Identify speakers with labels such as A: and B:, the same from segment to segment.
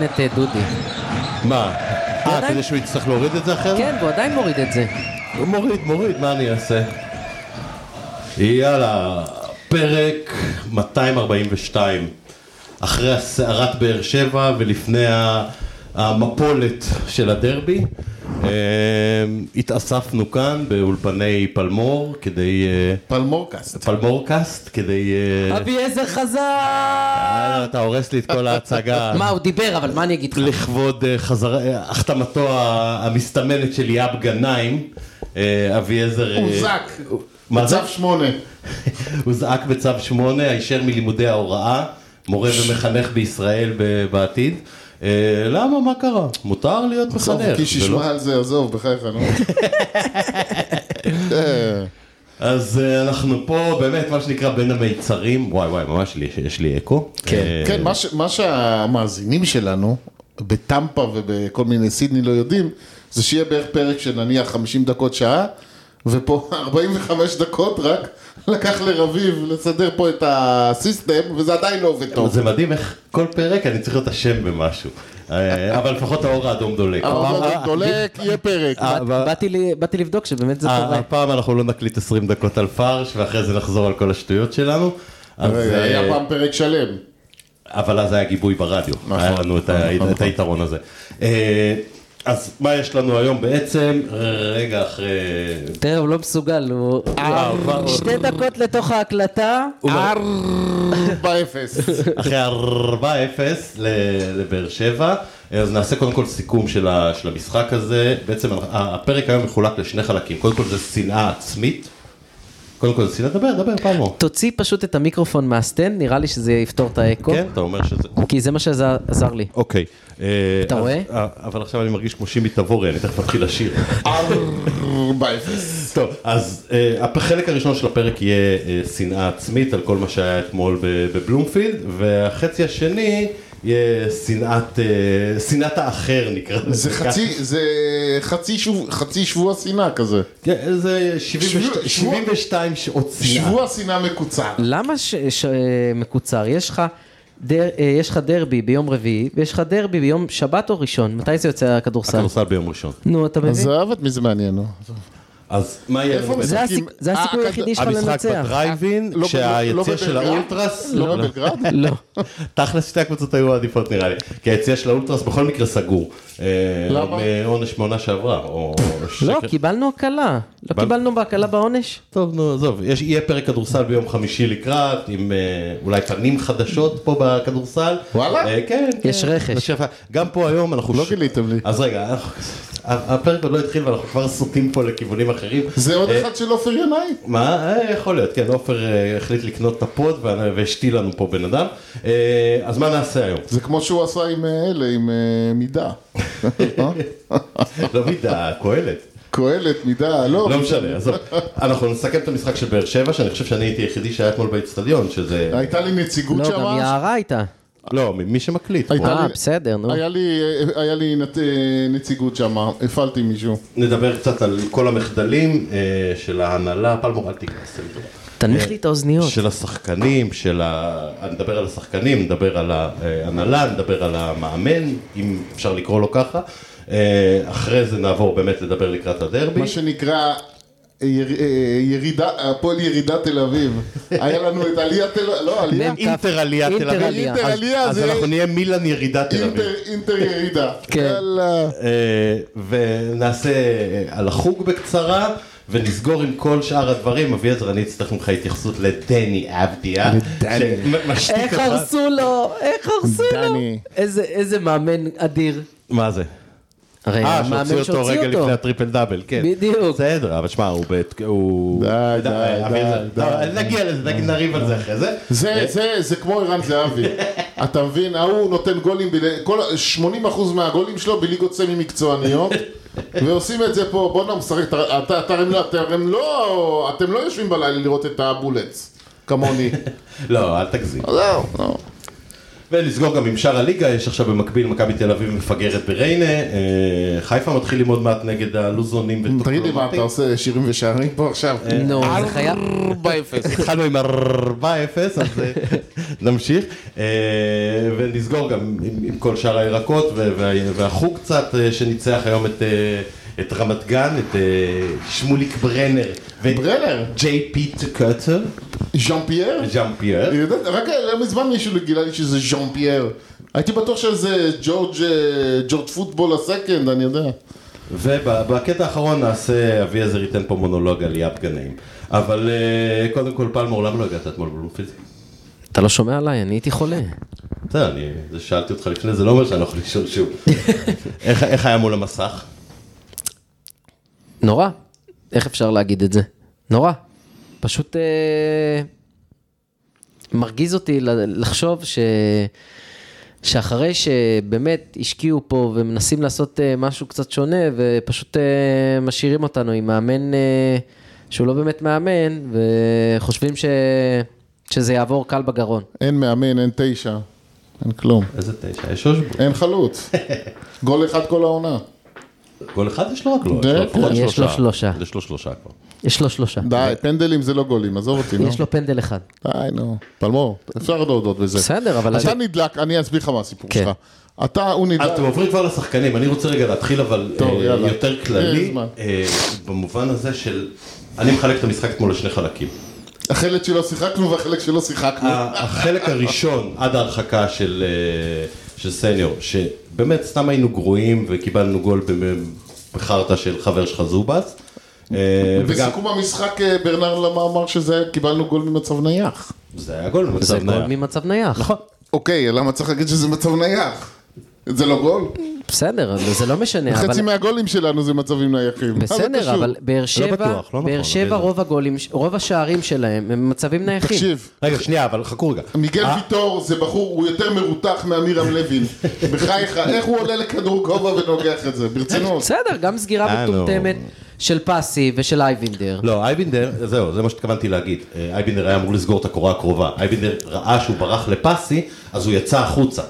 A: מעצבן את אה, דודי.
B: מה? אה,
A: עדיין-
B: כדי שהוא יצטרך להוריד את זה אחרת?
A: כן, והוא עדיין מוריד את זה.
B: הוא מוריד, מוריד, מה אני אעשה? יאללה, פרק 242. אחרי הסערת באר שבע ולפני ה- המפולת של הדרבי, אה, התאספנו כאן באולפני פלמור כדי... אה,
C: פלמורקאסט.
B: פלמורקאסט כדי... אה,
A: אביעזר חזר!
B: אה, אתה הורס לי את כל ההצגה.
A: מה, הוא דיבר, אבל מה אני אגיד לך?
B: לכבוד אה, חזרה- אה, החתמתו ה- המסתמנת של ליאב גנאים, אה, אביעזר... אה,
C: הוזק.
B: מה זה?
C: מצב שמונה.
B: הוזעק בצו 8, הישר מלימודי ההוראה, מורה ומחנך בישראל ב- בעתיד. אה, למה? מה קרה? מותר להיות
C: בסוף
B: מחנך. לא-
C: קיש
B: ולא-
C: ישמע על זה, עזוב, בחייך, נו. אה,
B: אז אה, אנחנו פה באמת, מה שנקרא, בין המיצרים. וואי וואי, ממש לי- יש לי אקו. אה,
C: כן, מה ש- מה שהמאזינים שלנו, בטמפה ובכל מיני סידני לא יודעים, זה שיהיה בערך פרק של נניח 50 דקות שעה, ופה 45 דקות רק לקח לרביב לסדר פה את הסיסטם, וזה עדיין לא עובד טוב.
B: זה מדהים איך כל פרק אני צריך להיות אשם במשהו. אה, אבל לפחות האור האדום דולק.
C: אבל
B: הפעם-
C: זה דולק, יהיה פרק.
B: אה, אבל-
A: באתי לי- באתי לבדוק שבאמת זה
B: אה,
A: קורה.
B: הפעם אנחנו לא נקליט 20 דקות על פרש, ואחרי זה נחזור על כל השטויות שלנו. אז,
C: רגע,
B: אה,
C: היה פעם פרק שלם.
B: אבל אז היה גיבוי ברדיו,
C: נכון,
B: היה לנו את ה-
C: נכון,
B: את
C: נכון.
B: היתרון הזה. אה, אז מה יש לנו היום בעצם? רגע אחרי...
A: תראה, הוא לא מסוגל, הוא...
B: אה, הוא-
A: שתי דקות לתוך ההקלטה,
B: לא-
C: ארבע אפס.
B: אחרי 4-0 ל- לבאר שבע, אה, אז נעשה קודם כל סיכום של ה- של המשחק הזה. בעצם ה- הפרק היום מחולק לשני חלקים. קודם כל זה שנאה עצמית. קודם כל זה שנאה, דבר, דבר פעמו.
A: תוציא פשוט את המיקרופון מהסטנד, נראה לי שזה יפתור את האקו.
B: כן, אתה אומר שזה...
A: כי זה מה שעזר לי.
B: אוקיי. אה,
A: אתה
B: אז-
A: רואה?
B: אה, אבל עכשיו אני מרגיש כמו שימי תבורי, אני תכף אתחיל לשיר.
C: ארבע אפס.
B: טוב, אז אה, החלק הראשון של הפרק יהיה אה, שנאה עצמית על כל מה שהיה אתמול ב- בבלומפילד, והחצי השני יהיה שנאת, אה, שנאת האחר נקרא לזה.
C: זה חצי, זה חצי שבוע, חצי שבוע שנאה כזה.
B: כן, זה 72
C: שבוע- שבוע-
B: 72 שעות שנאה.
C: שבוע שנאה מקוצר.
A: למה ש- ש- אה, מקוצר? יש לך... דר, אה, יש לך דרבי ביום רביעי, ויש לך דרבי ביום שבת או ראשון, מתי זה יוצא הכדורסל?
B: הכדורסל ביום ראשון.
A: נו, אתה מבין?
C: עזוב את מי זה מעניין, נו.
B: לא. אז מה יהיה?
C: איפה
A: זה
C: משחקים?
A: הסיכ- זה הסיכוי
C: אה,
A: היחידי שלך
B: המשחק
A: לנצח.
B: בדרייבין,
C: לא ב- לא
B: כשהיציע
C: בבלגרד.
B: של האולטרס...
C: לא בגרד?
A: לא.
B: תכלס שתי הקבוצות היו עדיפות נראה לי, כי היציאה של האולטרס בכל מקרה סגור. אה,
C: למה?
B: מעונש מעונה שעברה, או...
A: לא,
B: שקר-
A: קיבלנו הקלה. לא קיבלנו בהקלה בעונש?
B: טוב, נו, עזוב, יש, יהיה פרק כדורסל ביום חמישי לקראת, עם אה, אולי פנים חדשות פה בכדורסל.
C: וואלה?
B: אה, כן.
A: יש
B: כן.
A: רכש.
B: לשפע. גם פה היום אנחנו...
C: לא
B: ש-
C: גיליתם לי.
B: אז רגע, אנחנו- הפרק עוד לא התחיל ואנחנו כבר סוטים פה לכיוונים אחרים.
C: זה עוד
B: אה,
C: אחד של עופר ינאי.
B: מה? אה, יכול להיות, כן, עופר אה, החליט לקנות את הפוד ואנ- והשתיל לנו פה בן אדם. אה, אז מה נעשה היום?
C: זה כמו שהוא עשה עם אה, אלה, עם אה, מידה.
B: לא מידה, קהלת.
C: קהלת, מידה, לא.
B: לא משנה, עזוב. אנחנו נסכם את המשחק של באר שבע, שאני חושב שאני הייתי היחידי שהיה אתמול באצטדיון, שזה...
C: הייתה לי נציגות
A: לא,
C: שם.
A: גם יערה הייתה.
B: לא, ממי שמקליט. פה.
C: הייתה
A: אה,
C: לי-
A: בסדר, נו.
C: היה לי, היה לי נת- אה, נציגות שם, הפעלתי מישהו.
B: נדבר קצת על כל המחדלים אה, של ההנהלה, פלמור אל תיכנס אל זה.
A: תנמיך לי את האוזניות.
B: של השחקנים, של ה... נדבר על השחקנים, נדבר על ההנהלה, נדבר על המאמן, אם אפשר לקרוא לו ככה. אה, אחרי זה נעבור באמת לדבר לקראת הדרבי.
C: מה שנקרא יר- אה, ירידה, הפועל ירידה תל אביב. היה לנו את עלייה תל אביב, לא עלייה,
A: מ"כ.
B: אינטר עלייה תל
A: אינטר
B: אביב.
A: עלייה.
C: אינטר
B: אז-
C: עלייה
B: אז
C: זה-
B: אנחנו נהיה מילן ירידה תל אביב.
C: אינטר- אינטר ירידה.
A: כן.
C: יאללה.
B: אה, ונעשה אה, על החוג בקצרה, ונסגור עם כל שאר הדברים. אביעזר, אני אצטרך ממך התייחסות לדני אבדיה.
C: לדני.
B: שמשתיק
A: איך
B: אותך.
A: הרסו לו? איך הרסו לו?
C: דני.
A: איזה- איזה מאמן אדיר.
B: מה זה?
A: הרי
B: אה, שהוציאו
A: המאמן
B: אותו רגע
A: שהוציא
B: לפני
A: אותו.
B: הטריפל דאבל, כן.
A: בדיוק.
B: בסדר, אבל שמע, הוא... בת- הוא-
C: די, די,
B: אביעזר,
C: די,
B: לא,
C: די.
B: נגיע לזה, נגיד, נריב על זה אחרי זה.
C: זה, זה, זה כמו ערן זהבי, אתה מבין, ההוא נותן גולים, בל- כל, 80% מהגולים שלו בליגות סמי מקצועניות, ועושים את זה פה, בואנה משחק, אתה, אתה, אתה, הרי לא- אתה, הרי לא, אתם לא יושבים בלילה לראות את הבולטס, כמוני.
B: לא, אל תגזים.
C: זהו, נו.
B: ונסגור גם עם שאר הליגה, יש עכשיו במקביל מכבי תל אביב מפגרת בריינה, אה, חיפה מתחילים עוד מעט נגד הלוזונים. וטוקלומטים.
C: תגיד לי מה, אתה עושה שירים ושערים פה עכשיו?
B: אה,
A: נו, זה חייב...
D: 4-0.
B: התחלנו עם 4-0, אז אה, נמשיך, אה, ונסגור גם עם, עם כל שאר הירקות ו- וה- והחוג קצת אה, שניצח היום את, אה, את רמת גן, את אה, שמוליק ברנר. ואת
C: ברנר.
B: ג'יי פי טקוטר,
C: ז'אן פייר?
B: ז'אן פייר.
C: אני יודע, רק לא מזמן מישהו גילה לי שזה ז'אן פייר. הייתי בטוח שזה ג'ורג' אה, ג'ורג' פוטבול הסקנד, אני יודע.
B: ובקטע האחרון נעשה, אביעזר ייתן פה מונולוג על יאפ גנאים. אבל אה, קודם כל, פלמור, למה לא הגעת אתמול בבלומפילד?
A: אתה לא שומע עליי, אני הייתי חולה.
B: בסדר, אני זה שאלתי אותך לפני, זה לא אומר שאני לא יכול לשאול שוב. איך איך היה מול המסך?
A: נורא. איך אפשר להגיד את זה? נורא. פשוט אה, מרגיז אותי ל- לחשוב ש... שאחרי שבאמת השקיעו פה ומנסים לעשות אה, משהו קצת שונה ופשוט אה, משאירים אותנו עם מאמן אה, שהוא לא באמת מאמן וחושבים ש... שזה יעבור קל בגרון.
C: אין מאמן, אין תשע, אין כלום.
B: איזה תשע, יש אושבו.
C: אין חלוץ. גול אחד כל העונה.
B: כל אחד יש לו רק לא,
C: די,
B: יש לו לפחות
A: כן. יש לו שלושה.
B: יש לו שלושה כבר.
A: יש לו שלושה.
C: די, פנדלים זה לא גולים, עזוב אותי, נו.
A: יש לו פנדל אחד.
C: די, נו. פלמור, אפשר להודות בזה.
A: לא. בסדר, אבל...
C: אתה נדלק, אני אסביר לך מה הסיפור
A: כן.
C: שלך. אתה, הוא נדלק.
B: אה, אתם עוברים כבר לשחקנים, אני רוצה רגע להתחיל אבל
C: טוב,
B: אה,
C: יאללה.
B: יותר
C: אין
B: כללי,
C: זמן.
B: אה, במובן הזה של, אני מחלק את המשחק אתמול לשני חלקים.
C: החלק שלא שיחקנו והחלק שלא שיחקנו.
B: ה- החלק הראשון עד ההרחקה של, אה, של סניור, שבאמת סתם היינו גרועים וקיבלנו גול במ- בחרטא של חבר שלך זובס. אה, וגם
C: בסיכום המשחק אה, ברנר למה אמר שזה, קיבלנו גול ממצב נייח.
B: זה היה גול
A: זה
B: במצב
A: גול
B: נייח.
A: ממצב נייח. נכון.
C: אוקיי, למה צריך להגיד שזה מצב נייח? זה לא גול?
A: בסדר, זה לא משנה, אבל...
C: חצי מהגולים שלנו זה מצבים נייחים.
B: לא,
C: מה זה
A: בסדר,
C: קשור?
A: אבל באר שבע,
B: בטוח, לא נכון,
A: באר שבע
B: אביעזר.
A: רוב הגולים, רוב השערים שלהם הם מצבים נייחים.
C: תקשיב,
B: רגע, שנייה, אבל חכו רגע.
C: מיגל
A: אה?
C: ויטור זה בחור, הוא יותר מרותח מעמירם לוין. בחייך, איך הוא עולה לכדור גובה ונוגח את זה? ברצינות.
A: בסדר, גם סגירה
B: אה, לא.
A: מטומטמת של פסי ושל אייבינדר.
B: לא, אייבינדר, זהו, זה מה שהתכוונתי להגיד. אה, אייבינדר היה אמור לסגור את הקורה הקרובה. אייבינדר ראה שהוא ברח לפסי, אז הוא יצא החוצה.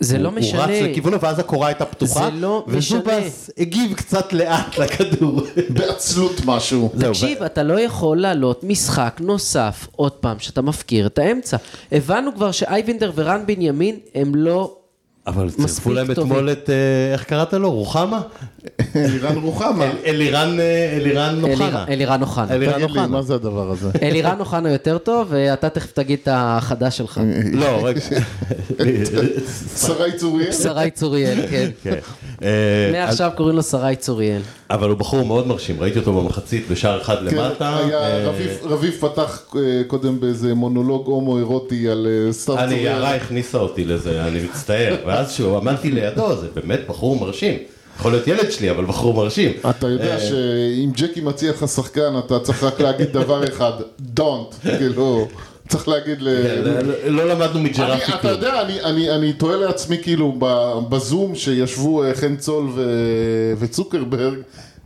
A: זה
B: הוא-
A: לא משנה.
B: הוא רץ לכיוונו, ואז הקורה הייתה פתוחה.
A: זה לא
B: וזובס הגיב קצת לאט לכדור.
C: בעצלות משהו.
B: זהו,
A: תקשיב, אתה לא יכול לעלות משחק נוסף עוד פעם שאתה מפקיר את האמצע. הבנו כבר שאייבינדר ורן בנימין הם לא...
B: אבל
A: מספיק
B: צירפו להם
A: טובים.
B: אתמול את, אה, איך קראת לו? רוחמה?
A: אה,
C: אלירן רוחמה.
B: אל- אלירן אה, אלירן אוחנה.
A: אליר- אלירן אוחנה.
B: אלירן
C: תגיד לי,
B: אוחנה.
C: מה זה הדבר הזה?
A: אלירן אוחנה יותר טוב, ואתה תכף תגיד את החדש שלך.
B: לא, רגע.
C: שרי צוריאל?
A: שרי צוריאל, כן.
B: כן. אה,
A: מעכשיו קוראים לו שרי צוריאל.
B: אבל הוא בחור מאוד מרשים, ראיתי אותו במחצית בשער אחד
C: כן,
B: למטה.
C: היה
B: אה,
C: רביב- רביב פתח אה, קודם באיזה מונולוג הומו-אירוטי על אה, סתיו
B: אני, יערה
C: צוריאל.
B: הכניסה אותי לזה, אני מצטער. ואז כשהוא עמדתי לידו, זה באמת בחור מרשים. יכול להיות ילד שלי, אבל בחור מרשים.
C: אתה יודע שאם ג'קי מציע לך שחקן, אתה צריך רק להגיד דבר אחד, don't, כאילו, צריך להגיד ל...
B: לא- לא- לא למדנו מג'רפי
C: אה, אני, אתה
B: כלום.
C: יודע, אני, אני, אני תוהה לעצמי כאילו ב- בזום שישבו אה, חן צול ו, וצוקרברג,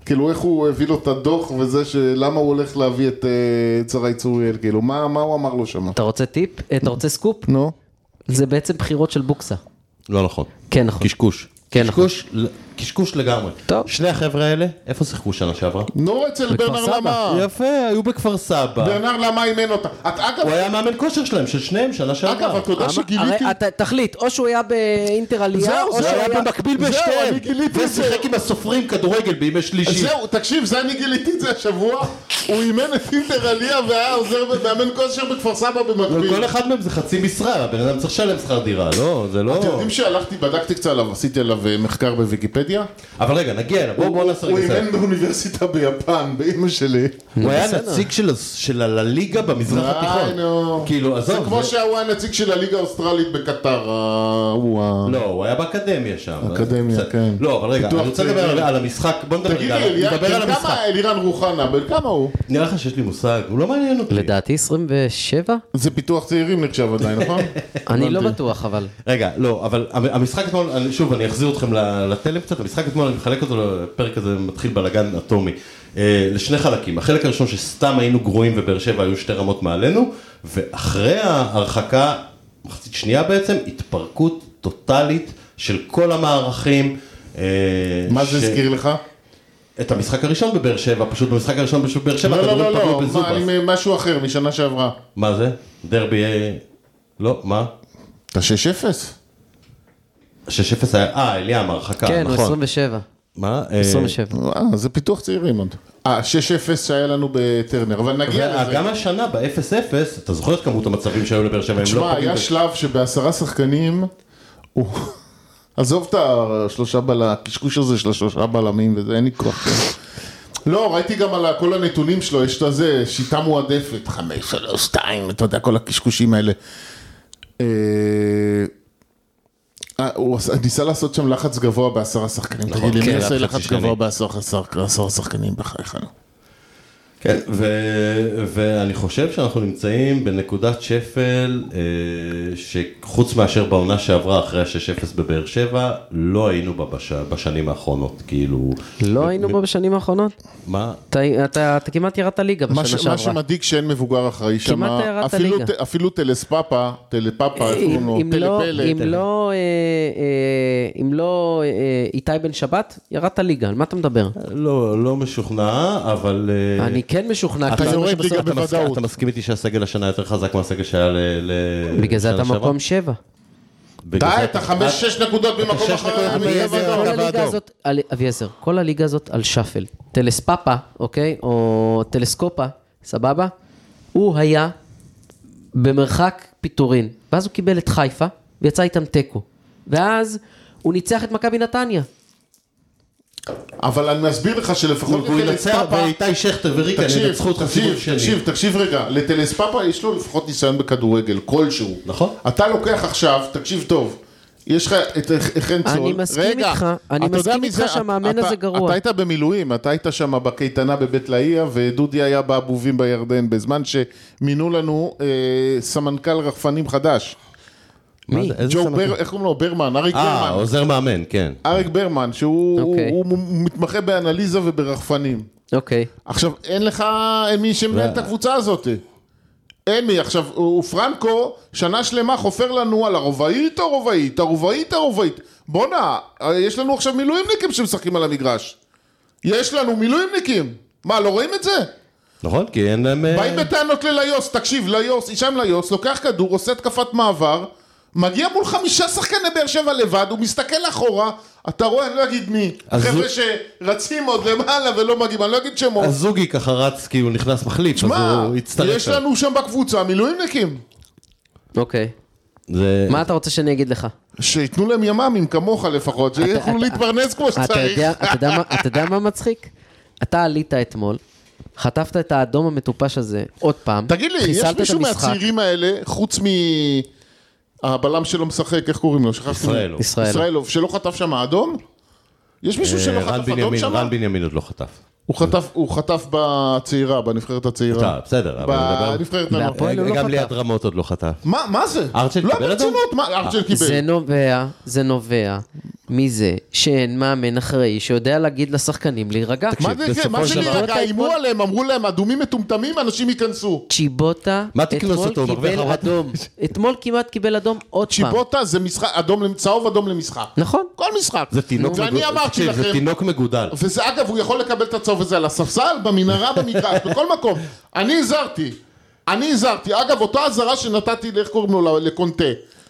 C: כאילו איך הוא הביא לו את הדוח וזה שלמה הוא הולך להביא את אה, צרי צוריאל, כאילו מה, מה הוא אמר לו שם?
A: אתה רוצה טיפ? אה, אתה רוצה סקופ?
C: נו.
A: זה בעצם בחירות של בוקסה.
B: לא נכון.
A: כן, נכון.
B: קשקוש.
A: כן,
B: קשקוש, ל- קשקוש לגמרי.
A: טוב.
B: שני החבר'ה האלה, איפה שיחקו שנה שעברה?
C: נו אצל
A: בכפר
C: ברנר
A: סבא.
C: למה,
B: אה. יפה, היו בכפר סבא.
C: ברנר למה אימן אותה, את, אגב,
B: הוא היה מאמן כושר שלהם, של שניהם, שנה שעברה.
C: אגב, אתה יודע שגיליתי,
A: הרי אתה תחליט, או שהוא היה באינטר עלייה,
C: זהו,
A: או
C: זהו,
A: שהוא היה...
B: במקביל
C: זהו,
B: בשתיהם.
C: אני גיליתי את זה.
B: ושיחק עם הסופרים כדורגל בימי שלישי.
C: זהו, תקשיב, זה אני גיליתי את זה השבוע, הוא אימן את אינטר עלייה והיה עוזר ומאמן כושר בכפר סבא במקביל.
B: כל אחד מהם זה חצי משרה, הבן אדם צריך לשלם שכר דירה, לא, זה
C: אתם
B: לא...
C: יודעים שהלכתי, בדקתי קצת עליו, עשיתי עליו אה, מחקר בוויקיפדיה?
B: אבל רגע, נגיע אליו, בואו בואו נעשה
C: הוא
B: רגע. סדר.
C: אימן באוניברסיטה ביפן, באימא שלי.
B: הוא היה
A: בסדר.
B: נציג של- של הליגה במזרח התיכון. כאילו,
C: זה
B: עזוב.
C: כמו
B: זה-
C: שהוא הנציג של הליגה האוסטרלית בקטר, ה- הוא ה...
B: לא, הוא היה באקדמיה שם.
C: אקדמיה,
B: בסדר.
C: כן.
B: לא, אבל רגע,
C: פיתוח
B: אני רוצה
C: צעירים.
B: לדבר על- על המשחק, בוא נדבר
C: תגיד
B: רגע
C: לי,
B: על-
C: אליה-
B: נדבר על
C: בן
B: המשחק.
C: כמה אלירן רוחנה, בן כמה הוא?
B: נראה לך שיש לי מושג, הוא לא מעניין אותי.
A: לדעתי 27?
C: זה פיתוח צעירים נחשב עדיין, נכון?
A: אני לא בטוח, אבל...
B: רגע, לא, אבל המ- המשחק אתמול, אני- שוב, אני אחזיר אתכם ל- לתלם קצת, המשחק אתמול, אני מחלק אותו, הפרק הזה מתחיל בלאגן אטומי, אה, לשני חלקים. החלק הראשון שסתם היינו גרועים ובאר שבע היו שתי רמות מעלינו, ואחרי ההרחקה מחצית שנייה בעצם, התפרקות טוטאלית של כל המערכים. אה,
C: מה זה
B: ש-
C: הזכיר לך?
B: את המשחק הראשון בבאר שבע, פשוט במשחק הראשון פשוט באר שבע,
C: לא, לא, לא,
B: הכדורים פגעו
C: לא,
B: בזובס.
C: מה, אני משהו אחר משנה שעברה.
B: מה זה? דרבי... אה, לא, מה?
C: אתה 6-0?
B: 6-0 היה... אה, אליאם, הרחקה,
A: כן, הוא
B: נכון.
A: 27.
B: מה? אה,
A: 27.
C: וואו, זה פיתוח צעירים עוד. אה, 6-0 שהיה לנו בטרנר, אבל נגיע
B: וה-
C: לזה.
B: גם השנה ב-0-0, אתה זוכר את כמות המצבים שהיו לבאר שבע, הם לא
C: תשמע,
B: פוגעים
C: היה
B: ב-
C: שלב שבעשרה שחקנים, הוא... עזוב את השלושה בלמים, הקשקוש הזה של השלושה בלמים וזה, אין לי כוח. לא, ראיתי גם על כל הנתונים שלו, יש את הזה, שיטה מועדפת, חמש, שלוש, שתיים, אתה יודע, כל הקשקושים האלה. אה, אה, הוא עשה- ניסה לעשות שם לחץ גבוה בעשרה שחקנים,
B: נכון,
C: תגיד לי,
B: כן,
C: מי יעשה
B: לחץ
C: לחץ
B: שחקנים.
C: גבוה בעשרה שחק- בעשרה שחקנים בחייך? נו?
B: כן, ו- ואני חושב שאנחנו נמצאים בנקודת שפל אה, שחוץ מאשר בעונה שעברה אחרי ה-6-0 בבאר שבע, לא היינו בה בש- בשנים האחרונות, כאילו...
A: לא היינו בו בשנים האחרונות?
B: מה?
A: אתה- אתה אתה כמעט ירדת ליגה
C: מה,
A: בשנה
C: ש...
A: שעברה.
C: מה שמדאיג שאין מבוגר אחראי שם,
A: כמעט ירדת
C: אפילו,
A: ליגה.
C: ת- אפילו טלספאפה, טלפאפה, איך קוראים לו,
A: אם- אם לא-
C: טלפלא,
A: אם לא, אה, אה, אם לא אה, איתי בן שבת, ירדת ליגה, על מה אתה מדבר?
B: לא, לא משוכנע, אבל... אה,
A: אני כן משוכנע,
B: אתה
A: כי-
C: יורד
B: שבסוף-
C: ליגה
B: אתה מסכים-
C: בוודאות.
B: אתה מסכים איתי שהסגל השנה יותר חזק מהסגל שהיה ל... ל-
A: בגלל זה
B: שנה
A: אתה
B: שעברה?
A: מקום שבע.
B: בגלל
C: די,
B: זה
C: אתה חמש, שש נקודות במקום
B: שש נקודות
C: אחר.
B: אחרי
A: אביעזר, כל
B: הקו
A: הליגה
B: האדום.
A: הזאת- על- אביעזר, כל הליגה הזאת על שפל. טלספאפה, אוקיי? או טלסקופה, סבבה? הוא היה במרחק פיטורין, ואז הוא קיבל את חיפה, ויצא איתם תיקו. ואז הוא ניצח את מכבי נתניה.
C: אבל אני מסביר לך שלפחות
B: והוא ינצח, ואיתי שכטר וריקה
C: תקשיב,
B: ינצחו אותך סיבוב
C: תקשיב,
B: שני.
C: תקשיב, תקשיב רגע, לטלספאפה יש לו לפחות ניסיון בכדורגל, כלשהו.
B: נכון.
C: אתה לוקח עכשיו, תקשיב טוב. יש לך את ח- חן צול.
A: אני מסכים
C: רגע,
A: איתך, אני
C: אתה יודע
A: מסכים
C: מי
A: איתך
C: זה?
A: שהמאמן
C: אתה-
A: הזה גרוע.
C: אתה היית במילואים, אתה היית שם בקייטנה בבית לאיה, ודודי היה באבובים בירדן, בזמן שמינו לנו אה, סמנכ"ל רחפנים חדש.
B: מה
A: מי?
B: זה? איזה
C: ג'ו
B: סמכות?
C: בר, איך קוראים לו? ברמן, אריק
B: אה,
C: ברמן.
B: עוזר מאמן, כן.
C: אריק ברמן, שהוא
A: אוקיי.
C: הוא- הוא מתמחה באנליזה וברחפנים.
A: אוקיי.
C: עכשיו, אין לך אה, מי שמנהל את הקבוצה הזאת. אין מי. עכשיו, הוא פרנקו, שנה שלמה חופר לנו על הרובעית, הרובעית, הרובעית, הרובעית. בואנה, אה, יש לנו עכשיו מילואימניקים שמשחקים על המגרש. יש לנו מילואימניקים. מה, לא רואים את זה?
B: נכון, כי אין להם... אה,
C: באים בטענות לליוס, תקשיב, ליוס, הישאם ליוס, לוקח כדור, עושה התקפת מעבר, מגיע מול חמישה שחקני באר שבע לבד, הוא מסתכל אחורה, אתה רואה, אני לא אגיד מי,
B: אז
C: חבר'ה
B: הוא-
C: שרצים עוד למעלה ולא מגיעים, אני לא אגיד שמות.
B: אז זוגי ככה רץ, כי הוא נכנס מחליף, אז
C: מה,
B: הוא הצטרף.
C: יש לנו שם בקבוצה מילואימניקים,
A: אוקיי.
B: זה...
A: מה אתה רוצה שאני אגיד לך?
C: שייתנו להם ימ"מים כמוך לפחות, שיוכלו
A: אתה-
C: להתפרנס כמו
A: אתה
C: שצריך.
A: יודע, אתה, יודע מה, אתה יודע מה מצחיק? אתה עלית אתמול, חטפת את האדום המטופש הזה עוד פעם.
C: תגיד לי, יש
A: חיסלת את
C: מישהו
A: המשחק.
C: מהצעירים האלה, חוץ מ... הבלם שלא משחק, איך קוראים לו? שכחתי.
B: ישראלוב.
A: ישראלוב.
C: ישראלוב, שלא חטף שם אדום? יש מישהו שלא
B: אה, רן
C: חטף אדום
B: בנימין,
C: שם? אה.
B: רן בנימין עוד לא חטף.
C: הוא חטף, הוא חטף בצעירה, בנבחרת הצעירה.
B: אתה, בסדר, אבל הוא מדבר- אה,
C: בנבחרת הנוער.
A: בהפועל הוא לא
B: גם
A: חטף.
B: ליד רמות עוד לא חטף.
C: מה, מה זה?
B: ארצ'ל קיבל
C: לא
B: אדום?
C: ברצינות, מה ארצ'ל
A: זה
C: קיבל?
A: נובע, זה נובע מזה שאין מאמן אחראי שיודע להגיד לשחקנים להירגע.
C: מה זה יקרה? מה
B: בסופו של
C: זה
B: דבר-
C: נרגע? איימו עליהם, אמרו להם, אדומים מטומטמים, אנשים ייכנסו.
A: צ'יבוטה
B: מה תקנוס
A: אתמול
B: אותו? הוא מרוויח
A: קיבל
B: ארבעת-
A: אדום. אתמול כמעט קיבל אדום עוד פעם.
C: צ'יבוטה זה משחק, אדום, למ- צהוב אדום למשחק.
A: נכון.
B: אוקיי.
C: כל משחק.
B: זה תינוק
C: ואני
B: מגודל.
C: אמרתי
B: תקשיב, זה
C: לכם,
B: תינוק מגודל.
C: וזה אגב, הוא יכול לקבל את הצהוב הזה על הספסל, במנהרה, במגרש, בכל מקום. אני הזהרתי. אני הזהרתי. אגב, אותה אזהרה שנתתי, איך קוראים לו, לקונטה.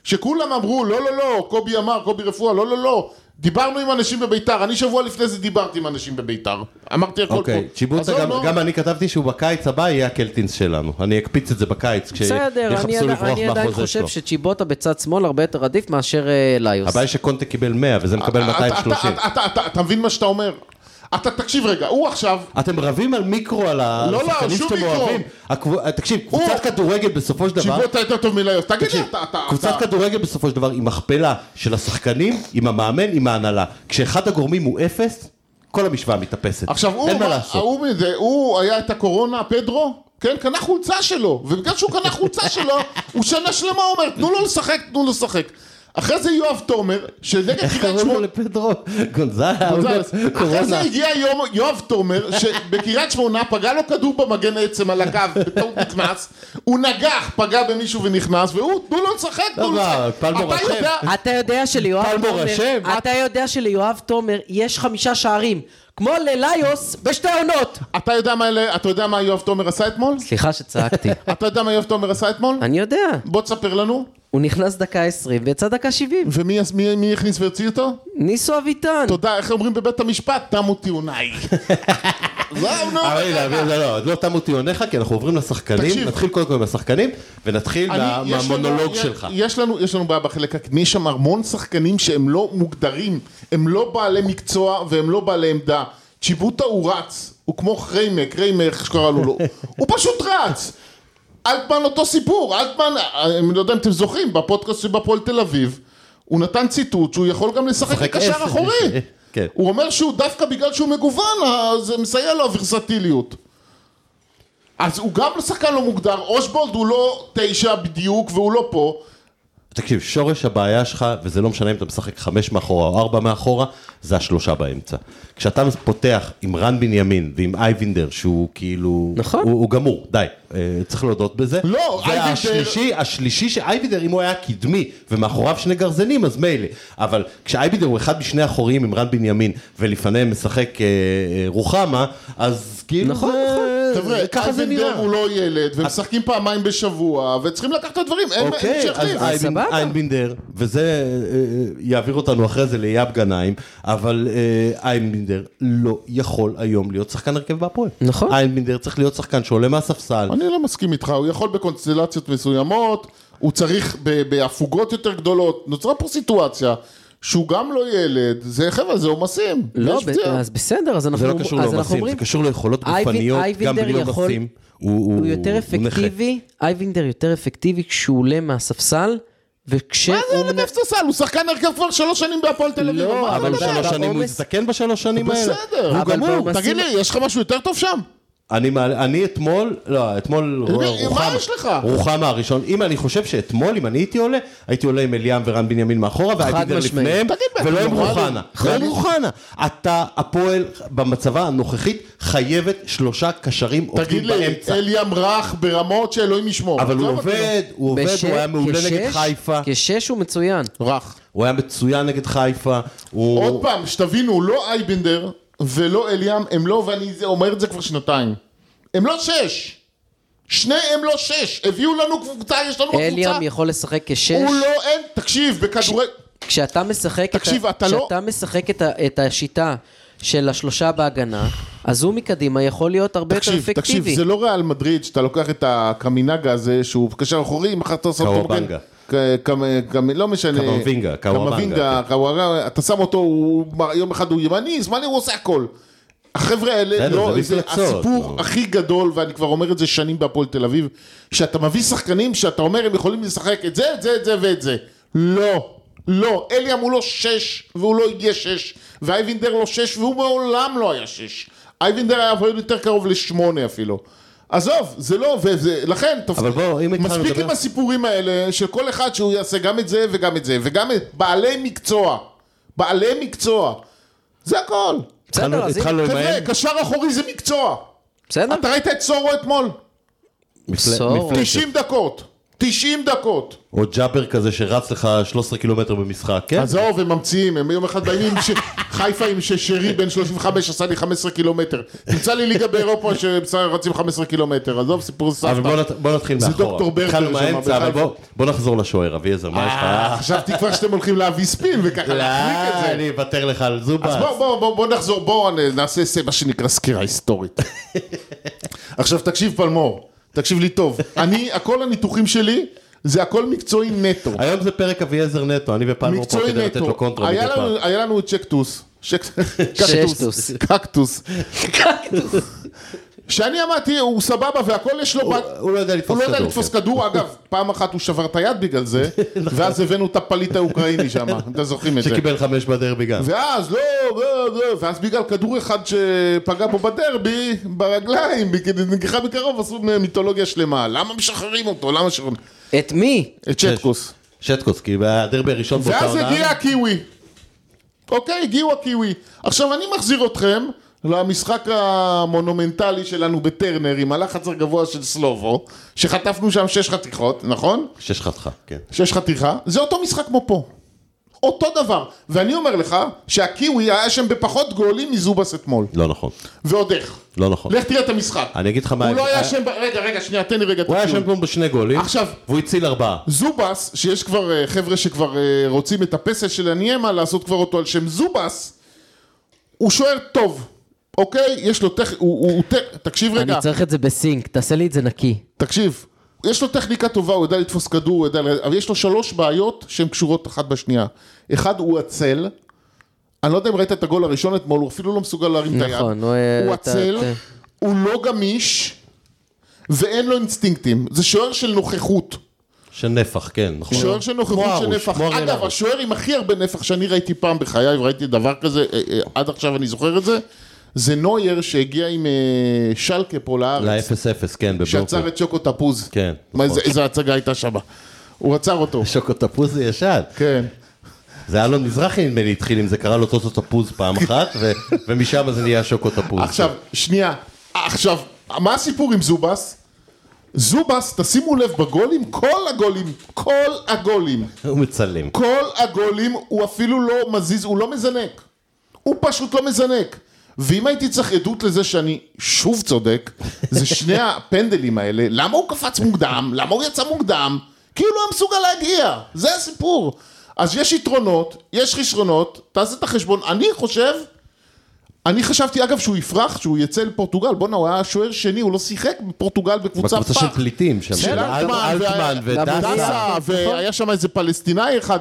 C: שכולם אמרו, לא, לא, לא, קובי אמר, קובי רפואה, לא, לא, לא. דיברנו עם אנשים בביתר, אני שבוע לפני זה דיברתי עם אנשים בביתר. אמרתי הכל
B: אוקיי,
C: פה. לא,
B: צ'יבוטה,
C: עזוב,
B: גם-
C: נו.
B: גם אני כתבתי שהוא בקיץ הבא יהיה הקלטינס שלנו. אני אקפיץ את זה בקיץ,
A: בסדר, אני
B: כשיחפשו
A: עדיין-
B: לברוח
A: אני עדיין
B: מהחוזה
A: חושב
B: שלו.
A: שצ'יבוטה בצד שמאל הרבה יותר עדיף מאשר אה, ליוס.
B: הבעיה שקונטה קיבל 100 וזה מקבל
C: אתה- אתה-
B: 230.
C: אתה- אתה- אתה- אתה מבין מה שאתה אומר? אתה תקשיב רגע, הוא עכשיו,
B: אתם רבים על מיקרו, על
C: לא,
B: השחקנים
C: שום
B: שאתם
C: מיקרו.
B: אוהבים. הקבוע- אה, תקשיב, קבוצת כדורגל בסופו של דבר,
C: צ'יבוטה יותר טוב מליוס. תגיד לי,
B: תקשיב,
C: אתה... אתה-
B: קבוצת
C: אתה-
B: כדורגל בסופו של דבר היא מכפלה של השחקנים, עם המאמן, עם ההנהלה. כשאחד הגורמים הוא אפס, כל המשוואה מתאפסת.
C: עכשיו הוא,
B: אין מה
C: מה-
B: לעשות.
C: ההוא מזה, הוא היה את הקורונה, פדרו, כן, קנה חולצה שלו, ובגלל שהוא קנה חולצה שלו, הוא שנה שלמה אומר, תנו לו לשחק, תנו לו לשחק. אחרי זה יואב תומר, שנגד קריית
B: קראו לו
C: שמונה...
B: לפדרו, גונזלה, הוא
C: גונזלס.
B: גם-
C: אחרי זה
B: קורונה.
C: הגיע יום- יואב תומר, שבקריית שמונה פגע לו כדור במגן עצם על הקו, בטעות נכנס, הוא נגח, פגע במישהו ונכנס, והוא, תנו לו לשחק, תנו לו
B: לא,
C: לשחק.
B: פלמור
C: אתה
B: אשם.
C: יודע-
A: אתה יודע שליואב
B: פלמור
A: תומר,
B: אשם.
A: אתה יודע שליואב תומר יש חמישה שערים, כמו לליוס בשתי עונות.
C: אתה יודע מה אלה- אתה יודע מה יואב תומר עשה אתמול?
A: סליחה שצעקתי.
C: אתה יודע מה יואב תומר עשה אתמול?
A: אני יודע,
C: בוא תספר לנו.
A: הוא נכנס דקה 20 ויצא דקה 70.
C: ומי מי- מי הכניס והוציא אותו?
A: ניסו אביטן.
C: תודה, איך אומרים בבית המשפט? תמו טיעוניי. לא, זהו, נו.
B: אבל הנה, אבל זה לא, עוד לא תמו טיעוניך, כי אנחנו עוברים לשחקנים,
C: תקשיב.
B: נתחיל קודם כל עם השחקנים, ונתחיל
C: אני-
B: מה-
C: יש לנו-
B: מהמונולוג
C: יש-
B: שלך.
C: יש לנו, יש לנו בעיה בחלק הקדמי, יש שם המון שחקנים שהם לא מוגדרים, הם לא בעלי מקצוע והם לא בעלי עמדה. צ'יבוטה הוא רץ, הוא כמו חריימק, ריימק, איך שקראנו לו, לא. הוא פשוט רץ. אלטמן אותו סיפור, אלטמן, אני לא יודע אם אתם זוכרים, בפודקאסט של הפועל תל אביב, הוא נתן ציטוט שהוא יכול גם לשחק
B: משחק
C: כקשר
B: עשר.
C: אחורי.
B: כן.
C: הוא אומר שהוא דווקא בגלל שהוא מגוון, ה- זה מסייע לו הוורסטיליות. אז הוא גם שחקן לא מוגדר, אושבולד הוא לא תשע בדיוק והוא לא פה.
B: תקשיב, שורש הבעיה שלך, וזה לא משנה אם אתה משחק חמש מאחורה או ארבע מאחורה, זה השלושה באמצע. כשאתה פותח עם רן בנימין ועם אייבינדר, שהוא כאילו...
A: נכון.
B: הוא, הוא גמור, די. אה, צריך להודות בזה.
C: לא, אייבינדר-
B: והשלישי, השלישי שאייבינדר, אם הוא היה קדמי, ומאחוריו שני גרזנים, אז מילא. אבל כשאייבינדר הוא אחד משני האחוריים עם רן בנימין, ולפניהם משחק אה, אה, רוחמה, אז כאילו...
A: נכון,
B: זה- זה-
C: חבר'ה,
B: ככה זה
C: אייבנדר
B: נראה.
C: הוא לא ילד, ומשחקים פעמיים בשבוע, וצריכים לקחת את הדברים, אין אין
B: אוקיי,
C: שיחליף.
B: אז
A: סבבה.
B: איינבינ- איינבינדר, וזה אה, אה, יעביר אותנו אחרי זה לאייב גנאים, אבל אה, איינבינדר לא יכול היום להיות שחקן הרכב בהפועל.
A: נכון.
B: איינבינדר צריך להיות שחקן שעולה מהספסל.
C: אני לא מסכים איתך, הוא יכול בקונסטלציות מסוימות, הוא צריך ב- בהפוגות יותר גדולות, נוצרה פה סיטואציה שהוא גם לא ילד, זה חבר'ה, זה עומסים.
A: לא,
C: יש
A: ב-
C: פציעה.
A: אז בסדר, אז אנחנו
B: זה לא קשור
A: אז אנחנו
B: לעומסים,
A: אומרים,
B: זה קשור ליכולות
A: אייבינ-
B: גופניות, גם
A: אייבינדר
B: בלי
A: יכול-
B: עומסים.
A: הוא יותר
B: נכה.
A: אפקטיבי, אייבינדר יותר אפקטיבי כשהוא עולה מהספסל, וכשהוא...
C: מה אה, זה
A: מנ-
C: עולה מהספסל? הוא שחקן הרכב כבר שלוש שנים בהפועל תל אביב.
A: אה, לא,
C: מה אתה
B: אבל
A: אבל
C: מדבר?
B: שלוש שנים הוא
A: בעומס-
B: הזדקן בשלוש שנים האלה.
C: בסדר,
B: הוא
A: אבל
B: גמור.
A: בעומס-
C: תגיד לי, יש לך משהו יותר טוב שם?
B: אני מעלה- אני אתמול, לא, אתמול
C: מה
B: רוחמה.
C: יש לך?
B: רוחמה הראשון. אם אני חושב שאתמול, אם אני הייתי עולה, הייתי עולה עם אליאם ורן בנימין מאחורה, והייתי
A: משמעית.
B: לפניהם,
C: תגיד, מה,
B: ולא
C: אתה
B: עם
C: נורמלי?
B: רוחנה. לא עם רוחנה. אתה, הפועל, במצבה הנוכחית, חייבת שלושה קשרים
C: תגיד
B: עובדים
C: לי,
B: באמצע.
C: אלי אמרח ברמות שאלוהים ישמור.
B: אבל הוא
C: עזוב אותי.
B: עובד, הוא עובד,
A: בש-
B: הוא היה מעולה
A: כשש-
B: נגד חיפה,
A: כשש הוא מצוין.
C: לא- רך.
B: הוא היה מצוין נגד חיפה, הוא...
C: עוד פעם, שתבינו, הוא לא אייבנדר ולא אליאם, הם לא, ואני זה- אומר את זה כבר שנתיים. הם לא שש. שניהם לא שש. הביאו לנו קבוצה, יש לנו קבוצה.
A: אליאם יכול לשחק כשש.
C: לא הוא לא, אין, תקשיב, בכדורי...
A: כשאתה משחק,
C: תקשיב,
A: את, ה-
C: אתה לא-
A: כשאתה משחק את, ה- את השיטה של השלושה בהגנה, אז הוא מקדימה יכול להיות הרבה יותר
C: תקשיב,
A: אפקטיבי.
C: תקשיב, זה לא ריאל מדריד שאתה לוקח את הקמינגה הזה שהוא קשר אחורי, מחר אתה עושה אותו...
B: קוואבנגה.
C: ק- קמ- קמ- לא משנה.
B: קמבינגה, קוואבנגה.
C: קמבינגה, קוואבנגה, אתה שם אותו, הוא- יום אחד הוא ימני, זמני, הוא עושה הכל. החבר'ה האלה,
B: בסדר,
C: לא,
B: זה
C: זה
B: מפלצות,
C: הסיפור
B: נו.
C: הכי גדול, ואני כבר אומר את זה שנים בהפועל תל אביב, שאתה מביא שחקנים שאתה אומר הם יכולים לשחק את זה, את זה, את זה ואת זה. לא, לא, אליאם הוא לא שש, והוא לא יהיה שש, ואייבינדר לא שש, והוא מעולם לא היה שש. אייבינדר היה עובד יותר קרוב לשמונה אפילו. עזוב, זה לא, וזה, לכן, תפ...
B: אבל בוא, אם התחלנו
C: מספיק
B: לדבר-
C: עם הסיפורים האלה, של כל אחד שהוא יעשה גם את זה וגם את זה, וגם את בעלי מקצוע. בעלי מקצוע. זה הכל.
A: בסדר,
B: התחלנו-
A: אז
B: התחלנו
A: הנה,
B: עם
C: חבר'ה,
B: האם.
C: קשר אחורי זה מקצוע.
A: בסדר?
C: אתה ראית את סורו אתמול?
B: מפל-
A: סורו.
B: מפלצת.
C: 90 דקות. 90 דקות.
B: או ג'אבר כזה שרץ לך 13 קילומטר במשחק, כן?
C: עזוב, הם ממציאים, הם יום אחד באים עם ש... חיפה עם ששרי בן 35 עשה לי 15 קילומטר. תמצא לי ליגה באירופה שבסדר רצים 15 קילומטר. עזוב, סיפור
B: אבל בוא
C: סבתא.
B: נת- בוא נתחיל
C: זה
B: מאחורה.
C: דוקטור ברקר
B: התחלנו
C: שם,
B: מהאמצע, אבל
C: בחיפה.
B: בוא- בוא נחזור לשוער, אביעזר, מה יש
C: אה,
B: לך?
C: חשבתי כבר שאתם הולכים להביא ספין וככה
B: לא,
C: להחליק את זה.
B: אני אוותר לך על
C: אז
B: זובס.
C: בואו בוא, בוא, בוא נחזור, בואו נעשה זה מה שנקרא סקירה היסטורית. עכשיו תקשיב פלמור, תקשיב לי טוב. אני, הכל הניתוחים שלי זה הכל מקצועי נטו.
B: היום זה פרק אביעזר נטו, אני ופלמור פה
C: מקצועי
B: כדי לתת לו
C: נטו.
B: קונטרה
C: היה
B: מדי פעם.
C: לנו- היה לנו את שקטוס. שק-
A: ששטוס.
C: קקטוס. קקטוס. שאני אמרתי, הוא סבבה והכל יש לו... ב-
B: הוא לא יודע לתפוס
C: הוא לא יודע
B: כדור,
C: לתפוס
B: כן. נכון.
C: כדור, אגב, פעם אחת הוא שבר את היד בגלל זה, ואז הבאנו את הפליט האוקראיני שם, אם אתם זוכרים את זה.
B: שקיבל חמש בדרבי גם.
C: ואז לא, לא, לא, ואז בגלל כדור אחד שפגע בו בדרבי, ברגליים, נגיחה מקרוב, עשו מיתולוגיה שלמה. למה משחררים אותו? למה משחררים?
A: את מי?
C: את צ'טקוס.
B: שטקוס, כי בדרבי הראשון באותה
C: ואז
B: עונה...
C: הגיע הקיווי. אוקיי, הגיעו הקיווי. עכשיו אני מחזיר אתכם למשחק המונומנטלי שלנו בטרנר עם הלחץ הגבוה של סלובו, שחטפנו שם שש חתיכות, נכון?
B: שש חתיכה, כן.
C: שש חתיכה, זה אותו משחק כמו פה. אותו דבר. ואני אומר לך שהקיווי היה שם בפחות גולים מזובס אתמול.
B: לא נכון.
C: ועוד איך.
B: לא נכון.
C: לך תראה את המשחק.
B: אני אגיד לך מה...
C: הוא לא היה
B: אה,
C: שם... ב- רגע, רגע, שנייה, תן לי רגע את
B: הוא היה
C: הטיעון.
B: שם כמו בשני גולים,
C: עכשיו-
B: והוא הציל ארבעה.
C: זובס, שיש כבר אה, חבר'ה שכבר אה, רוצים את הפסל של הניימה לעשות כבר אותו על שם זובס, הוא שוער טוב, אוקיי? יש לו טכ... הוא, הוא, הוא טכ... תקשיב
A: אני
C: רגע,
A: צריך את זה בסינק, תעשה לי את זה נקי.
C: תקשיב. יש לו טכניקה טובה, הוא יודע לתפוס כדור, הוא יודע... ל- אבל יש לו שלוש בעיות שהן קשורות אחת בשנייה. אחד, הוא עצל. אני לא יודע אם ראית את הגול הראשון אתמול, הוא אפילו לא מסוגל להרים את היד.
A: נכון, הוא, אה,
C: הוא
A: אתה-
C: עצל,
A: אתה-
C: הוא לא גמיש, ואין לו אינסטינקטים. זה שוער של נוכחות.
B: של נפח, כן, נכון.
C: שוער של נוכחות
B: כמו
C: של
B: ארוש,
C: נפח.
B: כמו אריאל
C: אגב,
B: ארוש.
C: השוער עם הכי הרבה נפח שאני ראיתי פעם בחיי, וראיתי דבר כזה, אה, אה, עד עכשיו אני זוכר את זה, זה נוייר שהגיע עם אה, שלקה פה לארץ,
B: ל-0-0, כן, בבלופו.
C: שעצר את שוקו תפוז.
B: כן,
C: מה,
B: נכון.
C: איזה- איזה הצגה הייתה שמה. הוא עצר אותו.
B: שוקו תפוז ישן.
C: כן.
B: זה אלון מזרחי נדמה לי התחיל עם זה, קרא לו טוטו תפוז פעם אחת, ו- ומשם זה נהיה שוקו תפוז.
C: עכשיו, שנייה. עכשיו, מה הסיפור עם זובס? זובס, תשימו לב, בגולים, כל הגולים, כל הגולים,
B: הוא מצלם.
C: כל הגולים הוא אפילו לא מזיז, הוא לא מזנק. הוא פשוט לא מזנק. ואם הייתי צריך עדות לזה שאני שוב צודק, זה שני הפנדלים האלה, למה הוא קפץ מוקדם? למה הוא יצא מוקדם? כי הוא לא היה מסוגל להגיע, זה הסיפור. אז יש יתרונות, יש חסרונות, תעשה את החשבון. אני חושב, אני חשבתי אגב שהוא יפרח, שהוא יצא לפורטוגל, בואנה הוא היה שוער שני, הוא לא שיחק בפורטוגל בקבוצה
B: בקבוצה של
C: פח.
B: פליטים שם, כן, של אל-
C: של
B: אלטמן
C: וה-
B: ודסה.
C: דסה, והיה שם איזה פלסטינאי אחד.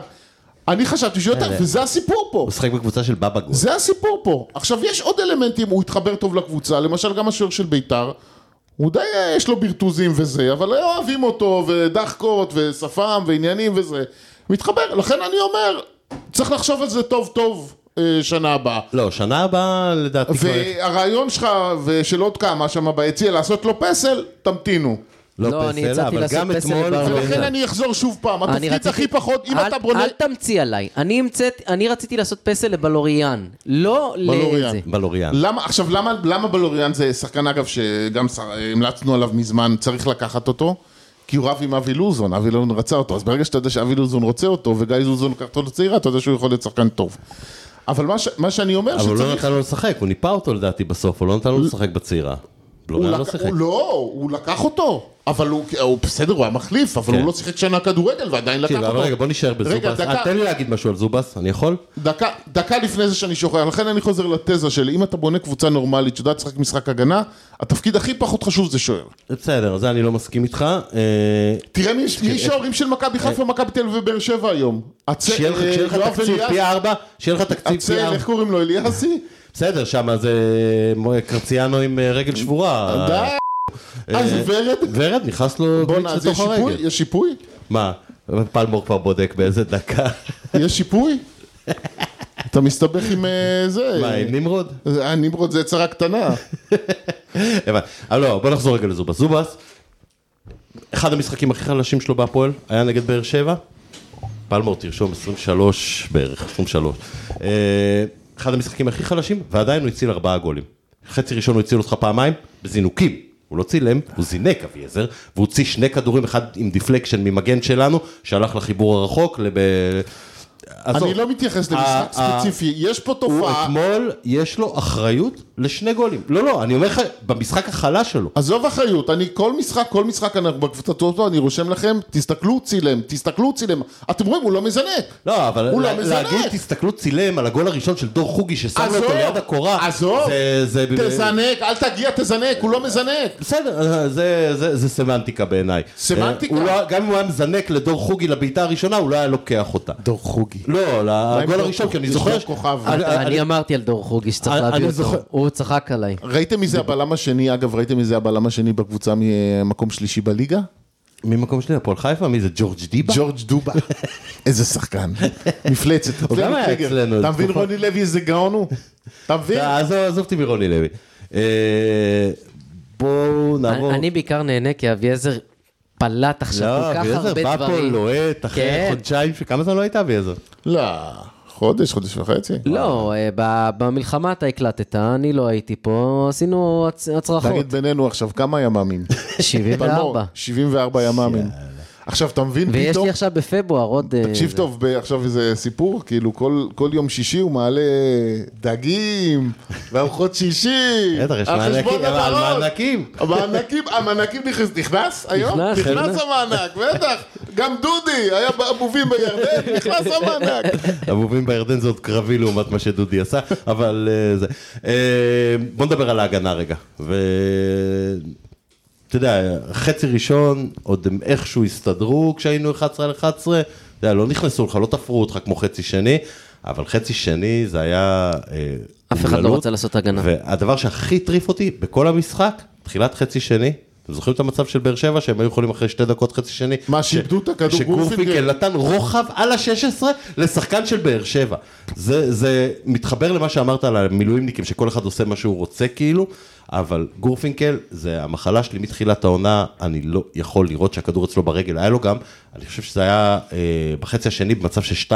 C: אני חשבתי שיותר, וזה הסיפור פה.
B: הוא משחק בקבוצה של בבא גול.
C: זה הסיפור פה. עכשיו, יש עוד אלמנטים, הוא התחבר טוב לקבוצה, למשל גם השוער של ביתר. הוא די, אה, יש לו ברטוזים וזה, אבל לא אוהבים אותו, ודחקות, ושפם, ועניינים וזה. מתחבר, לכן אני אומר, צריך לחשוב על זה טוב טוב אה, שנה הבאה.
B: לא, שנה הבאה לדעתי כבר...
C: והרעיון שלך, ושל עוד כמה שם ביציע, לעשות לו פסל, תמתינו.
A: לא, אני
B: פסל,
A: הצעתי
B: אבל
A: לעשות
B: גם
A: פסל
B: אתמול...
A: לבר
B: ו-
C: ולכן
A: אה,
C: אני אחזור שוב פעם,
A: אני
C: התפקיד
A: רציתי-
C: הכי פחות, אם
A: אל-
C: אתה בונה...
A: אל תמציא עליי, אני המצאת- אני רציתי לעשות פסל לבלוריאן, לא
C: בלוריאן.
A: לזה.
B: בלוריאן.
C: למה, עכשיו, למה, למה בלוריאן זה שחקן, אגב, שגם שר- המלצנו עליו מזמן, צריך לקחת אותו? כי הוא רב עם אבי לוזון, אבי לוזון רצה אותו, אז ברגע שאתה יודע שאבי לוזון רוצה אותו, וגיא לוזון לקח אותו לצעירה, אתה יודע שהוא יכול להיות שחקן טוב. אבל מה, ש, מה שאני אומר,
B: אבל הוא לא
C: שצריך...
B: נתן לו לשחק, הוא ניפה אותו לדעתי בסוף, הוא לא נתן לו לשחק בצעירה.
C: הוא,
B: בלוריאן לא
C: לק-
B: שיחק.
C: הוא לא, הוא לקח אותו. אבל הוא, הוא בסדר, הוא היה מחליף, אבל
B: כן.
C: הוא לא שיחק שנה כדורגל, ועדיין לקח
B: תקשיב,
C: אותו.
B: אבל רגע, בוא נשאר
C: רגע,
B: בזובס.
C: דקה.
B: אה, תן לי להגיד משהו על זובס, אני יכול?
C: דקה, דקה לפני זה שאני שוכח, לכן אני חוזר לתזה שלי, אם אתה בונה קבוצה נורמלית שיודעת לשחק משחק הגנה, התפקיד הכי פחות חשוב זה שוער.
B: בסדר, זה אני לא מסכים איתך. אה,
C: תראה מי מי שוערים של מכבי חיפה, מכבי תל אביב ובאר שבע היום. הצ-
B: שיהיה לך-
C: אה,
B: שיהיה לך
C: יואב
B: תקציב
C: אליאס-
B: פי ארבע, שיהיה לך תקציב פי
C: הצל,
B: ארבע.
C: איך קוראים לו, אליאסי?
B: בסדר, שם זה מ- קרציאנו עם אה, רגל שבורה.
C: די. אה, זה ורד?
B: ורד נכנס לו גליץ'
C: בואנה, אז יש
B: לתוך
C: שיפוי?
B: אה, הרגל.
C: יש שיפוי?
B: מה? פלמור כבר בודק באיזה דקה.
C: יש שיפוי? אתה מסתבך עם אה, זה.
B: מה, עם נמרוד?
C: אה, נמרוד זה יצרה קטנה.
B: הבנתי. אבל לא, בוא נחזור רגע לזובס. זובס, אחד המשחקים הכי חלשים שלו בהפועל, היה נגד באר שבע. פלמור תרשום 23 בערך, 23. אה, אחד המשחקים הכי חלשים, ועדיין הוא הציל ארבעה גולים. חצי ראשון הוא הציל אותך פעמיים, בזינוקים. הוא לא צילם, הוא זינק אביעזר, והוא הוציא שני כדורים, אחד עם דיפלקשן ממגן שלנו, שהלך לחיבור הרחוק, לב... עזוב.
C: אני לא מתייחס
B: אה,
C: למשחק
B: אה,
C: ספציפי, יש פה
B: הוא
C: תופעה.
B: אתמול, יש לו אחריות לשני גולים. לא, לא, אני אומר לך, במשחק החלש שלו.
C: עזוב אחריות, אני כל משחק, כל משחק אנחנו בקבוצת אוטו, אני רושם לכם, תסתכלו צילם, תסתכלו צילם. אתם רואים, הוא לא מזנק.
B: לא, אבל
C: הוא
B: לה-
C: לא מזנק.
B: להגיד, תסתכלו, צילם על הגול הראשון של דור חוגי ששם לו אותו
C: עזוב,
B: ליד הקורה.
C: עזוב,
B: זה- זה-
C: תזנק, אל תגיע, תזנק, הוא לא מזנק.
B: בסדר, אה, זה, זה, זה סמנטיקה בעיניי.
C: סמנטיקה?
B: אה, הוא לא, גם אם הוא היה מזנק לדור חוגי לבעיטה הראשונה, הוא לא היה לוקח אותה.
C: דור חוגי.
B: לא, לגול
C: דור
B: הראשון, כי אני
C: חוגי?
B: זוכר...
C: יש לו כוכב.
B: אני-
A: אתה-
B: אני-
A: אני אמרתי על דור חוגי שצריך
B: אני- אני
A: להביא
B: זוכר-
A: אותו, הוא צחק עליי.
C: ראיתם מי זה הבלם השני, אגב, ראיתם מי זה הבלם השני בקבוצה ממקום שלישי בליגה?
B: ממקום שני, הפועל חיפה, מי זה? ג'ורג' דיבה?
C: ג'ורג' דובה. איזה שחקן. מפלצת.
B: הוא גם היה
C: פלגר.
B: אצלנו נכון.
C: אתה מבין
B: תקופה.
C: רוני לוי איזה גאון הוא? אתה מבין?
B: אה, עזוב, עזוב אותי מרוני לוי. אה, בואו נעבור... לא,
A: אני בעיקר נהנה כי אביעזר פלט עכשיו כל כך הרבה דברים.
B: בא פה לוהט, אחרי
A: כן.
B: חודשיים, ש- כמה זמן לא הייתה אביעזר?
C: לא, חודש, חודש וחצי.
A: לא, אה, ב- במלחמה אתה הקלטת, אני לא הייתי פה, עשינו הצ-
B: נכון.
A: הצרחות.
C: תגיד בינינו עכשיו, כמה ימ"מים? פלמור,
A: 74.
C: 74 ימ"מים. עכשיו, אתה מבין פתאום...
A: ויש לי עכשיו בפברואר עוד... אה,
C: תקשיב
A: זה.
C: טוב, ב- עכשיו איזה סיפור, כאילו כל, כל יום שישי הוא מעלה דגים, וארוחות שישי,
B: בטח, יש
C: על
B: מענקים,
C: חשבון
B: אבל
C: הדרום.
B: מענקים.
C: המענקים, המענקים נכנס, נכנס היום?
A: נכנס,
C: נכנס
B: כן.
A: נכנס.
C: המענק, בטח. גם דודי היה באבובים בירדן, נכנס המענק.
B: המובים בירדן זה עוד קרבי לעומת מה שדודי עשה, אבל אה, זה. אה, בוא נדבר על ההגנה רגע. ו... אתה יודע, חצי ראשון, עוד הם איכשהו הסתדרו כשהיינו 11 על 11, אתה יודע, לא נכנסו לך, לא תפרו אותך כמו חצי שני, אבל חצי שני זה היה... אה,
A: אף אחד לא
B: אומללות.
A: רצה לעשות הגנה.
B: והדבר שהכי הטריף אותי בכל המשחק, תחילת חצי שני, אתם זוכרים את המצב של באר שבע, שהם היו יכולים אחרי שתי דקות חצי שני?
C: מה,
B: ש-
C: שאיבדו את הכדור,
B: שגורפינקל
C: גורפינקל.
B: נתן רוחב על ה-16 לשחקן של באר שבע. זה, זה מתחבר למה שאמרת על המילואימניקים, שכל אחד עושה מה שהוא רוצה כאילו, אבל גורפינקל זה המחלה שלי מתחילת העונה, אני לא יכול לראות שהכדור אצלו ברגל, היה לו גם, אני חושב שזה היה אה, בחצי השני במצב של 2-0,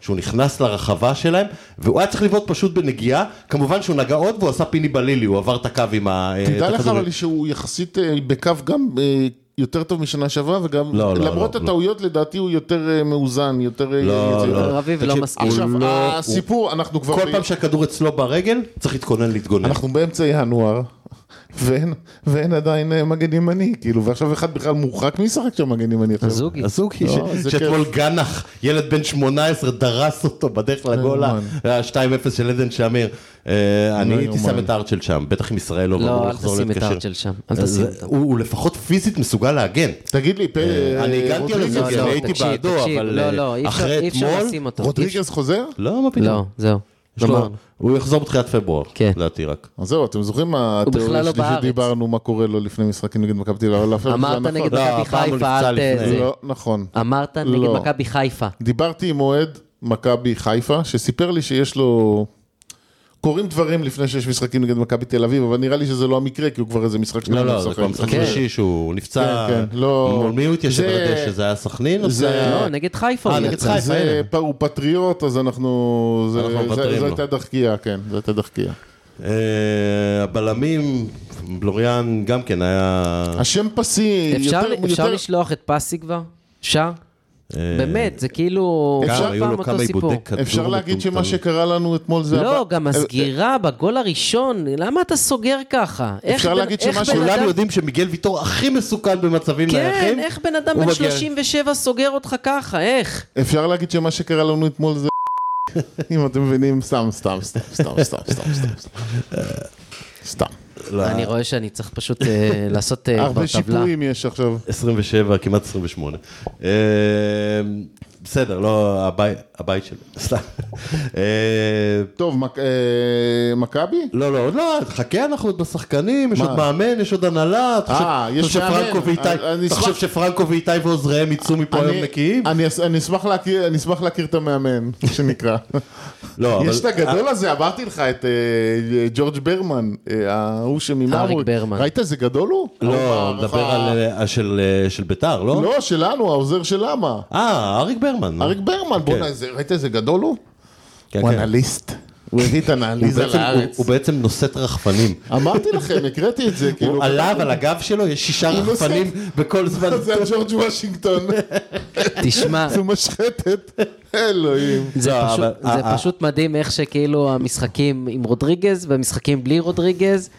B: שהוא נכנס לרחבה שלהם, והוא היה צריך לבעוט פשוט בנגיעה, כמובן שהוא נגע עוד והוא עשה פיני בלילי, הוא עבר את הקו עם ה... אה, את
C: תדע לך
B: הכדורגל.
C: אבל שהוא יחסית אה, בקו גם אה, יותר טוב משנה שעברה, וגם
B: לא, לא,
C: למרות
B: לא, לא.
C: הטעויות לדעתי הוא יותר אה, מאוזן, יותר... אה,
B: לא,
C: יציב.
B: לא.
A: רביב לא
B: תקשיב,
A: מסכים.
C: עכשיו,
B: הוא לא-
C: הסיפור, אנחנו כבר...
B: כל
C: ב-
B: פעם שהכדור אצלו ברגל, צריך להתכונן להתגונן.
C: אנחנו באמצע ינואר, ואין, ואין עדיין אה, מגן ימני, כאילו, ועכשיו אחד בכלל מורחק, מי ישחק שם מגן ימני עכשיו?
A: זוגי.
B: אזוקי,
C: לא,
B: ש-
C: זה
B: שאתמול גנח, ילד בן 18, דרס אותו בדרך לגול ה-
C: יאומן.
B: ה-2-0 של עדן שמיר. אה, אני הייתי
C: יאומן.
B: שם את הארצ'ל שם, בטח אם ישראל לא
A: לא,
B: אמור
A: אל
B: לחזור
A: תשים את
B: להתקשר.
A: הארצ'ל שם. אל
B: אה,
A: תשים
B: זה-
A: אותם.
B: הוא הוא לפחות פיזית מסוגל להגן.
C: תגיד לי, פ...
B: אה, אני הגנתי על
C: רודריגז-
A: לא,
B: אזוקי,
A: לא,
B: אני הייתי
A: תקשיב,
B: בעדו,
A: תקשיב,
B: אבל
A: לא,
B: אה,
A: לא, אי אפשר-
B: אחרי
A: אי אפשר
B: אתמול...
A: לשים אותו.
C: רודריגז חוזר?
B: לא, מה פתאום.
A: לא, זהו.
B: יש לו-
A: גמרנו.
B: הוא יחזור בתחילת פברואר,
A: כן.
B: לדעתי רק.
C: אז זהו, אתם זוכרים מה
A: הוא בכלל
C: התיאוריה
A: לא
C: שלי
A: בארץ.
C: שדיברנו, מה קורה לו לפני משחקים נגד מכבי תל אביב? אבל
A: אמרת
C: זה
A: נגד
C: נכון.
B: לא,
A: מכבי אה.
B: הפעם הוא
A: חיפה,
B: נפצע
A: אל ת...
B: לפני.
A: זה.
C: לא, נכון.
A: אמרת נגד
C: לא.
A: מכבי חיפה.
C: דיברתי עם אוהד מכבי חיפה, שסיפר לי שיש לו... קורים דברים לפני שיש משחקים נגד מכבי תל אביב, אבל נראה לי שזה לא המקרה, כי הוא כבר איזה משחק
B: לא,
C: הוא
B: לא, זה
C: משחק.
B: כבר משחק
A: כן.
B: שלישי שהוא נפצע.
C: כן, כן, לא.
B: מול מי הוא התיישב
C: זה-
B: על הדשא? זה היה סכנין? או
C: זה-
B: זה היה-
A: לא, נגד חיפה.
B: אה,
A: הוא
B: נגד
A: יצא.
B: חיפה.
C: זה
B: הנה.
C: פ- הוא פטריוט, אז אנחנו... זה-
B: אנחנו
C: זה-
B: מוותרים
C: זו
B: לו.
C: הייתה דחקייה, כן, זו הייתה דחקייה.
B: אה, הבלמים, בלוריאן גם כן היה...
C: השם פסי,
A: אפשר-
C: יותר-
A: אפשר
C: יותר-
A: לשלוח את פסי כבר? אפשר?
B: אה,
A: באמת, זה כאילו...
B: גם,
A: כל
B: היו
A: פעם
B: לו
A: אותו
B: כמה
A: סיפור.
B: עיבודי כדור.
C: אפשר להגיד שמה
B: מטומטמים.
C: שקרה לנו אתמול זה... הבא- אה,
A: לא,
B: אה,
A: גם הסגירה בגול הראשון, למה אתה סוגר ככה? איך
C: אפשר
A: בן-
C: להגיד
A: איך
C: שמה
A: בן
B: כולם
A: אדם-
B: לא יודעים שמיגל ויטור הכי מסוכן במצבים נייחים.
A: כן, איך בן אדם
B: הוא
A: בן
B: מגיע-
A: 37 סוגר אותך ככה, איך?
C: אפשר להגיד שמה שקרה לנו אתמול זה... אם אתם מבינים, סתם, סתם, סתם, סתם, סתם, סתם, סתם, סתם. סתם.
B: לא,
A: אני רואה שאני צריך פשוט אה, לעשות אה, כבר
C: הרבה
A: טבלה.
C: שיפורים יש עכשיו.
B: 27, כמעט 28. אה, בסדר, לא הבית- הבית שלו, סתם. אה,
C: טוב, מק- אה, מכבי?
B: לא, לא, עוד לא, חכה, אנחנו עוד בשחקנים, יש
C: מה?
B: עוד מאמן, יש עוד הנהלה. אתה חושב-
C: אה,
B: אתה
C: יש
B: חושב
C: מאמן.
B: שפרנקו ואיתי-
C: אני- אני
B: אתה
C: אשמח-
B: חושב שפרנקו ואיתי ועוזריהם יצאו מפה היום
C: אני-
B: נקיים?
C: אני אס- אני אשמח להכיר- אני אשמח להכיר את המאמן, שנקרא.
B: לא, אבל...
C: יש את הגדול הזה, אמרתי לך, את אה, ג'ורג' ברמן, אה, ההוא שממרמור.
A: אריק ברמן.
C: ראית איזה גדול הוא?
B: לא,
C: ההוא
B: נדבר
C: ה-
B: על אה, של אה, של ביתר, לא?
C: לא, שלנו, העוזר של למה.
B: אה, אריק ברמן.
C: אריק ברמן, בוא'נה, איזה- ראית איזה גדול הוא?
B: כן,
C: הוא
B: כן.
C: אנליסט. הוא הביא את
B: הוא
C: האנליזה
B: בעצם-
C: לארץ.
B: הוא- הוא בעצם נושאת רחפנים.
C: אמרתי לכם, הקראתי את זה, כאילו.
B: הוא עליו, על הגב שלו, יש שישה
C: הוא נושא-
B: רחפנים בכל זמן.
C: זה ג'ורג' וושינגטון,
A: תשמע,
C: זו משחטת, אלוהים.
A: זה
B: לא,
A: פשוט-
B: אבל-
A: זה
B: אה, אה.
A: פשוט מדהים איך שכאילו המשחקים עם רודריגז והמשחקים בלי רודריגז,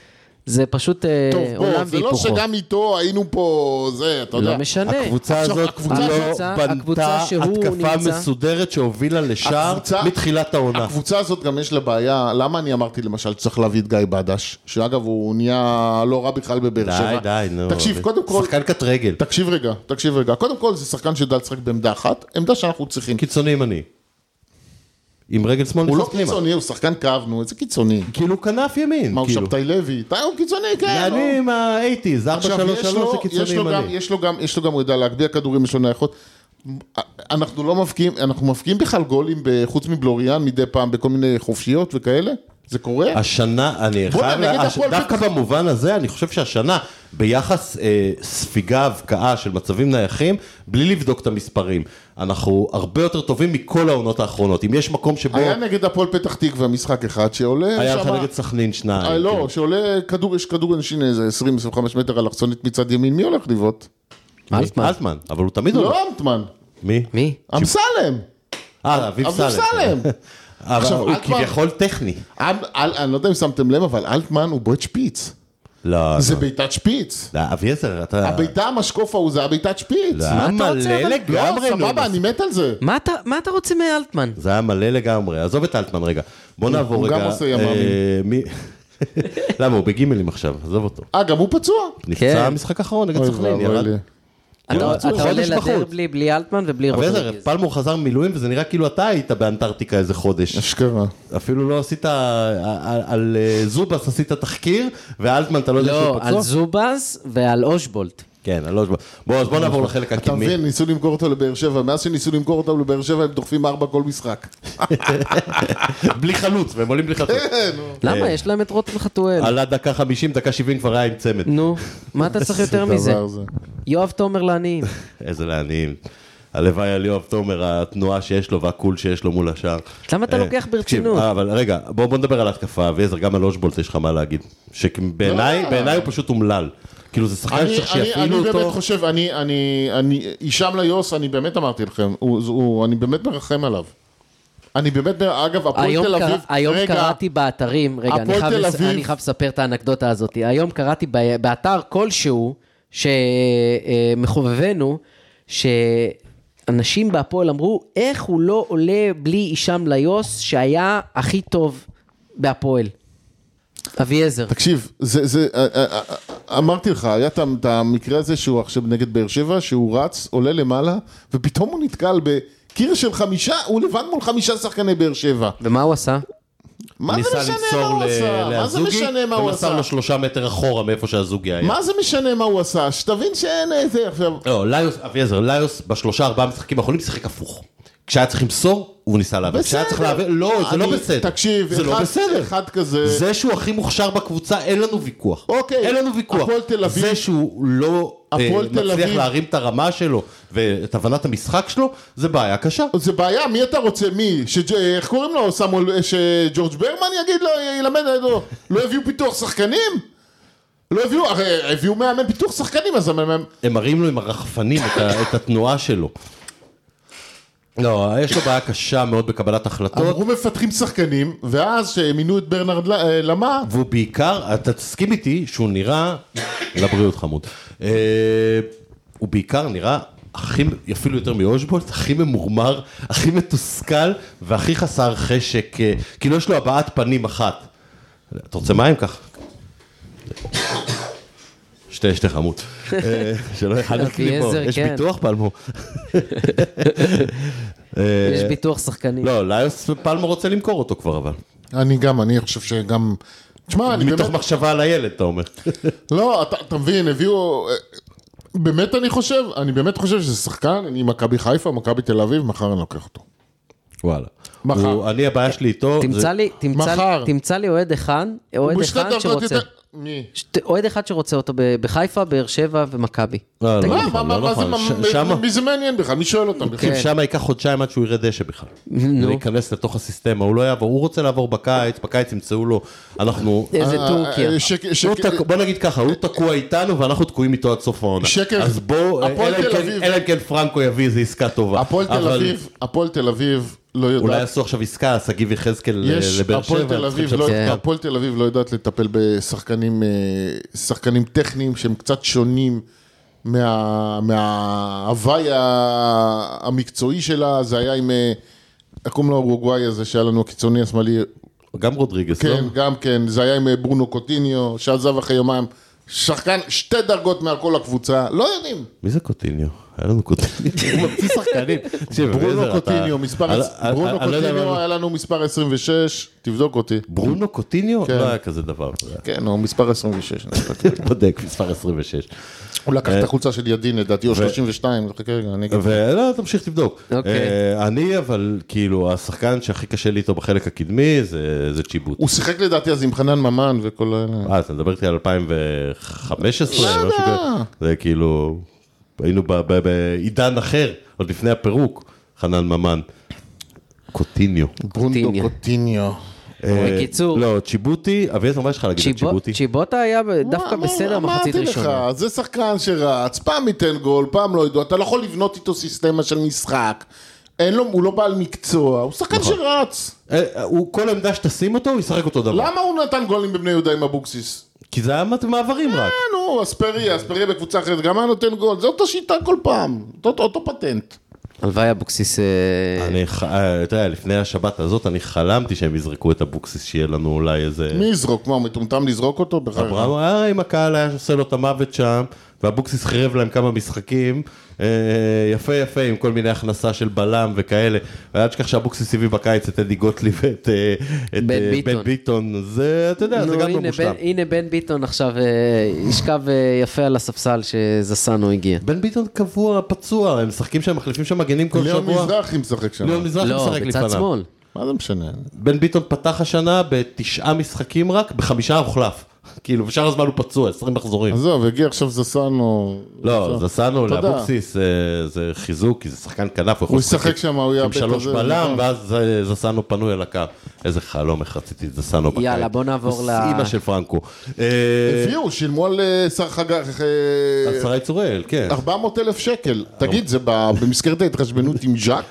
A: זה פשוט אה,
C: טוב, בוא,
A: עולם
C: זה לא
A: והיפוכו.
C: שגם איתו היינו פה, זה, אתה יודע.
A: לא משנה.
B: הקבוצה
C: עכשיו,
B: הזאת
C: הקבוצה-
B: לא
A: הקבוצה- הקבוצה
B: בנתה
A: שהוא
B: התקפה
A: נמצא-
B: מסודרת שהובילה לשער
C: הקבוצה-
B: מתחילת העונה.
C: הקבוצה הזאת גם יש לה בעיה, למה אני אמרתי למשל צריך להביא את גיא בדש, שאגב הוא נהיה לא רע בכלל בבאר
B: די,
C: שבע.
B: די, נו.
C: תקשיב, קודם כל,
B: שחקן קט רגל.
C: תקשיב רגע, תקשיב רגע, קודם כל זה שחקן שיודע לשחק בעמדה אחת, עמדה שאנחנו צריכים.
B: קיצוני ימני. עם רגל שמאל
C: הוא לא
B: נכנס פנימה.
C: קיצוני, הוא שחקן קו, נו, איזה קיצוני.
B: כאילו כנף ימין.
C: מה, הוא
B: כאילו.
C: שבתאי לוי? די, הוא קיצוני, כן. הוא-
B: יעני עם ה-80's, 433 זה
C: יש
B: קיצוני
C: לו, גם,
B: ימני.
C: יש, לו גם, יש לו גם, הוא יודע להגביה כדורים, יש לו נייחות. אנחנו לא מבקיעים, אנחנו מבקיעים בכלל גולים, ב- חוץ מבלוריאן מדי פעם, בכל מיני חופשיות וכאלה? זה קורה?
B: השנה, אני
C: בוא'נה,
B: חייב,
C: נגד
B: לה- הש...
C: הפועל
B: דווקא
C: פתח-
B: במובן הזה, אני חושב שהשנה, ביחס אה, ספיגה, הבקעה של מצבים נייחים, בלי לבדוק את המספרים, אנחנו הרבה יותר טובים מכל העונות האחרונות. אם יש מקום שבו
C: היה נגד הפועל פתח תקווה משחק אחד שעולה
B: היה לך
C: שמה-
B: נגד סכנין שניים.
C: אה, לא,
B: כאילו.
C: שעולה כדור, יש כדור אנשים איזה 20-25 מטר אלכסונית מצד ימין, מי הולך לבעוט?
A: אלטמן.
B: אלטמן, אבל הוא תמיד עולה.
C: לא אמטמן,
B: מי?
A: מי?
C: אמסלם.
B: אה, אביב
C: אביב
B: סלם.
C: סלם.
B: אבל
C: עכשיו,
B: הוא
C: אלטמן-
B: כביכול טכני.
C: אמ- אל- אני לא יודע אם שמתם לב, אבל אלטמן הוא בועט שפיץ.
B: לא,
C: זה
B: לא.
C: בעיטת שפיץ.
B: לא, אביעזר, אתה...
C: הבעיטה המשקוף ההוא זה הבעיטת שפיץ.
B: זה היה
A: אתה רוצה,
B: מלא
A: אבל?
C: לא,
B: לגמרי, נו.
C: סבבה, אני מת על זה.
A: מה אתה- מה אתה רוצה מאלטמן?
B: זה היה מלא לגמרי, עזוב את אלטמן רגע. בוא נעבור
C: הוא
B: רגע.
C: גם עושה ימ"מים.
B: אה, מי- למה, הוא בגימלים עכשיו, עזוב אותו.
C: אה, גם הוא פצוע?
A: כן.
B: נפצע המשחק האחרון נגד
C: אוי
B: סכנין,
C: ואבוי
B: ירד.
C: לי.
A: אתה
B: ירד.
A: אתה
B: הוא
A: עולה
B: חודש בחוץ.
A: לדרבלי בלי אלטמן ובלי
B: אביעזר,
A: רודריגז.
B: פלמור חזר ממילואים וזה נראה כאילו אתה היית באנטארקטיקה איזה חודש.
C: אשכרה.
B: אפילו לא עשית, על- על אה, זובס עשית תחקיר, ואלטמן אתה לא יודע שהוא
A: לא,
B: פצוע?
A: על זובאז ועל אושבולט.
B: כן, על אושבולט. בוא, אז בוא נעבור לחלק
C: אתה
B: הקדמי.
C: מבין, ניסו למכור אותו לבאר שבע, מאז שניסו למכור אותו לבאר שבע הם דוחפים ארבע כל משחק.
B: בלי חלוץ, והם עולים בלי חלוץ.
C: כן,
B: כן.
A: למה? יש להם את רוטל חתואל.
B: אה. על הדקה 50, דקה 70 כבר היה עם צמד.
A: נו, מה אתה צריך יותר מזה?
C: דבר זה.
A: יואב תומר לעניים.
B: איזה לעניים. הלוואי על יואב תומר, התנועה שיש לו והקול שיש לו מול השאר.
A: למה אתה
B: אה,
A: לוקח
B: תקשיב,
A: ברצינות?
B: אה, אבל רגע, בוא בוא נדבר על ההתקפה, אביעזר, גם על אושבולט יש לך מה להגיד. שבעיניי
C: לא.
B: בעיניי הוא פשוט אומלל. כאילו זה שחקן
C: אני,
B: שצריך
C: אני, אני
B: שיפעילו
C: באמת
B: אותו.
C: חושב, אני, אני, אני, הישאם ליוס, אני באמת אמרתי לכם, הוא, הוא, אני באמת מרחם עליו. אני באמת, מר- אגב, הפועל
A: היום
C: תל
A: קרא-
C: אביב,
A: היום
C: רגע,
A: קראתי באתרים, רגע, אני
C: הפועל
A: חייב
C: תל
A: לס-
C: אביב.
A: אני חייב לספר את האנקדוטה הזאת. היום קראתי ב- באתר כלשהו, שמחובבנו, שאנשים בהפועל אמרו, איך הוא לא עולה בלי הישאם ליוס, שהיה הכי טוב בהפועל. אביעזר.
C: תקשיב, זה, זה, אה, אה, אה, אמרתי לך, היה את ה- את המקרה הזה שהוא עכשיו נגד באר שבע, שהוא רץ, עולה למעלה, ופתאום הוא נתקל בקיר של חמישה, הוא לבד מול חמישה שחקני באר שבע.
A: ומה הוא עשה?
C: מה זה
B: ניסה
C: משנה מה
B: למסור
C: הוא
B: ל-
C: עשה? מה זה
B: לזוגי,
C: משנה מה הוא
B: ומסר
C: עשה?
B: לו שלושה מטר אחורה מאיפה שהזוגי היה.
C: מה זה משנה מה הוא עשה? שתבין שאין איזה עכשיו...
B: לא, ליוס, אביעזר, ליוס בשלושה ארבעה משחקים האחרונים שיחק הפוך. כשהיה צריך למסור, הוא ניסה להעביר. כשהיה צריך להעביר, לא, זה לא
C: אני-
B: בסדר.
C: תקשיב,
B: זה לא
C: אחד-
B: בסדר.
C: אחד כזה...
B: זה שהוא הכי מוכשר בקבוצה, אין לנו ויכוח.
C: אוקיי,
B: אין לנו ויכוח.
C: הפועל תל אביב-
B: זה שהוא לא אה,
C: הפועל תל
B: מצליח
C: אביב-
B: להרים את הרמה שלו ואת הבנת המשחק שלו, זה בעיה קשה.
C: זה בעיה, מי אתה רוצה? מי? שג'- איך קוראים לו? סמואל... שג'ורג' ברמן יגיד לו, ילמד לו? לא הביאו פיתוח שחקנים? לא הביאו, הרי הביאו מאמן פיתוח שחקנים, אז המאמן...
B: הם מראים לו עם הרחפנים את, ה, את התנועה שלו. לא, יש לו בעיה קשה מאוד בקבלת החלטות.
C: אמרו מפתחים שחקנים, ואז שמינו את ברנרד ל- אה, למה?
B: והוא בעיקר, אתה תסכים איתי שהוא נראה, לבריאות חמוד, אה, הוא בעיקר נראה הכי, אפילו יותר מאושבולט, הכי ממורמר, הכי מתוסכל והכי חסר חשק, אה, כאילו יש לו הבעת פנים אחת. אתה רוצה מים? קח. שתי, שתי חמוד. אה, שלא יחלק לי פה,
A: אביעזר,
B: יש
A: כן.
B: ביטוח פלמו.
A: יש ביטוח שחקנים.
B: אה, לא, ליוס פלמו רוצה למכור אותו כבר אבל.
C: אני גם, אני חושב שגם... תשמע, אני באמת...
B: מתוך מחשבה על הילד, אתה אומר.
C: לא, אתה, אתה מבין, הביאו... אה, באמת אני חושב, אני באמת חושב שזה שחקן, אני מכבי חיפה, מכבי תל אביב, מחר אני לוקח אותו.
B: וואלה.
C: מחר.
B: הוא, אני הבעיה שלי איתו,
A: תמצא
B: זה,
A: לי- תמצא
C: מחר.
A: לי- תמצא לי אוהד אחד, אוהד
C: הוא בשתי
A: אחד
C: דרגות
A: שרוצה.
C: יותר- מי?
A: שת- אוהד אחד שרוצה אותו ב- בחיפה, באר שבע ומכבי.
B: לא, לא.
A: תגיד,
C: מה,
B: נכון,
C: מה, מה,
B: לא
C: מה זה,
B: נכון.
C: מה-
B: ש- שמה-
C: מי זה מעניין בכלל? מי שואל אותם בכלל?
B: כן. שם ייקח חודשיים עד שהוא יראה דשא בכלל.
A: נו.
B: להיכנס לתוך הסיסטמה, הוא לא יעבור, הוא רוצה לעבור בקיץ, בקיץ ימצאו לו, אנחנו...
A: איזה
C: אה,
A: טורקיה.
C: אה, שק- שק-
B: הוא תק- בוא נגיד ככה, הוא תקוע איתנו ואנחנו תקועים איתו עד סוף העונה.
C: שקר.
B: אז בואו, אה,
C: הפועל
B: אלא אם כן-
C: תל אביב.
B: אלא אם כן פרנקו יביא איזה עסקה טובה.
C: הפועל תל
B: אה, אבל
C: אביב, הפועל תל אביב לא
B: אולי
C: יודעת,
B: יעשו עכשיו עסקה, שגיב יחזקאל אה,
C: יש,
B: לבאר שבע.
C: הפועל תל
B: צריכים
C: אביב
B: שם-
C: לא-
A: כן.
C: הפועל תל אביב לא יודעת לטפל בשחקנים אה, שחקנים טכניים שהם קצת שונים מה- מההוואי ה- המקצועי שלה, זה היה עם, אה, איך קוראים לו אורוגוואי הזה שהיה לנו הקיצוני השמאלי,
B: גם רודריגס, לא?
C: כן, גם כן, זה היה עם אה, ברונו קוטיניו, שעזב אחרי יומיים, שחקן שתי דרגות מעל כל הקבוצה, לא יודעים.
B: מי זה קוטיניו? היה לנו קוטיניו. הוא ממציא שחקנים. תקשיב,
C: ברונו
B: אליעזר, אתה-
C: קוטיניו, מספר,
B: אני-
C: עש-
B: אני-
C: ברונו
B: אני לא יודע
C: קוטיניו
B: מה-
C: היה לנו מספר 26, תבדוק אותי.
B: ברונו קוטיניו?
C: כן.
B: לא היה כזה דבר.
C: כן, הוא מספר 26.
B: בודק, מספר 26.
C: הוא לקח את החולצה של ידין לדעתי, או 32, חכה רגע, אני אגיד.
B: ולא, לא, תמשיך תבדוק.
A: אוקיי.
B: אה, אני, אבל כאילו, השחקן שהכי קשה לי איתו בחלק הקדמי זה זה צ'יבוט.
C: הוא שיחק לדעתי אז עם חנן ממן וכל האלה.
B: אה, אתה מדבר איתי על 2015? משהו כזה? זה כאילו, היינו ב- ב- בעידן אחר, עוד לפני הפירוק, חנן ממן. קוטיניו.
C: ברונדו
A: קוטיניו.
C: קוטיניו.
B: אה,
A: בקיצור.
B: לא, צ'יבוטי, אביתר, מה יש לך להגיד על
A: צ'יבוט-
B: צ'יבוטי?
A: אוקיי, צ'יבוטה היה ב- דווקא
C: אמר-
A: בסדר מחצית ראשונה.
C: אמרתי לך, זה שחקן שרץ, פעם ייתן גול, פעם לא ידעו, אתה לא יכול לבנות איתו סיסטמה של משחק. אין לו, הוא לא בעל מקצוע, הוא שחקן
B: נכון.
C: שרץ.
B: אה, הוא, כל עמדה שתשים אותו, הוא ישחק אותו
A: לא.
B: דבר.
C: למה הוא נתן גולים בבני יהודה עם אבוקסיס?
B: כי זה היה מעברים רק.
C: אה, נו, אספריה, אספריה בקבוצה אחרת, גם היה נותן גול, זה אותה שיטה כל פעם, אותו- אותו פטנט.
A: הלוואי אבוקסיס... אה,
B: אני, ח- אה, אתה יודע, לפני השבת הזאת, אני חלמתי שהם יזרקו את אבוקסיס, שיהיה לנו אולי איזה...
C: מי יזרוק? מה, הוא מטומטם לזרוק אותו? בחייך.
B: כן. אברהם היה עם הקהל, היה עושה לו את המוות שם, ואבוקסיס חירב להם כמה משחקים, אה, יפה יפה, עם כל מיני הכנסה של בלם וכאלה. ואל תשכח שאבוקסיס הביא בקיץ את אדי גוטליב ואת אה, את,
A: בן
B: אה,
A: ביטון.
B: בן ביטון, זה, אתה יודע, זה
A: נו,
B: גם לא
A: הנה
B: מושלם.
A: בן- הנה בן ביטון עכשיו אה, ישכב אה, יפה על הספסל שזסנו הגיע.
B: בן ביטון קבוע, פצוע, הם משחקים שם, מחליפים שם מגנים כל
C: ליאון
B: שבוע.
C: מזרחי משחק שם.
B: ליאון מזרחי
A: לא,
B: משחק
A: בצד
B: לפניו.
A: שמאל.
C: מה זה משנה?
B: בן ביטון פתח השנה בתשעה משחקים רק, בחמישה הוחלף. כאילו, בשאר הזמן הוא פצוע, 20 מחזורים.
C: עזוב, הגיע עכשיו זסנו.
B: לא, זסנו
C: תודה.
B: לאבוקסיס אה, זה חיזוק, כי זה שחקן כנף, יכול
C: הוא ישחק שם, הוא יאבד
B: עם
C: את זה.
B: שלוש בלם,
C: נכון.
B: ואז אה, זסנו פנוי על הקו. איזה חלום, איך רציתי את זסנו בקיץ.
A: יאללה, בוא נעבור ל-
B: אימא של פרנקו. אה,
C: הביאו, שילמו על אה, שר חגג אה,
B: השרה צוראל, כן.
C: 400 אלף שקל. תגיד, זה ב- במסגרת ההתחשבנות עם ז'אק?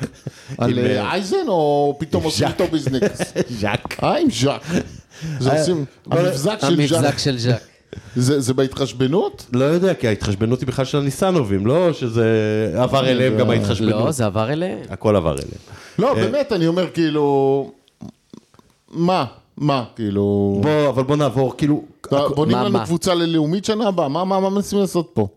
C: על אה,
B: אה,
C: אייזן או פתאום עושים איתו ביזנקס?
B: ז'אק.
C: אה, עם ז'אק. זה
B: אה,
C: עושים, המבזק של ז'אק.
A: המבזק של ז'אק.
C: זה זה בהתחשבנות?
B: לא יודע, כי ההתחשבנות היא בכלל של הניסנובים, לא שזה עבר אליהם גם
A: לא,
B: ההתחשבנות.
A: זה עבר אליהם.
B: הכל עבר אליהם.
C: לא, באמת, אני אומר, כאילו... מה? מה? כאילו...
B: בוא, אבל בוא נעבור, כאילו...
C: אתה- בונים
A: מה,
C: לנו
A: מה?
C: קבוצה ללאומית שנה הבאה, מה- מה מה מנסים לעשות פה?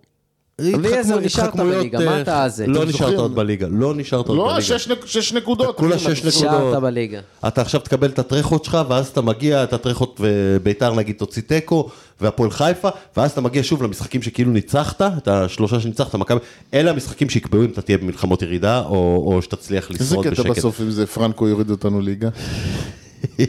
A: בלי זה,
B: התחכמו-
A: נשארת
B: התחכמויות,
A: בליגה,
B: אה,
A: מה אתה זה?
B: לא
A: אתם
B: נשארת
C: זוכרים?
B: עוד בליגה, לא נשארת עוד בליגה.
C: לא, שש נק- שש נקודות.
B: כולה שש נקודות.
A: נשארת בליגה.
B: אתה עכשיו תקבל את הטרחות שלך, ואז אתה מגיע, את הטרחות וביתר נגיד תוציא תיקו, והפועל חיפה, ואז אתה מגיע שוב למשחקים שכאילו ניצחת, את השלושה שניצחת, מכבי, אלה המשחקים שיקבעו אם אתה תהיה במלחמות ירידה, או, או שתצליח
C: איזה
B: לשרוד
C: קטע
B: בשקט.
C: בסוף אם זה פרנקו יוריד אותנו ליגה?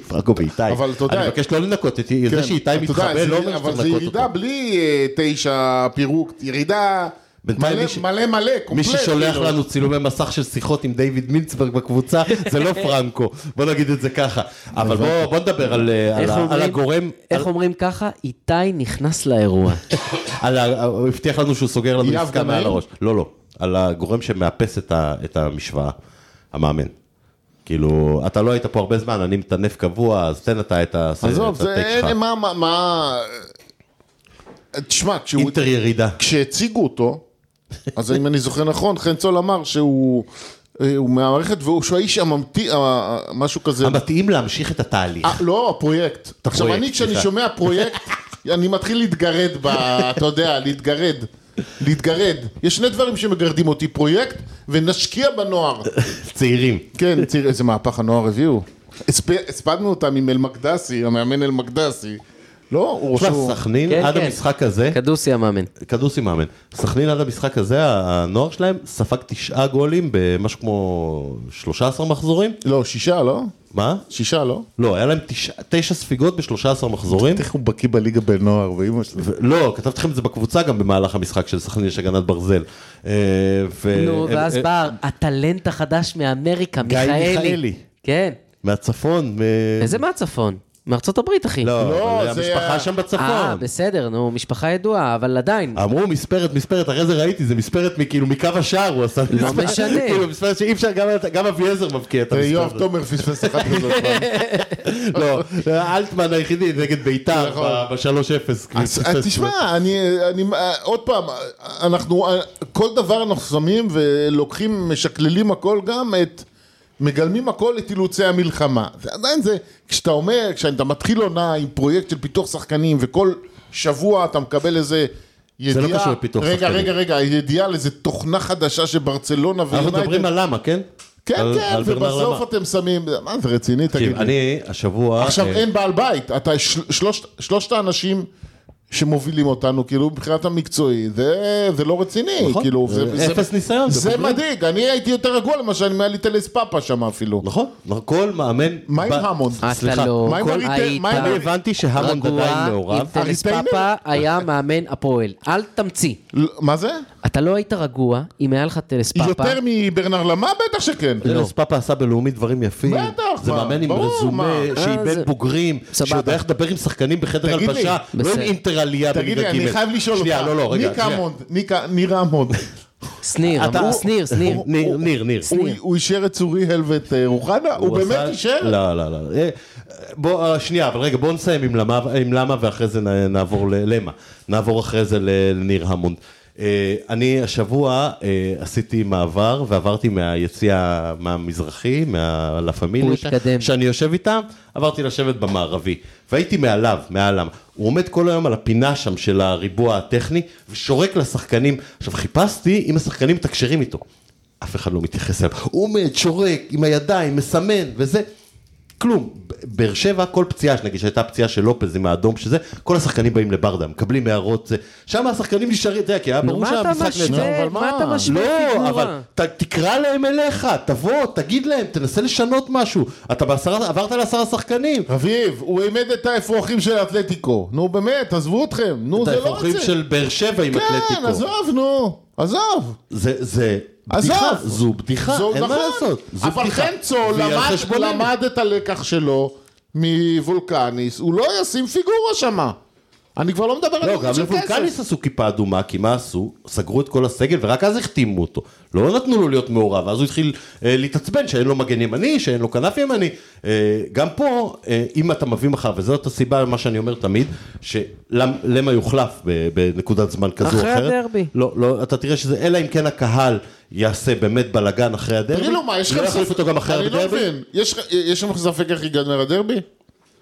B: פרנקו ואיתי.
C: אבל אתה יודע-
B: אני מבקש לא לנקות, את זה
C: כן,
B: שאיתי
C: אתה יודע,
B: מתחבא
C: זה-
B: לא אומר
C: אבל
B: שצריך
C: זה
B: לנקות
C: ירידה
B: אותו.
C: בלי אה, תשע פירוק, ירידה
B: בינתיים
C: מלא
B: מי ש-
C: מלא מלא, קומפלט.
B: מי ששולח
C: כאילו.
B: לנו צילומי מסך של שיחות עם דיוויד מינצברג בקבוצה, זה לא פרנקו, בוא נגיד את זה ככה. אבל בוא- בוא נדבר על אה, על
A: איך
B: ה- על כן.
A: אומרים-
B: הגורם,
A: איך אומרים ככה? איתי נכנס לאירוע.
B: על ה... הוא הבטיח לנו שהוא סוגר לנו
C: יהב
B: עסקה
C: גנאים?
B: מעל הראש. לא, לא. על הגורם שמאפס את, ה... את המשוואה, המאמן. כאילו, אתה לא היית פה הרבה זמן, אני מטנף קבוע, אז תן אתה את ה...
C: עזוב,
B: את
C: זה
B: הטייק
C: אין-
B: שלך.
C: מה, מה, מה... תשמע, כשהוא-
B: אינטר ירידה.
C: כשהציגו אותו, אז אם אני זוכר נכון, חן צול אמר שהוא... אה, הוא מהמערכת והוא שהוא האיש הממתיא, אה, אה, משהו כזה.
B: המתאים להמשיך את התהליך.
C: אה, לא, הפרויקט. עכשיו,
B: הפרויקט,
C: אני כשאני
B: סליחה.
C: שומע פרויקט, אני מתחיל להתגרד ב... אתה יודע, להתגרד. להתגרד. יש שני דברים שמגרדים אותי, פרויקט ונשקיע בנוער.
B: צעירים.
C: כן, תראה איזה מהפך הנוער הביאו. הספ- הספדנו אותם עם אלמקדסי, המאמן אלמקדסי. לא, הוא
B: תשמע,
C: שהוא...
B: סכנין
A: כן,
B: עד
A: כן.
B: המשחק הזה,
A: קדוסי המאמן.
B: קדוסי מאמן, סכנין עד המשחק הזה, הנוער שלהם ספג תשעה גולים במשהו כמו 13 מחזורים.
C: לא, שישה, לא?
B: מה?
C: שישה, לא?
B: לא, היה להם תשע- תשע ספיגות ב-13 מחזורים.
C: איך הוא בקיא בליגה בנוער, ואימא שלי.
B: ו- לא, כתבתי לכם את זה בקבוצה גם במהלך המשחק של סכנין יש הגנת ברזל. אה, ו-
A: נו,
B: אה,
A: ואז
B: אה,
A: בא הטלנט החדש מאמריקה,
B: גיא
A: מיכאלי.
B: מיכאלי.
A: כן.
B: מהצפון. מ-
A: איזה מהצפון? מארצות הברית, אחי.
B: לא,
C: לא,
B: אבל
C: זה
B: המשפחה
C: היה-
B: שם
A: אה,
B: בצפון.
A: בסדר, נו, משפחה ידועה, אבל עדיין.
B: אמרו מספרת, מספרת, אחרי זה ראיתי, זה מספרת מכאילו מקו השער הוא עשה.
A: לא
B: מספרת-
A: משנה.
B: כאילו מספרת שאי אפשר, גם- גם אביעזר מבקיע את המספר.
C: אה, יואב תומר פספס אחת כזאת פעם.
B: לא, אלטמן היחידי נגד ביתר
C: נכון.
B: ב-3-0.
C: אז אז תשמע, אני, אני, אה, עוד פעם, אנחנו, אה, כל דבר אנחנו שמים ולוקחים, משקללים הכל גם את, מגלמים הכל את אילוצי המלחמה. ועדיין זה, כשאתה אומר, כשאתה מתחיל עונה עם פרויקט של פיתוח שחקנים וכל שבוע אתה מקבל איזה ידיעה,
B: לא קשור לפיתוח
C: רגע,
B: שחקנים.
C: רגע, רגע, ידיעה על איזה תוכנה חדשה שברצלונה
B: אנחנו מדברים על למה, כן?
C: כן,
B: על-
C: כן,
B: על ברנר
C: ובסוף
B: למה.
C: אתם שמים, מה זה רציני, תגיד
B: תקשיב,
C: לי.
B: אני השבוע...
C: עכשיו
B: אה,
C: אין בעל בית, אתה, של- שלושת- שלושת האנשים שמובילים אותנו, כאילו מבחינת המקצועי, זה, זה לא רציני,
B: נכון.
C: כאילו, זה, זה,
B: אפס ניסיון.
C: זה
B: פשוט-
C: מדאיג, אני הייתי יותר רגוע למשל אם היה לי טלס פאפה שם אפילו.
B: נכון, כל מאמן...
C: מה עם
B: ב-
C: המונד?
B: סליחה,
A: אתה לא
C: מה עם
B: כל-
C: הריטל- מה עם
B: אני
A: היית
B: הבנתי שהמונד
A: רגוע
B: עדיין
A: אם
B: מעורב.
A: טלס
C: הריטיימר?
A: פאפה היה מאמן הפועל. אל תמציא.
C: ל- מה זה?
A: אתה לא היית רגוע אם היה לך טלס פאפה.
C: יותר מברנר למה? בטח שכן.
B: ארז פאפה עשה בלאומי דברים יפים.
C: בטח,
B: זה
C: מה,
B: מאמן עם
C: ברור,
B: רזומה,
C: מה.
A: אה, זה-
B: שאיבד בוגרים,
A: סבבה.
B: שיודע איך לדבר עם שחקנים בחדר
C: תגיד לי,
B: הלבשה, לא עם
A: בסדר.
B: אינטר עלייה
C: תגיד
B: בליגה
C: לי,
B: ג'.
C: אני חייב לשאול אותך,
B: שנייה, לא, לא, רגע.
C: ניקה
B: שנייה.
C: המונד, ניקה- ניר המונד,
A: שניר,
B: אתה-
A: אמרו
B: הוא-
A: שניר, שניר.
B: הוא- ניר, ניר, ניר.
C: הוא- הוא אישר את צורי הלווט אה, רוחנה? הוא באמת
B: עשה-
C: אישר?
B: לא, לא, לא. אה, בוא, אה, שנייה, אבל רגע, בוא נסיים עם למה, עם למה ואחרי זה נ- נעבור ל- למה. נעבור אחרי זה ל- לניר המונד. אה, אני השבוע אה, עשיתי מעבר ועברתי מהיציע מהמזרחי, מהלה פמיליה,
A: הוא
B: ש-
A: התקדם.
B: שאני יושב איתם, עברתי לשבת במערבי. והייתי מעליו, מעל למה. הוא עומד כל היום על הפינה שם של הריבוע הטכני ושורק לשחקנים. עכשיו חיפשתי אם השחקנים מתקשרים איתו. אף אחד לא מתייחס אליו. הוא עומד, שורק, עם הידיים, מסמן וזה. כלום. ב- באר שבע, כל פציעה, נגיד שהייתה פציעה של לופז עם האדום שזה, כל השחקנים באים לברדה, מקבלים הערות. זה. שם השחקנים נשארים, אתה יודע, כי היה
A: נו,
B: ברור
A: מה אתה
B: שהמשחק נעצר.
A: משווה?
C: אבל מה?
A: מה אתה משווה
B: לא, אבל
A: פיגורה?
B: ת, תקרא להם אליך, תבוא, תגיד להם, תנסה לשנות משהו. אתה בעשרה, עברת לעשרה שחקנים.
C: אביב, הוא העמד את האפרוחים של האתלטיקו. נו באמת, עזבו אתכם. נו,
B: את
C: זה לא
B: האפרוחים
C: רציני.
B: של באר שבע עם
C: כן,
B: אתלטיקו.
C: עזוב, נו. עזוב.
B: זה, זה
C: עזוב.
B: בדיחה, זו בדיחה,
C: זו-
B: כן, אין
C: נכון.
B: מה לעשות. זו
C: אבל
B: בדיחה.
C: חמצו
B: והיא על
C: למד-
B: חשבוננו.
C: למד את הלקח שלו מבולקניס, הוא לא ישים פיגורה שמה. אני כבר לא מדבר
B: לא,
C: על עניין
B: גם
C: של כסף.
B: לבולקניס עשו כיפה אדומה, כי מה עשו? סגרו את כל הסגל ורק אז החתימו אותו. לא נתנו לו להיות מעורב, אז הוא התחיל אה, להתעצבן שאין לו מגן ימני, שאין לו כנף ימני. אה, גם פה, אה, אם אתה מביא מחר, וזאת הסיבה למה שאני אומר תמיד, שלמה יוחלף ב- בנקודת זמן כזו או
A: אחרי
B: אחרת.
A: הדרבי.
B: לא, לא, אתה תראה שזה, אלא אם כן הקהל יעשה באמת בלאגן אחרי הדרבי.
C: תגיד לו מה, יש
B: לא
C: לכם
B: יחליף אותו גם אחרי
C: אני לא
B: הדרבי.
C: מבין. יש לך- יש לך ספק איך ייגמר הדרבי?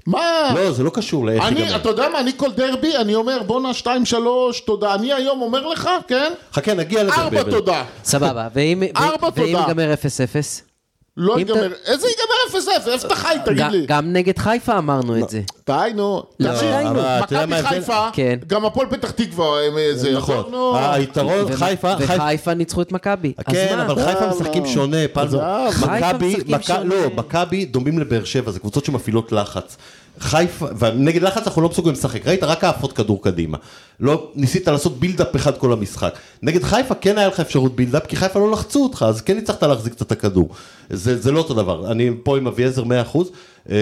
C: מה?
B: לא, זה לא קשור לאיך
C: אני,
B: ייגמר.
C: אתה יודע מה, אני כל דרבי, אני אומר בואנה שתיים שלוש, תודה. אני היום אומר לך, כן?
B: חכה, נגיע לזה.
C: ארבע
B: ב- ב-
C: תודה.
A: סבבה, ואם ו-
C: ארבע,
A: ואם
C: תודה.
A: ייגמר 0-0?
C: לא
A: אם אתה-
C: ייגמר, איזה ייגמר אפס אפס? איפה אתה חי, תגיד
A: גם-
C: לי?
A: גם נגד חיפה אמרנו את זה.
C: די נו.
A: לא,
C: תקשיב,
A: אבל
B: אתה יודע מה
C: מכבי
B: ההבדל?
C: חיפה,
A: כן.
C: גם הפועל פתח תקווה, הם, אה, זה
B: נכון,
C: נו.
B: היתרון,
A: ו-
B: חיפה, חיפה,
A: וחיפה ניצחו את מכבי. אז
B: כן,
A: מה?
B: אבל חיפה
C: לא,
B: משחקים
C: לא.
B: שונה, פלמור.
C: עזוב.
B: מכבי,
A: חיפה משחקים
B: מכ-
A: שונה.
B: לא, מכבי דומים לבאר שבע, זה קבוצות שמפעילות לחץ. חיפה, ונגד לחץ אנחנו לא מסוגלים לשחק, ראית רק העפות כדור קדימה. לא ניסית לעשות בילדאפ אחד כל המשחק. נגד חיפה כן היה לך אפשרות בילדאפ, כי חיפה לא לחצו אותך, אז כן הצלחת להחזיק קצת את הכדור. זה, זה לא אותו דבר, אני פה עם אביעזר 100%, אה,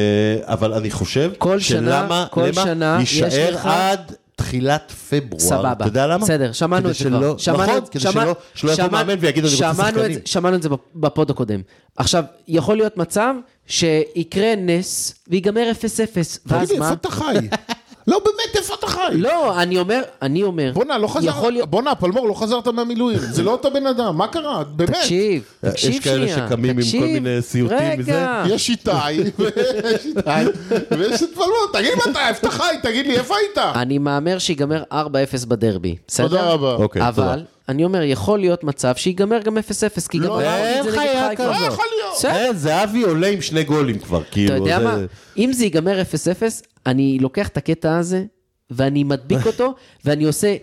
B: אבל אני חושב
A: כל שנה-
B: שלמה,
A: כל
B: למה
A: שנה יש
B: יישאר
A: לך-
B: עד תחילת פברואר.
A: סבבה.
B: אתה יודע למה?
A: בסדר, שמענו
B: כדי
A: את זה
B: שלא-
A: כבר. שמענו-
B: נכון, כדי
A: שמע-
B: שלא שלא יבוא
A: שמע-
B: מאמן ויגיד אני רוצה
A: שמענו את
B: שחקנים.
A: זה- שמענו את זה בפוד הקודם. עכשיו, יכול להיות מצב שיקרה נס ויגמר 0-0, ואז
C: תגיד לי,
A: מה?
C: איפה אתה חי? לא, באמת, איפה אתה חי?
A: לא, אני אומר, אני אומר,
C: בואנה, לא
A: יכול
C: חזרת,
A: להיות,
C: בואנה, פלמור, לא חזרת מהמילואים. זה לא אותו בן אדם, מה קרה? באמת.
A: תקשיב,
B: יש
A: תקשיב שנייה,
B: כאלה שקמים עם כל
A: תקשיב.
B: מיני סיוטים
A: רגע,
C: יש איתי, ויש איתי, ויש את פלמור. תגיד לי, אתה, איפה אתה חי? תגיד לי, איפה היית?
A: אני מהמר שיגמר 4-0 בדרבי, בסדר?
C: תודה רבה.
B: אוקיי, תודה.
A: אבל, אני אומר, יכול להיות מצב שיגמר גם 0-0, כי גם
C: לא,
A: אמרתי
B: אין
A: את זה נגד
B: חיה
A: חיפה.
B: כזאת.
C: לא יכול להיות.
A: בסדר.
B: אין, זהבי עולה עם שני גולים כבר, כאילו.
A: אתה יודע
B: זה-
A: מה? אם זה ייגמר 0-0, אני לוקח את הקטע הזה, ואני מדביק אותו, ואני עושה...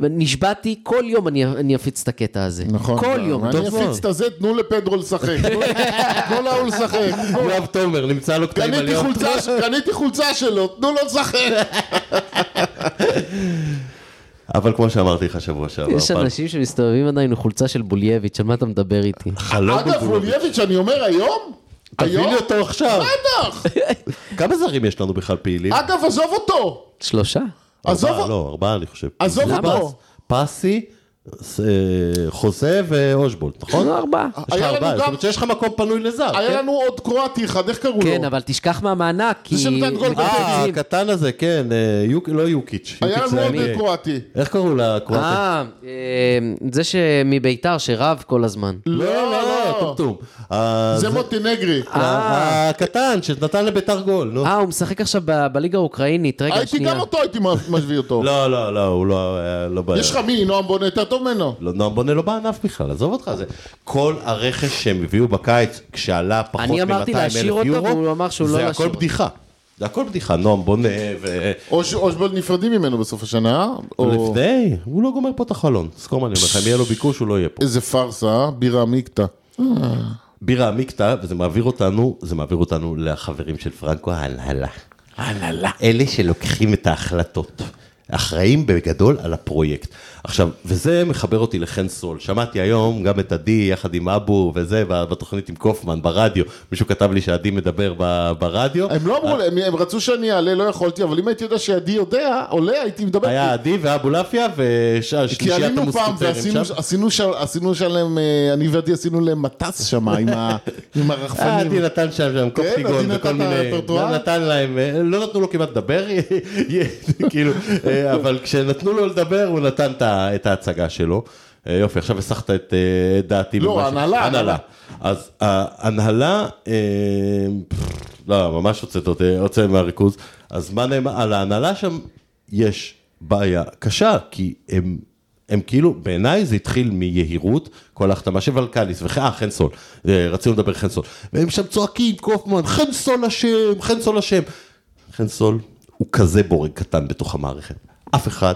A: נשבעתי, כל יום אני, אני אפיץ את הקטע הזה.
C: נכון.
A: כל
C: לא,
A: יום,
C: אני
A: טוב מאוד.
C: אפיץ את הזה, תנו לפדרו לשחק. תנו- תנו להוא לשחק. תנו.
B: יואב תומר, נמצא לו קטעים על
C: קניתי
B: יום.
C: חולצה ש- קניתי חולצה שלו, תנו לו לשחק.
B: אבל כמו שאמרתי לך שבוע שעבר,
A: יש
C: לא,
B: פעם-
A: אנשים שמסתובבים עדיין עם חולצה של בולייביץ', על מה אתה מדבר איתי?
B: חלום
C: אגב,
B: לא בגבולות.
C: רולייביץ', אני אומר היום?
B: תביא
C: היום?
B: לי אותו עכשיו.
C: בטח.
B: כמה זרים יש לנו בכלל פעילים?
C: אגב, עזוב אותו.
B: אוקיי.
A: שלושה?
C: אה, עזוב
B: ארבעה,
C: אותו.
B: לא, ארבעה אני חושב.
C: עזוב
B: זה
C: אותו.
B: פס- פסי, ס- אה, חוזה ואושבולט, נכון?
A: לא, ארבעה.
B: יש לך
C: היה לנו
B: ארבעה, זאת
C: גם-
B: אומרת שיש לך מקום פנוי לזר.
C: היה
B: כן?
C: לנו עוד קרואטי אחד, איך קראו לו?
A: כן, אבל תשכח מהמענק, כי...
C: לא. שנתן גול
A: מקבלים.
B: אה, הקטן הזה, כן, אה, יוק- לא יוקיץ'.
C: היה
B: יוקיץ'
C: לנו
B: זה
C: עוד
B: NBA.
C: קרואטי.
B: איך קראו
C: אוקיי.
B: לקרואטיה?
A: אה, אה, זה שמביתר, שרב כל הזמן.
B: לא, לא, לא, טומטום. אה,
C: זה מוטינגרי.
B: אה, הקטן שנתן לביתר גול, נו.
C: לא.
A: אה, הוא משחק עכשיו ב- בליגה האוקראינית, רגע,
C: הייתי
A: שנייה.
C: גם אותו, הייתי משווה אותו.
B: לא, לא, לא, הוא לא, אה, לא בעיה.
C: יש לך מי, נועם בונה יותר טוב ממנו.
B: לא, נועם בונה לא בענף בכלל, עזוב אותך. זה כל הרכש שהם הביאו בקיץ, כשעלה פחות מ-200 אלף
A: אני
B: יורו,
A: אמרתי להשאיר אותו, והוא אמר שהוא לא
B: זה
A: להשאיר
B: הכל
A: אותו.
B: בדיחה. זה הכל בדיחה, נועם בונה ו...
C: או ש- או שבו נפרדים ממנו בסוף השנה, או...
B: לפני, הוא לא גומר פה את החלון. זכור מה אני אומר לך, אם יהיה לו ביקוש, הוא לא יהיה פה.
C: איזה פארסה, בירה עמיקתא.
B: בירה עמיקתא, וזה מעביר אותנו, זה מעביר אותנו לחברים של פרנקו, ההנהלה. ההנהלה. אלה שלוקחים את ההחלטות. אחראים בגדול על הפרויקט. עכשיו, וזה מחבר אותי לחן סול. שמעתי היום גם את עדי יחד עם אבו וזה, בתוכנית עם קופמן, ברדיו. מישהו כתב לי שעדי מדבר ב- ברדיו.
C: הם לא אמרו, לי, הם- הם רצו שאני אעלה, לא יכולתי, אבל אם הייתי יודע שעדי יודע, עולה, הייתי מדבר. כאילו
B: היה עדי ואבו לאפיה ושאר
C: כי
B: שלישיית
C: עלינו פעם
B: המוסקוטרים
C: ועשינו
B: שם.
C: עשינו שם- עשינו שם להם, אה, אני ועדי עשינו להם מטס שם עם ה- עם
B: אה, עדי
C: הרחפנים.
B: נתן שם שם
C: עדי
B: קופטיגון
C: כן, נתן
B: וכל
C: את
B: מיני,
C: הרפרטואר.
B: נתן להם, אה, לא נתנו לו כמעט לדבר, כאילו, אה, אבל כשנתנו לו לדבר הוא נתן את ה- את ההצגה שלו. אה, יופי, עכשיו הסחת את אה, דעתי.
C: לא,
B: במה ש-
C: הנהלה,
B: הנהלה.
C: הנהלה.
B: אז ההנהלה, אה, פפפ, לא, ממש הוצאת אותי, הוצאת מהריכוז. אז מה נאמר, על ההנהלה שם יש בעיה קשה, כי הם... הם כאילו, בעיניי זה התחיל מיהירות, כל ההחתמה של ולקניס, וכן, אה, חן סול, אה, רצינו לדבר חן סול, והם שם צועקים, קופמן, חן סול אשם, חן סול אשם. חן סול הוא כזה בורג קטן בתוך המערכת, אף אחד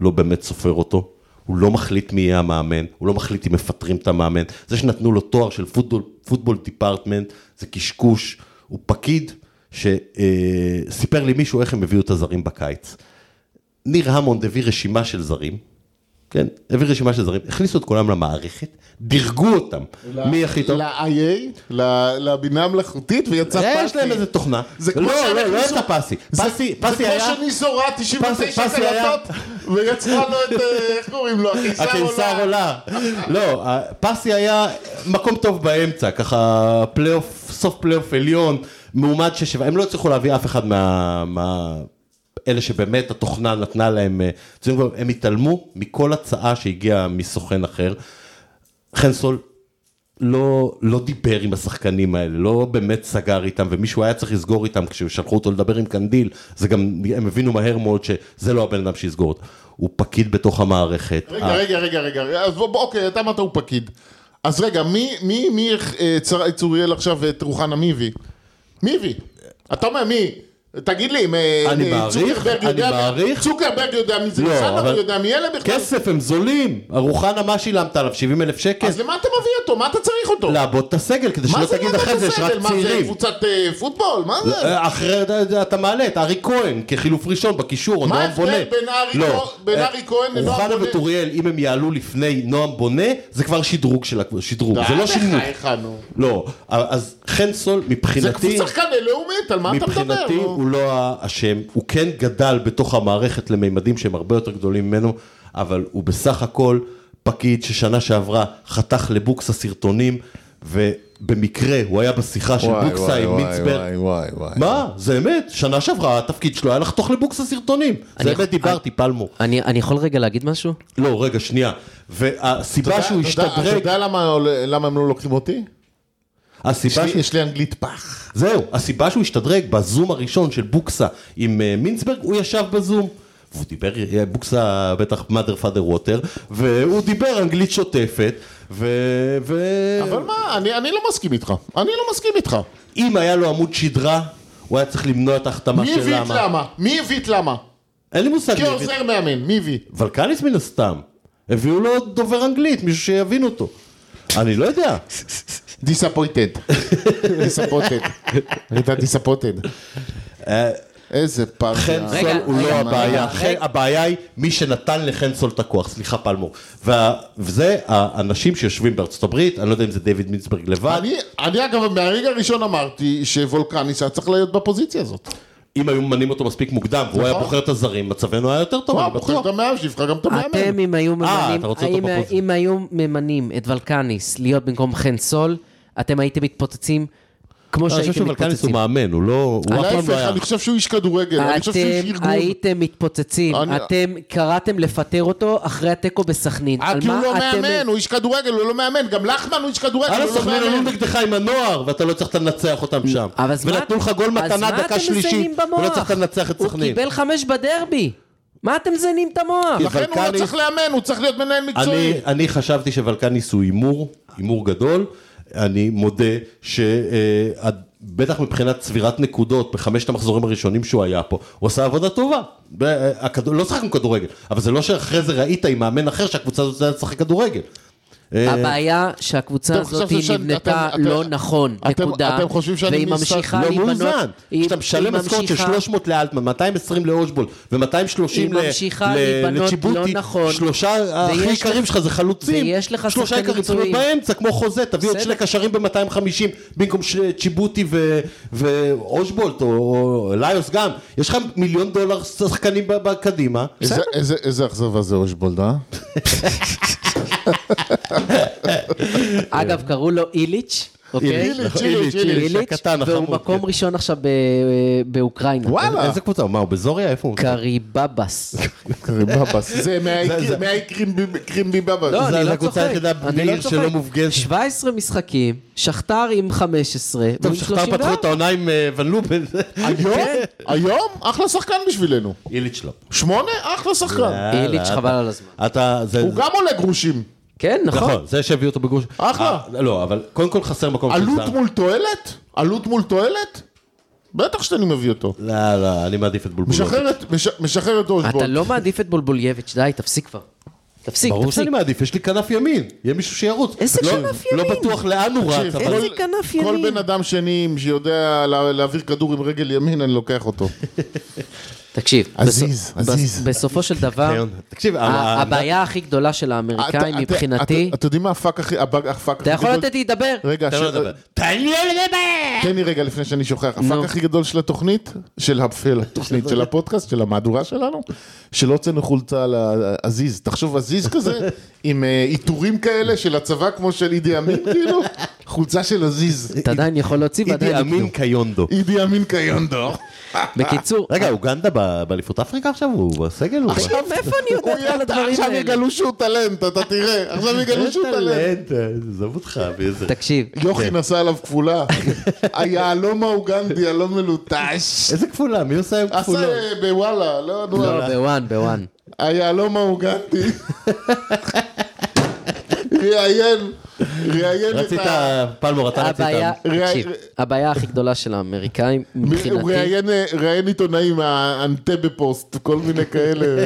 B: לא באמת סופר אותו, הוא לא מחליט מי יהיה המאמן, הוא לא מחליט אם מפטרים את המאמן. זה שנתנו לו תואר של פוטבול, פוטבול דיפרטמנט, זה קשקוש. הוא פקיד שסיפר לי מישהו איך הם הביאו את הזרים בקיץ. ניר המונד הביא רשימה של זרים, כן, הביא רשימה של זרים, הכניסו את כולם למערכת, דירגו אותם. מי הכי טוב?
C: ל-IA, ל- לבינה המלאכותית, ויצא פאסי.
B: אה, יש להם איזה תוכנה.
C: זה כמו
B: לא, לא,
C: שהם
B: לא
C: הכניסו-
B: יצא פסי.
C: זה-
B: פסי, פסי היה...
C: זה כמו שניסו ראה 99
B: פסי היה-
C: קלטות, ויצרה לו את, אה, איך קוראים לו, הקיסר
B: הקיסר
C: עולה.
B: עולה. לא, פסי היה מקום טוב באמצע, ככה פלייאוף, סוף פלייאוף עליון, מעומד שש שבע, הם לא הצליחו להביא אף אחד מה... מה... אלה שבאמת התוכנה נתנה להם, אה, ציון גבוה. הם התעלמו מכל הצעה שהגיעה מסוכן אחר. חנסול לא, לא דיבר עם השחקנים האלה, לא באמת סגר איתם, ומישהו היה צריך לסגור איתם כששלחו אותו לדבר עם קנדיל, זה גם, הם הבינו מהר מאוד שזה לא הבן אדם שיסגור אותו. הוא פקיד בתוך המערכת.
C: רגע,
B: ה-
C: רגע, רגע, רגע, אז בוא, בוא, אוקיי, אתה אמרת הוא פקיד. אז רגע, מי, מי, מי אה, צר- צוריאל עכשיו את רוחנה, מי הביא? מי הביא? אתה אומר מי? תגיד לי, אם, אה,
B: אני
C: אה,
B: מעריך,
C: צוקרברג
B: אני
C: יודע-
B: מעריך.
C: צוקרברג יודע מי זה,
B: לא,
C: רוחנה
B: אבל-
C: הוא יודע מי אלה בכלל?
B: כסף הם זולים, רוחנה מה שילמת עליו? 70 אלף שקל?
C: אז למה אתה מביא אותו? מה אתה צריך אותו?
B: לעבוד את הסגל כדי
C: מה
B: לא, שלא
C: זה
B: תגיד
C: לעבוד
B: אחרי זה יש
C: בסגל?
B: רק
C: מה זה,
B: צעירים.
C: קבוצת אה, פוטבול? מה זה?
B: אה, אחרי אתה- אתה מעלה את ארי כהן כחילוף ראשון בקישור, או
C: מה
B: נועם
C: ההבדל
B: בונה.
C: בין ארי
B: לא.
C: כהן- בין
B: אה,
C: ארי כהן לנועם
B: רוחנה
C: בונה?
B: וטוריאל, אם הם יעלו לפני נועם בונה, זה כבר שדרוג של הקבוצה, שדרוג, זה לא
C: די,
B: שינוי.
C: בחייך, נו.
B: לא, אז חן סול
C: זה
B: מבחינתי...
C: קבוצה שחקן לאומית, על מה אתה מדבר?
B: מבחינתי
C: נו?
B: הוא לא האשם, הוא כן גדל בתוך המערכת לממדים שהם הרבה יותר גדולים ממנו, אבל הוא בסך הכל פקיד ששנה שעברה חתך לבוקס הסרטונים, ובמקרה הוא היה בשיחה של
C: וואי,
B: בוקסה
C: וואי,
B: עם
C: וואי,
B: מיצברג.
C: וואי, וואי, וואי.
B: מה? זה אמת, שנה שעברה התפקיד שלו היה לחתוך לבוקס הסרטונים. זה
A: אני-
B: אמת, דיברתי, פלמו.
A: אני אני יכול רגע להגיד משהו?
B: לא, רגע, שנייה. והסיבה
C: אתה-
B: שהוא
C: אתה יודע- אתה
B: השתדרג,
C: יודע למה עולה- למה הם לא לוקחים אותי?
B: הסיבה
C: יש לי- יש לי אנגלית פח.
B: זהו, הסיבה שהוא השתדרג בזום הראשון של בוקסה עם אה, מינצברג, הוא ישב בזום. והוא דיבר, אה, בוקסה בטח mother father water, והוא דיבר אנגלית שוטפת, ו... ו...
C: אבל מה, אני אני לא מסכים איתך. אני לא מסכים איתך.
B: אם היה לו עמוד שדרה, הוא היה צריך למנוע את ההחתמה
C: מי
B: של
C: הביא את
B: למה.
C: למה? מי הביא את למה?
B: אין לי מושג. מי הביא את-
C: כעוזר מאמן, מי הביא?
B: ולקניס מן הסתם. הביאו לו דובר אנגלית, מישהו שיבין אותו. אני לא יודע.
C: דיסאפויטד. דיסאפויטד. הייתה דיסאפויטד. איזה אה, פח.
B: אה, חן
A: רגע,
B: סול הוא
A: רגע,
B: לא
A: מה,
B: הבעיה,
A: מה,
B: חן-
A: רגע.
B: הבעיה היא מי שנתן לחן סול את הכוח, סליחה פלמור. וה- וזה האנשים שיושבים בארצות הברית, אני לא יודע אם זה דיוויד מינסברג לבד,
C: אני, אני אגב, מהרגע הראשון אמרתי שוולקניס היה צריך להיות בפוזיציה הזאת.
B: אה, אם היו ממנים אותו מספיק מוקדם, והוא היה
C: נכון.
B: בוחר את הזרים, מצבנו היה יותר טוב,
C: מה,
B: אני
C: בוחר
B: בטוח.
C: את המאמן, שיבחר גם את
A: אתם,
C: המאמן.
A: אם היו
C: אה,
B: אתה
A: ממנים,
B: רוצה אותו
A: אם-
B: בפוזיציה.
A: אם היו ממנים את ולקניס להיות במקום חן סול, אתם הייתם מתפוצצים
C: אה,
A: כמו
B: אני חושב
A: שהייתם
B: שוולקניס הוא
A: מתפוצצים.
B: מאמן, הוא לא, הוא אף פעם
C: להפך,
B: לא היה.
C: אני חושב שהוא איש כדורגל, אני חושב שהוא איש
A: אתם
C: ארגון.
A: הייתם מתפוצצים,
C: אני-
A: אתם קראתם לפטר אותו אחרי התיקו בסכנין.
C: אה,
A: על
C: כי הוא
A: מה
C: לא
A: אתם-
C: מאמן, הוא איש כדורגל, הוא לא מאמן. גם לחמן הוא איש כדורגל,
B: הלו,
C: הוא לא
B: סכנין עלו
C: מאמן.
B: נגדך עם הנוער, ואתה לא צריך לנצח אותם שם.
A: אבל אז מה-
B: ונתנו לך גול
A: אז מה
B: מתנה
A: אתם
B: דקה שלישית,
A: מזיינים במוח?
B: ולא צריך לנצח את
A: הוא
B: סכנין.
A: קיבל חמש בדרבי. מה אתם מזיינים את המוח?
B: כי
C: לכן הוא לא
B: ולקניס-
C: צריך לאמן, הוא צריך להיות מנהל מקצועי.
B: אני, אני חשבתי שוולקניס הוא הימור, הימור גדול. אני מודה אה, בטח מבחינת צבירת נקודות בחמשת המחזורים הראשונים שהוא היה פה, הוא עשה עבודה טובה. ב- הכד- לא שחקנו כדורגל, אבל זה לא שאחרי זה ראית עם מאמן אחר שהקבוצה הזאת יודעת לשחק כדורגל. אה,
A: הבעיה שהקבוצה
C: אתם
A: הזאת
C: חושבים שאני-
A: נבנתה
C: אתם- אתם-
A: לא נכון,
C: אתם-
A: נקודה,
C: אתם חושבים שאני
A: והיא
C: משחק-
A: ממשיכה
B: לא
A: להיבנות,
B: מאוזן,
A: היא-
B: כשאתה משלם
A: היא
B: משכורת של
A: ממשיכה-
B: 300 לאלטמן, 220 לאושבול
A: היא
B: ו-230
A: ממשיכה להיבנות לא נכון.
B: שלושה הכי
A: ויש
B: עיקרים
A: לך-
B: שלך זה חלוצים,
A: ויש לך
B: שלושה
A: שחקנים
B: עיקרים צריכים להיות
A: פצועים.
B: באמצע, כמו חוזה, תביא עוד
A: בסדר.
B: שני קשרים ב-250 במקום ש- צ'יבוטי ו- ואושבולט או- או ליוס גם, יש לך מיליון דולר שחקנים ב- בקדימה,
C: איזה- איזה- איזה אכזבה זה אושבולד, אה?
A: אגב, קראו לו איליץ', אוקיי?
C: איליץ', איליץ',
B: איליץ',
A: איליץ',
B: הקטן,
A: והוא
B: החמוד,
A: מקום
B: כן.
A: ראשון עכשיו ב- באוקראינה.
C: וואלה.
B: איזה קבוצה, מה הוא בזוריה, איפה הוא?
A: קריבבס.
C: קרימבבס. זה
B: זה- זה-
C: מהקרימבבבס.
A: לא,
B: זה
A: אני לא
B: הקבוצה
A: צוחק.
B: היחידה
A: אני לא
B: בליגה שלא
A: צוחק.
B: מופגזת.
A: 17 משחקים, שכתר עם 15, והוא
B: טוב,
A: עם
B: שכתר פתחו
A: 34.
B: את העונה עם אה, ון לופן,
C: היום? היום? אחלה שחקן בשבילנו.
B: איליץ' לא.
C: שמונה? אחלה שחקן.
B: יאללה,
A: איליץ',
B: אתה-
A: חבל על הזמן.
B: אתה, זה,
C: הוא גם עולה גרושים.
A: כן, נכון.
B: נכון, זה שהביא אותו בגרוש.
C: אחלה.
B: אה, לא, אבל קודם כל חסר מקום של
C: עלות
B: זר.
C: מול תועלת? עלות מול תועלת? בטח שאני מביא אותו.
B: לא, לא, אני מעדיף את בולבולוב.
C: משחרר את- מש- משחרר את
A: אתה
C: אושבולד.
A: לא מעדיף את בולבולייביץ', די, תפסיק כבר. תפסיק,
B: ברור
A: תפסיק.
B: שאני מעדיף, יש לי כנף ימין, יהיה מישהו שירוץ.
A: איזה
B: לא-
A: כנף ימין?
B: לא בטוח לאן הוא רץ,
C: תקשיב,
B: אבל...
A: איזה כנף
C: כל
A: ימין.
C: בן אדם שני שיודע לה- להעביר כדור עם רגל ימין, אני לוקח אותו.
A: תקשיב,
C: עזיז,
A: בסופ-
C: עזיז.
A: בס- בסופו של דבר,
B: כן, תקשיב,
A: ה-
B: ה-
A: אה, הבעיה הכי גדולה של
C: אתה-
A: האמריקאים
C: אתה-
A: מבחינתי,
C: אתה- אתה יודעים מה הפאק הכי... הבאג- הפאק הכי
A: אתה יכול
C: גדול-
A: לתת לי לדבר?
C: רגע,
B: תן לו
C: ש-
B: לדבר. תן לי לדבר!
C: תן לי רגע לפני שאני שוכח,
A: נו.
C: הפאק הכי גדול של התוכנית, של הפל, התוכנית, של הפודקאסט, של המהדורה שלנו, שלא הוצאנו חולצה על ה- עזיז, תחשוב עזיז כזה, עם אה, עיטורים כאלה של הצבא כמו של אידי אמין, כאילו, חולצה של עזיז,
A: אתה עדיין יכול להוציא
B: אידי
A: ועדיין
B: אמין
A: יקנו.
B: קיונדו.
C: אידי אמין קיונדו.
A: בקיצור,
B: רגע, אוגנדה ב- באליפות אפריקה עכשיו? הוא בסגל? הוא ב-
A: עכשיו מאיפה אני
C: הוא
A: יודעת
C: יהיה-
A: על הדברים
C: עכשיו
A: האלה?
C: יגלו שהוא טלנט, אתה תראה, עכשיו יגלו שהוא טלנט.
B: טלנט, אה, עזוב אותך, באיזה...
A: תקשיב,
C: יוכי נסע עליו כפולה, היהלום האוגנדי, הלא מלוטש.
B: איזה כפולה? מי עושה עם
C: עשה
B: כפולות?
C: אה, בוואלה, לא, נו,
A: לא, בוואן, בוואן.
C: היהלום האוגנדי. ראיין, ראיין את
B: רצית,
C: ה...
B: פלמור, אתה רצית.
A: הבעיה,
C: ראה-
A: תקשיב, הבעיה הכי גדולה של האמריקאים
C: הוא
A: מבחינתי,
C: ראיין, אה, ראיין עיתונאים מהאנטבה פוסט, כל מיני כאלה.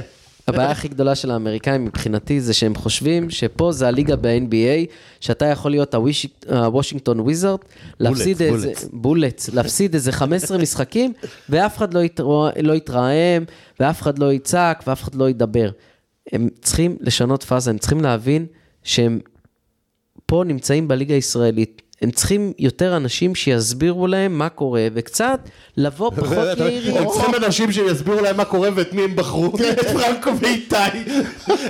A: הבעיה הכי גדולה של האמריקאים מבחינתי זה שהם חושבים שפה זה הליגה ב-NBA, שאתה יכול להיות הוויש- הוושינגטון וויזארד, להפסיד איזה, בולט, להפסיד איזה 15 משחקים, ואף אחד לא יתרוע- לא יתרעם, ואף אחד לא יצעק, ואף אחד לא ידבר. הם צריכים לשנות פאזה, הם צריכים להבין שהם פה נמצאים בליגה הישראלית. הם צריכים יותר אנשים שיסבירו להם מה קורה, וקצת לבוא פחות יעילים.
B: הם צריכים אנשים שיסבירו להם מה קורה ואת מי הם בחרו.
C: כן.
B: את פרנקו ואיתי.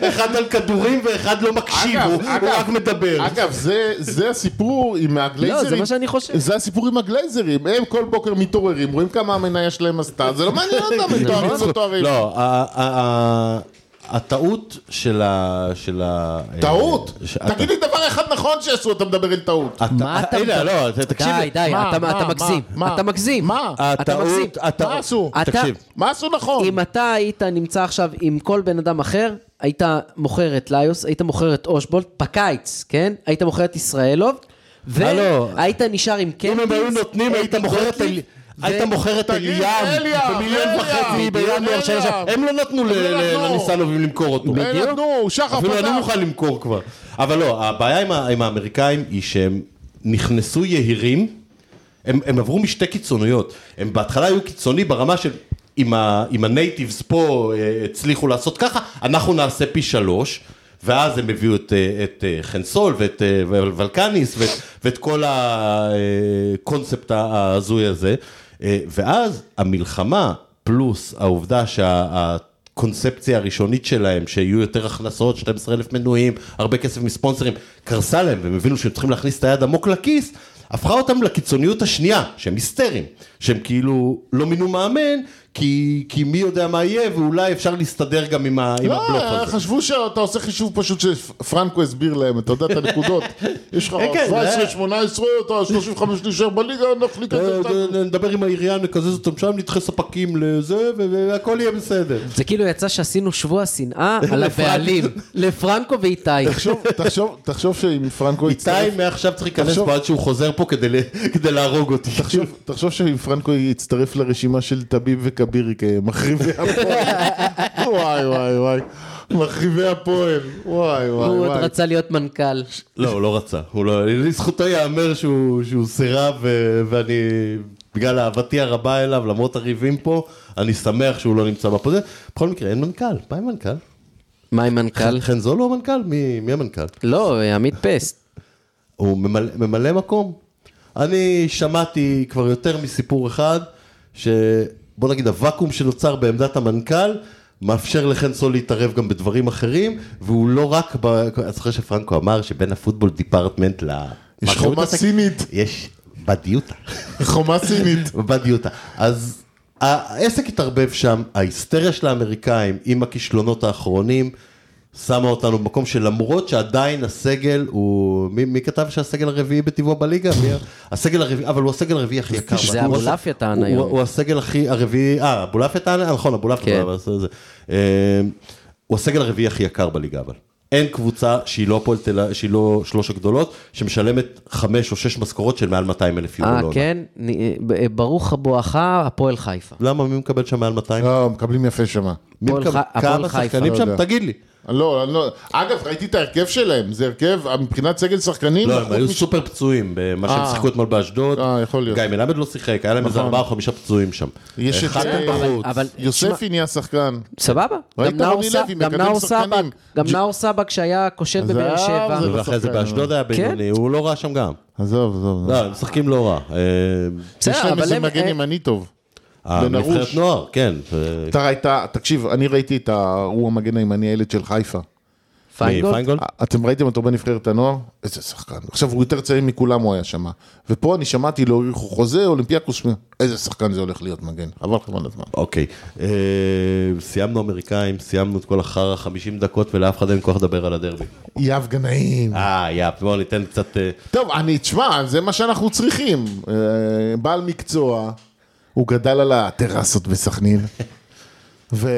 B: אחד על כדורים ואחד לא מקשיב,
C: אגב,
B: הוא הוא
C: אגב,
B: רק מדבר.
C: אגב, זה- זה הסיפור עם הגלייזרים.
A: לא, זה מה שאני חושב.
C: זה הסיפור עם הגלייזרים. הם כל בוקר מתעוררים, רואים כמה המניה שלהם עשתה, זה לא מעניין אותם, הם תוארים ותוארים.
B: לא, ה- ה- ה- הטעות של ה... של ה-
C: טעות?
B: אה, ש- אה,
C: תגיד לי דבר אחד נכון שעשו, אתה מדבר על טעות.
B: הת-
A: מה אתה...
B: הנה, לא, זה- תקשיב.
A: די, די,
C: מה,
A: אתה-
C: מה,
A: אתה
C: מה,
A: מגזים.
C: מה?
A: אתה מגזים.
C: מה?
A: אתה מגזים.
B: הטעות... הטעות-
C: מה עשו?
A: אתה-
B: תקשיב.
C: מה עשו נכון?
A: אם אתה היית נמצא עכשיו עם כל בן אדם אחר, היית מוכר את ליוס, היית מוכר את אושבולט בקיץ, כן? היית מוכר את ישראלוב,
B: הלו.
A: והיית נשאר עם קנטיס.
B: אם הם היו נותנים, היית
A: אדי
B: מוכר את...
A: גוטליב,
B: אל- היית מוכר את
C: תגיד,
B: אליאב
C: אליה,
B: במיליון
C: אליה,
B: וחצי בינואר
C: אליה.
B: שהיה שם. הם לא נתנו ל-
C: לא
B: ל-
C: נתנו. לא
B: לניסנובים למכור אותו.
C: בדיוק. נו, אה, שחר
B: אפילו אני
C: פתח.
B: מוכן למכור כבר. אבל לא, הבעיה עם, ה- עם האמריקאים היא שהם נכנסו יהירים, הם, הם עברו משתי קיצוניות. הם בהתחלה היו קיצוני ברמה של אם, ה, אם הנייטיבס פה אה, הצליחו לעשות ככה, אנחנו נעשה פי שלוש. ואז הם הביאו את, אה, את אה, חנסול ואת אה, ול- ולקניס ואת, ואת כל הקונספט ההזוי הזה. אה, ואז המלחמה פלוס העובדה שה... הקונספציה הראשונית שלהם, שיהיו יותר הכנסות, 12 אלף מנויים, הרבה כסף מספונסרים, קרסה להם, והם הבינו שהם צריכים להכניס את היד עמוק לכיס, הפכה אותם לקיצוניות השנייה, שהם היסטריים, שהם כאילו לא מינו מאמן, כי, כי מי יודע מה יהיה, ואולי אפשר להסתדר גם עם, ה, עם הבלוף
C: לא,
B: הזה.
C: חשבו שאתה עושה חישוב פשוט שפרנקו הסביר להם, אתה יודע את הנקודות. יש לך
B: כן, כן,
C: 17,
B: זה-
C: 18, אתה 35 נשאר בליגה, נחליק את זה.
B: אה,
C: אתה-
B: נ- נדבר עם העירייה, נקזז אותם שם, נדחה ספקים לזה, ו- והכל יהיה בסדר.
A: זה כאילו יצא שעשינו שבוע שנאה על הבעלים, לפרנקו ואיתי.
C: תחשוב- תחשוב- תחשוב שאם פרנקו יצטרף...
B: איתי מעכשיו צריך להיכנס
C: תחשוב-
B: פה עד שהוא חוזר פה כדי ל- כדי להרוג אותי.
C: תחשוב- תחשוב שאם פרנקו יצטרף לרשימה של טביב וכבירי כמחריבי הפועל. וואי וואי וואי. מחריבי הפועל. וואי וואי
A: הוא עוד
C: וואי.
A: רצה להיות מנכ"ל.
B: לא, הוא לא רצה. הוא לא- לזכותו ייאמר שהוא שהוא סירב, ו- ואני, בגלל אהבתי הרבה אליו, למרות הריבים פה, אני שמח שהוא לא נמצא בפוזיציה. בכל מקרה, אין מנכ"ל. מה עם מנכ"ל?
A: מה עם מנכ"ל?
B: חן זולו הוא המנכ"ל? מי מי המנכ"ל?
A: לא, עמית פסט.
B: הוא ממלא, ממלא מקום. אני שמעתי כבר יותר מסיפור אחד, שבוא נגיד הוואקום שנוצר בעמדת המנכ"ל, מאפשר לחן סול להתערב גם בדברים אחרים, והוא לא רק, ב... אני זוכר שפרנקו אמר שבין הפוטבול דיפרטמנט ל...
C: יש
B: מה קוראים
C: חומה
B: לזה?
C: סינית.
B: יש בדיוטה.
C: חומה סינית.
B: בדיוטה. אז העסק התערבב שם, ההיסטריה של האמריקאים עם הכישלונות האחרונים, שמה אותנו במקום שלמרות שעדיין הסגל הוא, מי, מי כתב שהסגל הרביעי בטבעו בליגה? מי ה- הסגל הרביעי, אבל הוא הסגל הרביעי הכי יקר.
A: זה
B: הוא-
A: אבולעפיה טען
B: הוא-
A: היום.
B: הוא- הוא הסגל הכי הרביעי, אה, אבולעפיה טען? אה, נכון, אבולעפיה
A: כן.
B: טען, אבל זה- אה, הוא הסגל הרביעי הכי יקר בליגה אבל. אין קבוצה שהיא לא הפועל תל אביב, שהיא לא שלוש הגדולות, שמשלמת חמש או שש משכורות של מעל 200 אלף יורו.
A: אה,
B: לעונה.
A: כן? נ- אה, ברוך בואך, הפועל חיפה.
B: למה מי מקבל שם מעל 200?
C: לא, מקבלים יפה שמה.
B: מי
A: הפועל
B: מקבל?
A: ח- הפועל
B: כמה
A: חיפה.
B: שחקנים
C: לא
B: שם?
C: יודע.
B: תגיד לי.
C: לא, אני לא, אגב, ראיתי את ההרכב שלהם, זה הרכב, מבחינת סגל שחקנים,
B: לא, הם היו
C: חוץ מש-
B: סופר פצועים במה שהם
C: אה.
B: שיחקו אתמול באשדוד.
C: אה, יכול להיות.
B: גיא מלמד לא שיחק, היה להם איזה
C: נכון.
B: ארבעה או חמישה פצועים שם.
C: יש את
B: אחד
C: אה,
B: מהם בחוץ.
A: אבל-
C: יוספי נהיה שחקן.
A: סבבה. גם
C: ראית
A: נאור
C: רוני
A: סבג-
C: לוי
A: גם
C: מקבל
A: נאור
C: שחקנים.
A: סבג, גם
C: ג'-
A: נאור סבג שהיה כושר
C: עזוב,
A: בבאר שבע.
C: זה לא- אה.
B: ואחרי זה
C: שחקן,
B: באשדוד היה בינוני, הוא לא רע שם גם.
C: עזוב, עזוב.
B: לא, הם משחקים לא רע. אה,
C: יש
A: בסדר,
C: להם
A: אבל
C: איזה
A: הם-
C: מגן
A: אה,
C: ימני טוב.
B: הנבחרת
C: בנרוש.
B: נוער, כן. ו-
C: אתה ראית, תקשיב, אני ראיתי את ה- הוא המגן הימני הילד של חיפה.
B: מי,
A: פיינגולד?
B: פיינגולד?
C: אתם ראיתם אותו בנבחרת הנוער? איזה שחקן. עכשיו, הוא יותר צעיר מכולם הוא היה שם. ופה אני שמעתי לו, הוא חוזה, אולימפיאקוס, איזה שחקן זה הולך להיות מגן. חבל לכם על הזמן.
B: אוקיי. אה, סיימנו אמריקאים, סיימנו את כל החרא 50 דקות ולאף אחד אין כוח לדבר על הדרבי.
C: יהב גנאים.
B: אה, יא, בואו ניתן קצת... אה,
C: טוב, אני, תשמע, זה מה שאנחנו צריכים. אה, בעל מקצוע, הוא גדל על הטרסות בסכנין, ו...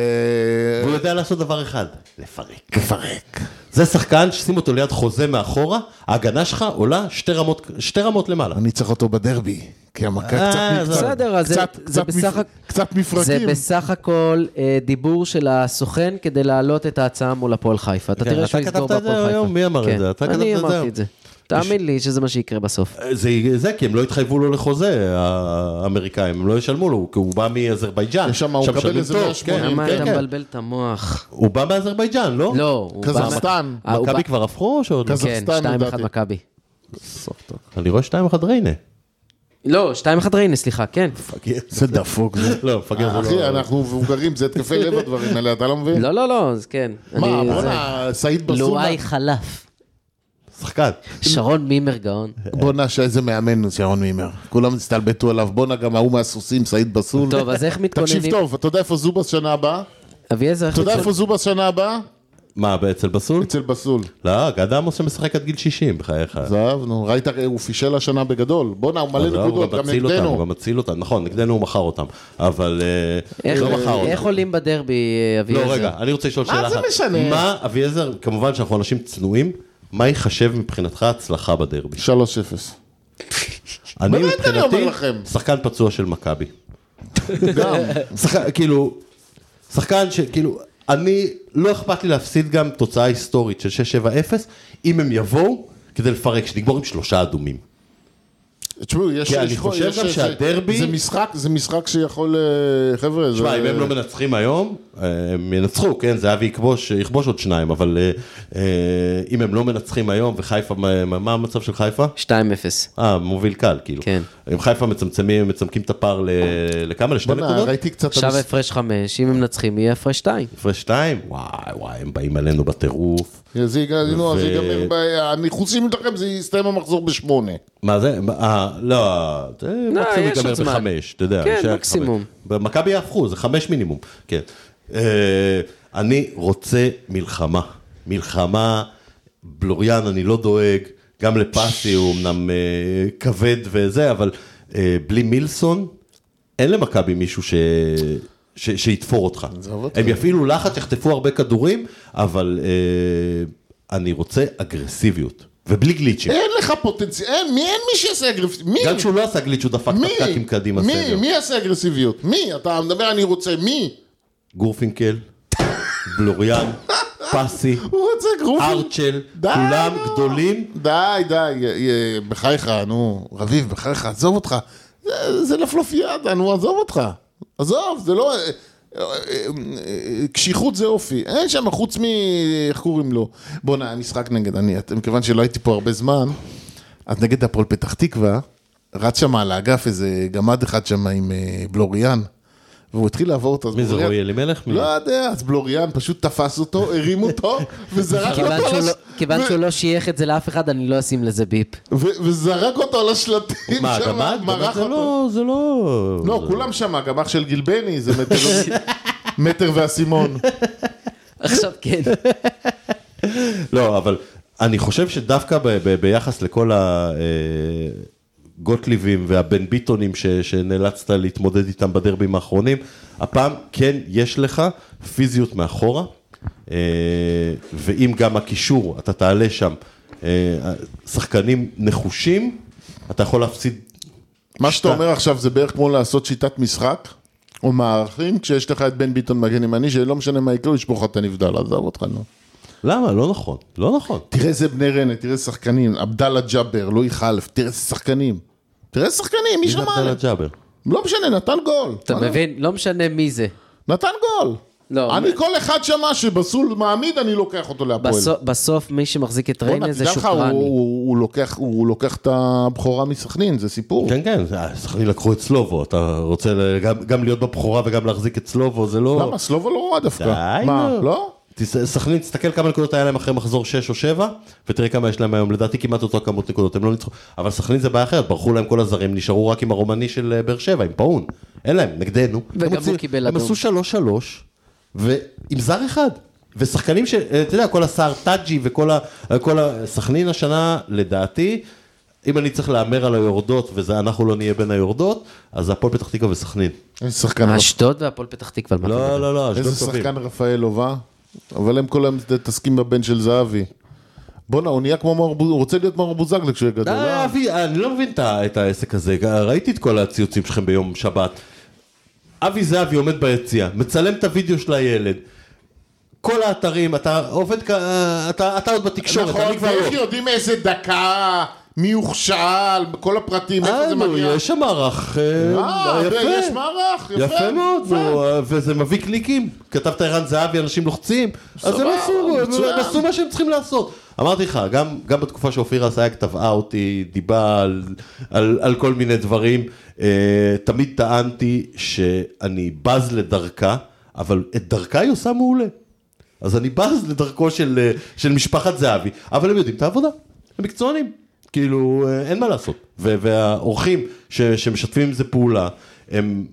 B: והוא יודע לעשות דבר אחד, לפרק.
C: מפרק.
B: זה שחקן ששים אותו ליד חוזה מאחורה, ההגנה שלך עולה שתי רמות, שתי רמות למעלה.
C: אני צריך אותו בדרבי, כי המכה
B: אה,
C: קצת...
B: זה-
C: קצת-
A: בסדר, אז זה-
C: קצת-
A: זה
C: קצת
A: בסך
C: מפ-
A: הכ-
C: קצת
A: זה
C: מפרקים.
A: בסך הכל אה, דיבור של הסוכן כדי להעלות את ההצעה מול הפועל חיפה. אתה
B: כן,
A: תראה
B: אתה
A: שהוא יסגור
B: כתבת את זה
A: בהפועל חיפה.
B: היום? מי אמר את
A: כן.
B: זה? אתה כתבת
A: אני
B: את זה היום?
A: אמרתי את זה. תאמין לי שזה מה שיקרה בסוף.
B: זה, זה כי הם לא התחייבו לו לחוזה, האמריקאים, הם לא ישלמו לו, כי הוא בא מאזרבייג'אן.
C: יש שם, הוא
B: שם
C: מקבל
B: משלמים
C: איזה
B: טוב,
C: 180,
B: כן,
A: למה
B: כן,
A: אתה
B: כן.
A: מבלבל את המוח?
B: הוא בא מאזרבייג'אן, לא?
A: לא, הוא בא...
C: קזחסטן,
A: אה, הוא
B: מכבי
A: בא-
B: כבר הפכו או שעוד? לא?
A: כן,
C: קזחסטן,
A: 2-1
C: לדעתי.
A: מכבי.
B: אני רואה 2-1 ריינה.
A: לא, 2-1 ריינה, סליחה, כן.
C: זה דפוק. זה.
B: לא, מפגר זה
C: אחי,
B: לא...
C: אנחנו מבוגרים, זה התקפי לב הדברים האלה, אתה לא מבין?
A: אה, לא, לא, לא, אז כן.
C: מה,
A: אני- זה- לא,
C: בואנה, סעיד בסונה,
A: לואי חלף.
B: שחקן.
A: שרון מימר גאון.
C: בואנה, שאיזה מאמן שרון מימר. כולם הסתלבטו עליו, בואנה, גם ההוא מהסוסים, סעיד בסול.
A: טוב, אז איך מתכוננים?
C: תקשיב טוב, אתה יודע איפה זובס שנה הבאה?
A: אביעזר, איך
C: אתה יודע
A: מתכוננים?
C: איפה זובס שנה הבאה?
B: מה, אצל בסול?
C: אצל בסול.
B: לא, גד עמוס שמשחק עד גיל 60, בחייך.
C: זהב, נו, ראית, הוא פישל השנה בגדול. בואנה, הוא
B: אז
C: מלא
B: לא, הוא
C: נקודות,
B: גם
C: גם
B: מציל אותם, הוא
C: נגדנו.
B: גם מציל אותם, נכון, נגדנו הוא מכר אותם, אבל אה,
A: איך-
B: לא מכר אותם.
A: איך עולים בדרבי, אה,
B: לא,
A: אביעזר?
B: רגע, אני רוצה לשאול
C: מה
B: שאלה אחת.
C: זה משנה?
B: מה, אביעזר, כמובן שאנחנו אנשים צנועים, מה ייחשב מבחינתך הצלחה בדרבי?
C: 3-0.
B: אני
C: באמת אני אומר
B: מבחינתי
C: לכם.
B: שחקן פצוע של מכבי. שחק- כאילו, שחקן שכאילו, אני, לא אכפת לי להפסיד גם תוצאה היסטורית של 6-7-0, אם הם יבואו כדי לפרק, שנגמור עם שלושה אדומים.
C: תשמעו, יש...
B: כי אני
C: יש-
B: חושב
C: יש-
B: גם
C: יש-
B: שהדרבי-
C: זה משחק, זה משחק שיכול... אה, חבר'ה, זה...
B: תשמע, אם הם לא מנצחים היום, אה, הם ינצחו, כן, זהבי יכבוש, יכבוש עוד שניים, אבל אה, אה, אם הם לא מנצחים היום, וחיפה, מה- מה המצב של חיפה?
A: 2-0.
B: אה, מוביל קל, כאילו.
A: כן.
B: אם חיפה מצמצמים, מצמקים את הפער ל... לכמה? לשתי
C: בואנה,
B: נקודות?
C: ראיתי קצת...
A: עכשיו
C: המש-
A: הפרש 5, אם הם מנצחים יהיה הפרש 2.
B: הפרש שתיים? וואי, וואי, הם באים עלינו בטירוף.
C: זה ייגמר, נו,
B: ו-
C: זה ייגמר, ב- אני חוץ אם לכם, זה יסתיים המחזור בשמונה.
B: מה זה? מה- אה, לא, זה
A: לא,
B: מקסימום
A: יש
B: ייגמר
A: עוד זמן.
B: בחמש, אתה יודע.
A: כן,
B: שהיה
A: מקסימום.
B: חמש. במכבי יהפכו, זה חמש מינימום, כן. אה, אני רוצה מלחמה. מלחמה, בלוריאן, אני לא דואג, גם לפסי הוא אמנם אה, כבד וזה, אבל אה, בלי מילסון, אין למכבי מישהו ש... ש... שיתפור אותך.
C: עזוב אותי.
B: הם יפעילו לחץ, יחטפו הרבה כדורים, אבל אה, אני רוצה אגרסיביות, ובלי גליצ'ים.
C: אין לך פוטנציאל, אין, מי, אין מי שיעשה אגרסיביות. מי?
B: גם כשהוא לא עשה גליץ' הוא דפק את
C: מי?
B: הפקקים קדימה
C: מי?
B: סדר.
C: מי יעשה אגרסיביות? מי? אתה מדבר אני רוצה, מי?
B: גורפינקל, בלוריאן, פסי,
C: הוא רוצה גרופי.
B: ארצ'ל,
C: די,
B: כולם
C: נו.
B: גדולים.
C: די, די, י- י- בחייך, נו, רביב, בחייך, עזוב אותך. זה- זה לפלופיאדה, נו, עזוב אותך. עזוב, זה לא... אה, אה, אה, קשיחות זה אופי, אין שם חוץ מ... איך קוראים לו? בואנה, המשחק נגד, אני, את- מכיוון שלא הייתי פה הרבה זמן, אז נגד הפועל פתח תקווה, רץ שם על האגף איזה גמד אחד שם עם אה, בלוריאן, והוא התחיל לעבור אותו. אז
B: מי זה
C: בלוריאן-
B: רועי אלימלך? מי?
C: לא יודע, אז בלוריאן פשוט תפס אותו, הרים אותו, וזרק
A: כיוון
C: אותו
A: שהוא
C: על
A: לא-
C: הש...
A: כיוון
C: ו-
A: שהוא לא שייך את זה לאף אחד, אני לא אשים לזה ביפ.
C: ו- וזרק אותו על השלטים
B: מה,
C: שם,
B: גמד? גמד
C: מרח
B: זה
C: אותו.
B: לא... זה לא...
C: לא,
B: זה-
C: כולם שם, גם אח של גיל בני, זה מטר, מטר ואסימון.
A: עכשיו כן.
B: לא, אבל אני חושב שדווקא ב- ב- ביחס לכל הגוטליבים והבן ביטונים ש- שנאלצת להתמודד איתם בדרבים האחרונים, הפעם כן יש לך פיזיות מאחורה, אה, ואם גם הקישור, אתה תעלה שם, אה, שחקנים נחושים, אתה יכול להפסיד
C: מה שאתה
B: שת-
C: אומר עכשיו זה בערך כמו לעשות שיטת משחק, או מערכים, כשיש לך את בן ביטון מגן ימני, שלא משנה מה יקרה, הוא ישפוך לך את הנבדל, עזוב אותך, נו.
B: למה? לא נכון, לא נכון.
C: תראה איזה בני רנה, תראה איזה שחקנים, עבדאללה ג'אבר, לואי חלף, תראה איזה שחקנים. תראה איזה שחקנים, מי שמע עליהם?
B: ג'אבר.
C: לא משנה, נתן גול.
A: אתה מבין? לא משנה מי זה.
C: נתן גול.
A: לא,
C: אני
A: מה-
C: כל אחד שמה שבסול מעמיד, אני לוקח אותו להפועל.
A: בסוף- בסוף מי שמחזיק את
C: בואנה,
A: ריינה זה
C: תדע לך, הוא-
A: שוקרני.
C: הוא הוא לוקח- הוא לוקח את הבכורה מסכנין, זה סיפור.
B: כן, כן, זה- אה, סכנין לקחו את סלובו, אתה רוצה ל- גם- גם להיות בבכורה וגם להחזיק את סלובו, זה לא...
C: למה? סלובו לא רע דווקא.
B: די,
C: מה,
B: נו.
C: לא?
B: תס- סכנין, תסתכל כמה נקודות היה להם אחרי מחזור 6 או 7, ותראה כמה יש להם היום, לדעתי כמעט אותו כמות נקודות, הם לא ניצחו, אבל סכנין זה בעיה אחרת, ברחו להם כל הזרים, נשארו רק עם הרומני של אה, באר שבע, עם פאון, אין להם, נגדנו.
A: וגם
B: הם
A: הוא
B: הוציאו-
A: קיבל
B: הם
A: אדום.
B: עשו 3-3, ועם זר אחד, ושחקנים ש... אה, אתה יודע, כל הסער טאג'י וכל ה... אה, כל ה... סכנין השנה, לדעתי, אם אני צריך להמר על היורדות, ואנחנו לא נהיה בין היורדות, אז זה הפועל פתח תקווה וסכנין.
C: איזה שחקן רפ-
A: אשדוד והפועל פתח תקווה. על מה אתה
B: לא,
A: מדבר?
B: לא, לא, אשדוד
C: איזה
B: אה, טובים.
C: שחקן רפאל הובה, אבל הם כל היום מתעסקים בבן של זהבי. בואנה, הוא נהיה כמו מאור בוזגלו, הוא רוצה להיות מאור בוזגלו כשהוא יהיה גדול.
B: די,
C: אה?
B: אבי, אני לא מבין את ה- את העסק הזה, ראיתי את כל הציוצים שלכם ביום שבת. אבי זהבי עומד ביציע, מצלם את הוידאו של הילד. כל האתרים, אתה עובד, כ- אה, אתה אתה עוד בתקשורת,
C: נכון,
B: אני כבר
C: ואיך
B: לא.
C: יודעים איזה דקה, מי הוכשל, כל הפרטים, איפה
B: אה,
C: זה
B: נו,
C: מגיע.
B: יש שם מערך, אה,
C: אה,
B: יפה.
C: יש מערך, יפה.
B: יפה מאוד,
C: יפה.
B: נו, אה, וזה מביא קליקים. כתבת ערן זהבי, אנשים לוחצים, אז הם
C: סבבה,
B: עשו, הם-
C: מצוין.
B: הם עשו מה שהם צריכים לעשות. אמרתי לך, גם, גם בתקופה שאופירה אסייג תבעה אותי, דיבה על, על, על כל מיני דברים, אה, תמיד טענתי שאני בז לדרכה, אבל את דרכה היא עושה מעולה. אז אני בז לדרכו של, אה, של משפחת זהבי, אבל הם יודעים את העבודה, הם מקצוענים, כאילו אה, אין מה לעשות. ו- והאורחים ש- שמשתפים עם זה פעולה, הם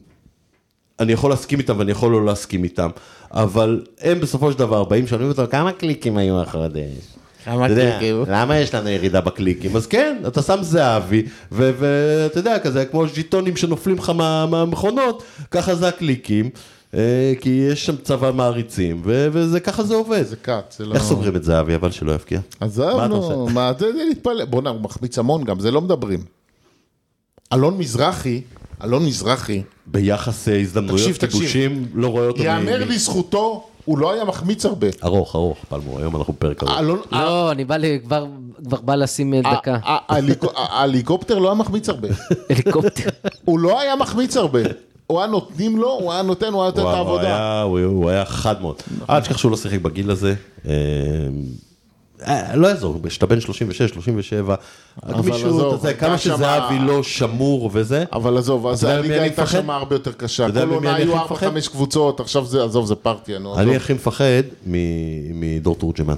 B: אני יכול להסכים איתם ואני יכול לא להסכים איתם, אבל הם בסופו של דבר באים, שואלים אותם כמה קליקים היו אחרי זה.
C: כמה
B: אתה יודע,
C: קליקים?
B: למה יש לנו ירידה בקליקים? אז כן, אתה שם זהבי, ו- ואתה יודע, כזה כמו ז'יטונים שנופלים לך מה- מהמכונות, ככה זה הקליקים, אה, כי יש שם צבא מעריצים, ו- וזה ככה זה עובד.
C: זה קאט, זה לא...
B: איך סוגרים את זהבי אבל שלא יפקיע? מה
C: עזוב,
B: אתה
C: נו,
B: עושה?
C: מה זה זה להתפלא? בואנה, הוא מחמיץ המון גם, זה לא מדברים. אלון מזרחי, אלון מזרחי,
B: ביחס אה, הזדמנויות,
C: תקשיב, תקשיב.
B: כיבושים, לא רואה אותו. מ-
C: יאמר
B: מ- לזכותו,
C: הוא לא היה מחמיץ הרבה.
B: ארוך, ארוך, פלמור, היום אנחנו בפרק ארוך.
C: אלון...
A: לא, אני בא ל... כבר- כבר בא לשים אה,
C: ה-
A: דקה.
C: ה- ההליקו- ההליקופטר לא היה מחמיץ הרבה.
A: הליקופטר.
C: הוא לא היה מחמיץ הרבה. הוא היה נותנים לו, הוא היה נותן, הוא היה נותן את
B: וואו, הוא
C: העבודה. נכון.
B: היה- הוא הוא היה חד מאוד. אל תשכח שהוא לא שיחק בגיל הזה. אה, אה, לא יעזור, כשאתה בן 36, 37,
C: עזוב,
B: הגמישות, אתה יודע,
C: הייתה
B: כמה
C: שמה-
B: שזהבי לא שמור וזה,
C: אבל עזוב, אז
B: אתה יודע ממי
C: הליגה
B: אני
C: הייתה
B: מפחד?
C: שם הרבה יותר קשה.
B: אתה יודע
C: כל
B: ממי
C: עונה
B: אני
C: היו
B: הכי
C: ארבע
B: מפחד?
C: חמש קבוצות, עכשיו זה, עזוב, זה פרטיה, נו.
B: אני
C: עזוב.
B: הכי מפחד מ- מדור תורג'מן.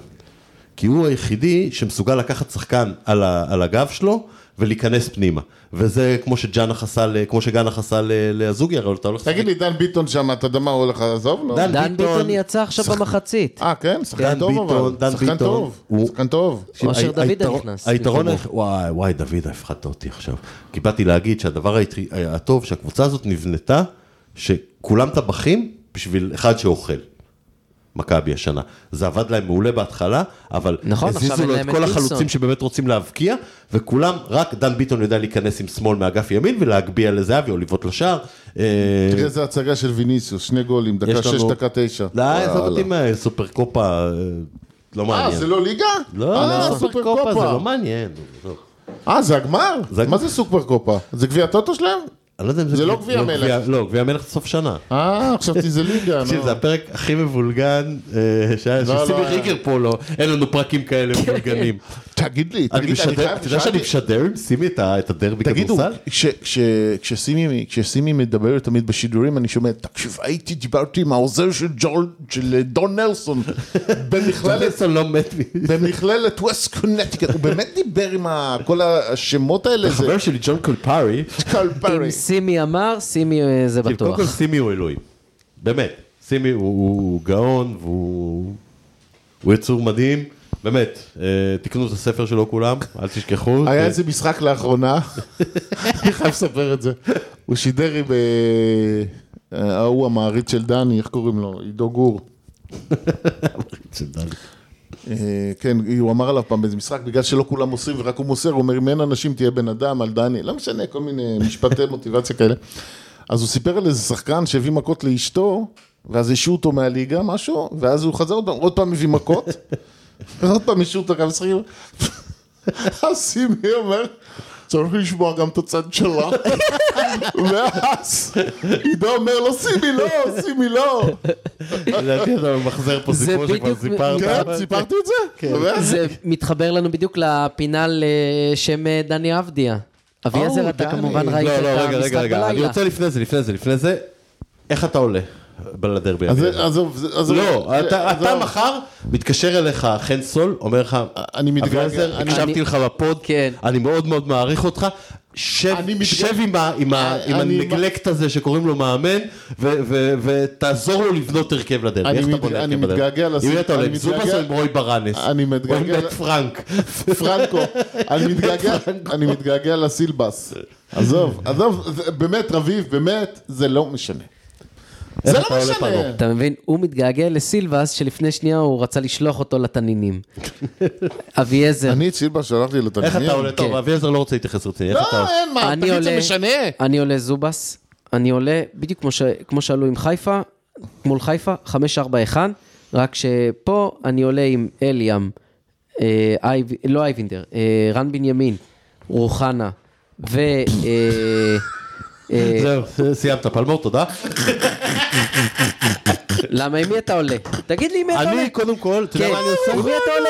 B: כי הוא היחידי שמסוגל לקחת שחקן על ה- על הגב שלו, ולהיכנס פנימה. וזה כמו שג'אנח עשה, ל- כמו שגאנח עשה ל- לזוגי, הרי אתה לא הולך...
C: תגיד לי, דן ביטון שם, אתה יודע מה הוא הולך לא, לעזוב לו?
B: דן
A: דן
B: ביטון-
A: ביטון יצא עכשיו במחצית.
C: אה, כן?
B: דן
C: שחקן טוב
B: ביטון, דן
C: אבל. שחקן
B: ביטון,
C: טוב.
B: הוא- אה,
C: שחקן טוב.
A: אושר
B: הי-
A: דוידה
B: היתרון-
A: נכנס.
B: היתרון,
A: במקומו.
B: היח- וואי, וואי, דוד, הפחדת אותי עכשיו. כי באתי להגיד שהדבר היתרי- הטוב שהקבוצה הזאת נבנתה, שכולם טבחים בשביל אחד שאוכל. מכבי השנה. זה עבד להם מעולה בהתחלה, אבל
A: נכון, עכשיו
B: הזיזו
A: אין
B: לו את
A: להם את
B: כל
A: וילסון.
B: החלוצים שבאמת רוצים להבקיע, וכולם, רק דן ביטון יודע להיכנס עם שמאל מאגף ימין ולהגביה לזהבי או לבעוט לשער. אה,
C: תראה איזה הצגה של ויניסיוס, שני גולים, דקה
B: יש לנו-
C: שש, דקה תשע.
B: לא, עזוב אותי
C: וואלה.
B: מהסופר קופה, אה, לא מעניין.
C: אה, זה לא ליגה?
B: לא,
C: אה,
B: לא, סופר קופה זה לא מעניין. עזוב.
C: אה, זה הגמר?
B: זה הגמר.
C: מה זה סופר קופה? זה גביע טוטו שלהם?
B: אני לא יודע אם
C: זה לא גביע המלך.
B: לא, גביע המלך זה סוף שנה.
C: אה, חשבתי זה ליגה,
B: תקשיב, זה
C: נו.
B: הפרק הכי מבולגן אה, שהיה,
C: לא,
B: שסימי
C: לא.
B: ריגר פה לא, אין לנו פרקים כאלה מבולגנים.
C: תגיד לי,
B: אני
C: תגיד, אני
B: משדר,
C: חייב,
B: אתה יודע שאני
C: שאלתי-
B: משדר עם סימי את ה- את הדרבי
C: תגידו,
B: כדורסל?
C: כש- כש- כשסימי- כשסימי מדבר תמיד בשידורים, אני שומע, תקשיב, הייתי, דיברתי עם העוזר של ג'ול- של דון נלסון, במכללת
B: פלסון לא מת מ...
C: במכללת ווסט קונטיקט, הוא באמת דיבר עם ה- כל השמות האלה, זה
B: חבר שלי ג'ון קולפארי,
C: קלפרי.
A: אם סימי אמר, סימי אה, זה
B: קודם
A: בטוח.
B: כל סימי הוא אלוהים, באמת, סימי הוא- הוא הוא גאון והוא הוא יצור מדהים, באמת, אה, תקנו את הספר שלו כולם, אל תשכחו,
C: היה
B: אה,
C: איזה משחק לאחרונה, אני חייב לספר את זה. הוא שידר עם אה, ההוא המעריץ של דני, איך קוראים לו? עידו גור. אה, כן, הוא אמר עליו פעם באיזה משחק, בגלל שלא כולם מוסרים ורק הוא מוסר, הוא אומר, אם אין אנשים תהיה בן אדם, על דני, לא משנה, כל מיני משפטי מוטיבציה כאלה. אז הוא סיפר על איזה שחקן שהביא מכות לאשתו, ואז השעו אותו מהליגה, משהו, ואז הוא חזר עוד פעם, עוד פעם הביא מכות, ועוד פעם השעו אותו גם משחקים. אז סימי אומר, צריך לשמוע גם את הצד שלה. ואז עידו אומר לו, סימי לא, סימי לא.
B: לדעתי אתה ממחזר פה
A: זה
B: סיפור שכבר
A: בדיוק-
B: סיפרת,
C: כן, סיפרתי את זה? ואז-
A: זה מתחבר לנו בדיוק לפינה לשם אה, דני אבדיה. אביעזר,
C: או,
A: אתה
C: דני.
A: כמובן
C: לא,
A: ראית
B: לא, לא,
A: את
B: רגע, רגע,
A: המשחק
B: רגע, אני
A: בלילה.
B: רוצה לפני זה, לפני זה, לפני זה, איך אתה עולה ב- לדרבי?
C: אז-
B: הזה?
C: עזוב, זה- עזוב.
B: לא, אתה
C: עזוב.
B: אתה מחר מתקשר אליך חן סול, אומר לך,
C: אני מתגעגע,
B: אביעזר,
C: אני-
B: הקשבתי
A: אני-
B: לך בפוד,
A: כן.
B: אני מאוד מאוד מעריך אותך. שב,
C: אני מתגעגע- אה,
B: שב עם, ה, עם, ה, עם
C: אני-
B: הנגלקט הזה שקוראים לו מאמן ו- ו- ותעזור לו לבנות הרכב לדרבי.
C: אני
B: איך אתה
C: מת-
B: בונה
C: אני
B: הרכב לדרבי?
C: מתגעגע לסי-
B: עם מי אתה עולה?
C: אני
B: עם זובס
C: מתגעגע-
B: או עם רוי ברנס?
C: אני
B: או עם
C: מתגעגע
B: בית פרנק?
C: פרנקו, אני מתגעגע, אני מתגעגע לסילבס. עזוב, עזוב, זה- באמת רביב, באמת, זה לא משנה. זה
B: איך
C: לא
B: אתה עולה
C: משנה.
B: פרנקו?
A: אתה מבין? הוא מתגעגע לסילבס, שלפני שנייה הוא רצה לשלוח אותו לתנינים. אביעזר,
C: אני את סילבס שלחתי לתלמידים.
B: איך אתה עולה?
A: כן.
B: טוב, אביעזר לא רוצה להתייחס רציני. איך אתה
C: לא, אין מה,
A: אני
C: תגיד זה
A: עולה-
C: משנה.
A: אני עולה זובס, אני עולה בדיוק כמו ש- כמו שעלו עם חיפה, מול חיפה, 5-4-1, רק שפה אני עולה עם אליאם, אה, אייב- לא אייבינדר, אה, רן בנימין, רוחנה, ו... אה, אה,
B: זהו, סיימת, פלמור, תודה.
A: כן, למה, עם מי אתה עולה? תגיד לי עם מי אתה עולה.
B: אני קודם כל, אתה יודע
A: כן,
B: מה אני עושה?
A: עם מי אתה עולה?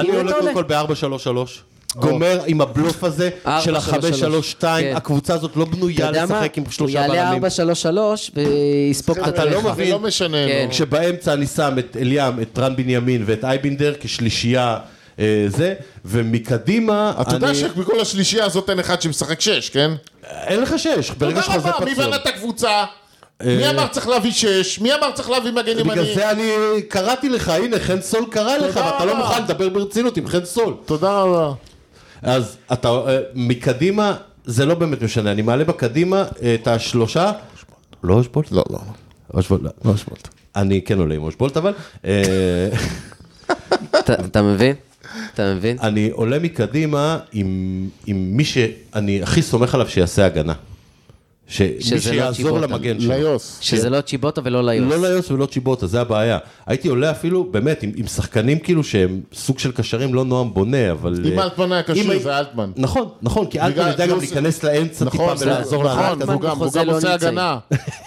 B: אני
A: עם מי
B: עולה
A: אתה
B: קודם כל ב-433. גומר עם הבלוף הזה של
A: 4-3-3.
B: ה-532,
A: כן.
B: הקבוצה הזאת לא
A: אתה
B: בנויה
A: יודע מה?
B: לשחק עם
A: הוא
B: שלושה
A: יעלה
B: בלמים.
A: 4-3-3 ויספוג את
B: אתה לא
A: התליך.
B: מבין.
C: זה לא משנה.
A: כן.
C: נו.
B: כשבאמצע אני שם את אליאם, את רן בנימין ואת אייבינדר כשלישייה אה, זה, ומקדימה
C: אתה יודע
B: אני-
C: שבכל השלישייה הזאת אין אחד שמשחק שש, כן?
B: אין לך שש, ברגע
C: תודה
B: שלך זה
C: רבה, מי
B: פצוע.
C: בנה את הקבוצה? מי אמר צריך להביא שש? מי אמר צריך להביא מגן ימני?
B: בגלל זה אני קראתי לך, הנה חן סול קרא לך,
C: תודה
B: ואתה לא
C: רבה.
B: מוכן לדבר ברצינות עם חן סול.
C: תודה רבה.
B: אז אתה, אה, מקדימה, זה לא באמת משנה, אני מעלה בקדימה אה, את השלושה. לא אושבולט?
C: לא, לא.
B: אושבולט, לא.
C: אושבולט.
B: אני כן עולה עם אושבולט, אבל אה,
A: אתה- אתה מבין? אתה מבין?
B: אני עולה מקדימה עם, עם מי שאני הכי סומך עליו שיעשה הגנה. ש-
A: שזה
B: מי
A: לא
B: שיעזור
A: צ'יבוטה.
B: למגן שלו.
C: ליוס.
A: שזה לא צ'יבוטה ולא ליוס.
B: לא ליוס ולא צ'יבוטה, זה הבעיה. הייתי עולה אפילו, באמת, עם, עם שחקנים כאילו שהם סוג של קשרים, לא נועם בונה, אבל...
C: אם
B: אה,
C: אלטמן היה
B: אם
C: קשור,
B: הי-
C: זה אלטמן.
B: נכון, נכון, כי אלטמן יודע
C: כי
B: גם
C: הוא-
B: להיכנס לאמצע טיפה
C: נכון, זה-
B: ולעזור להנעת
C: נכון,
A: כדור.
C: הוא גם- הוא
A: בחוזה
C: גם
A: לא
C: עושה
A: נמצאים.
C: הגנה.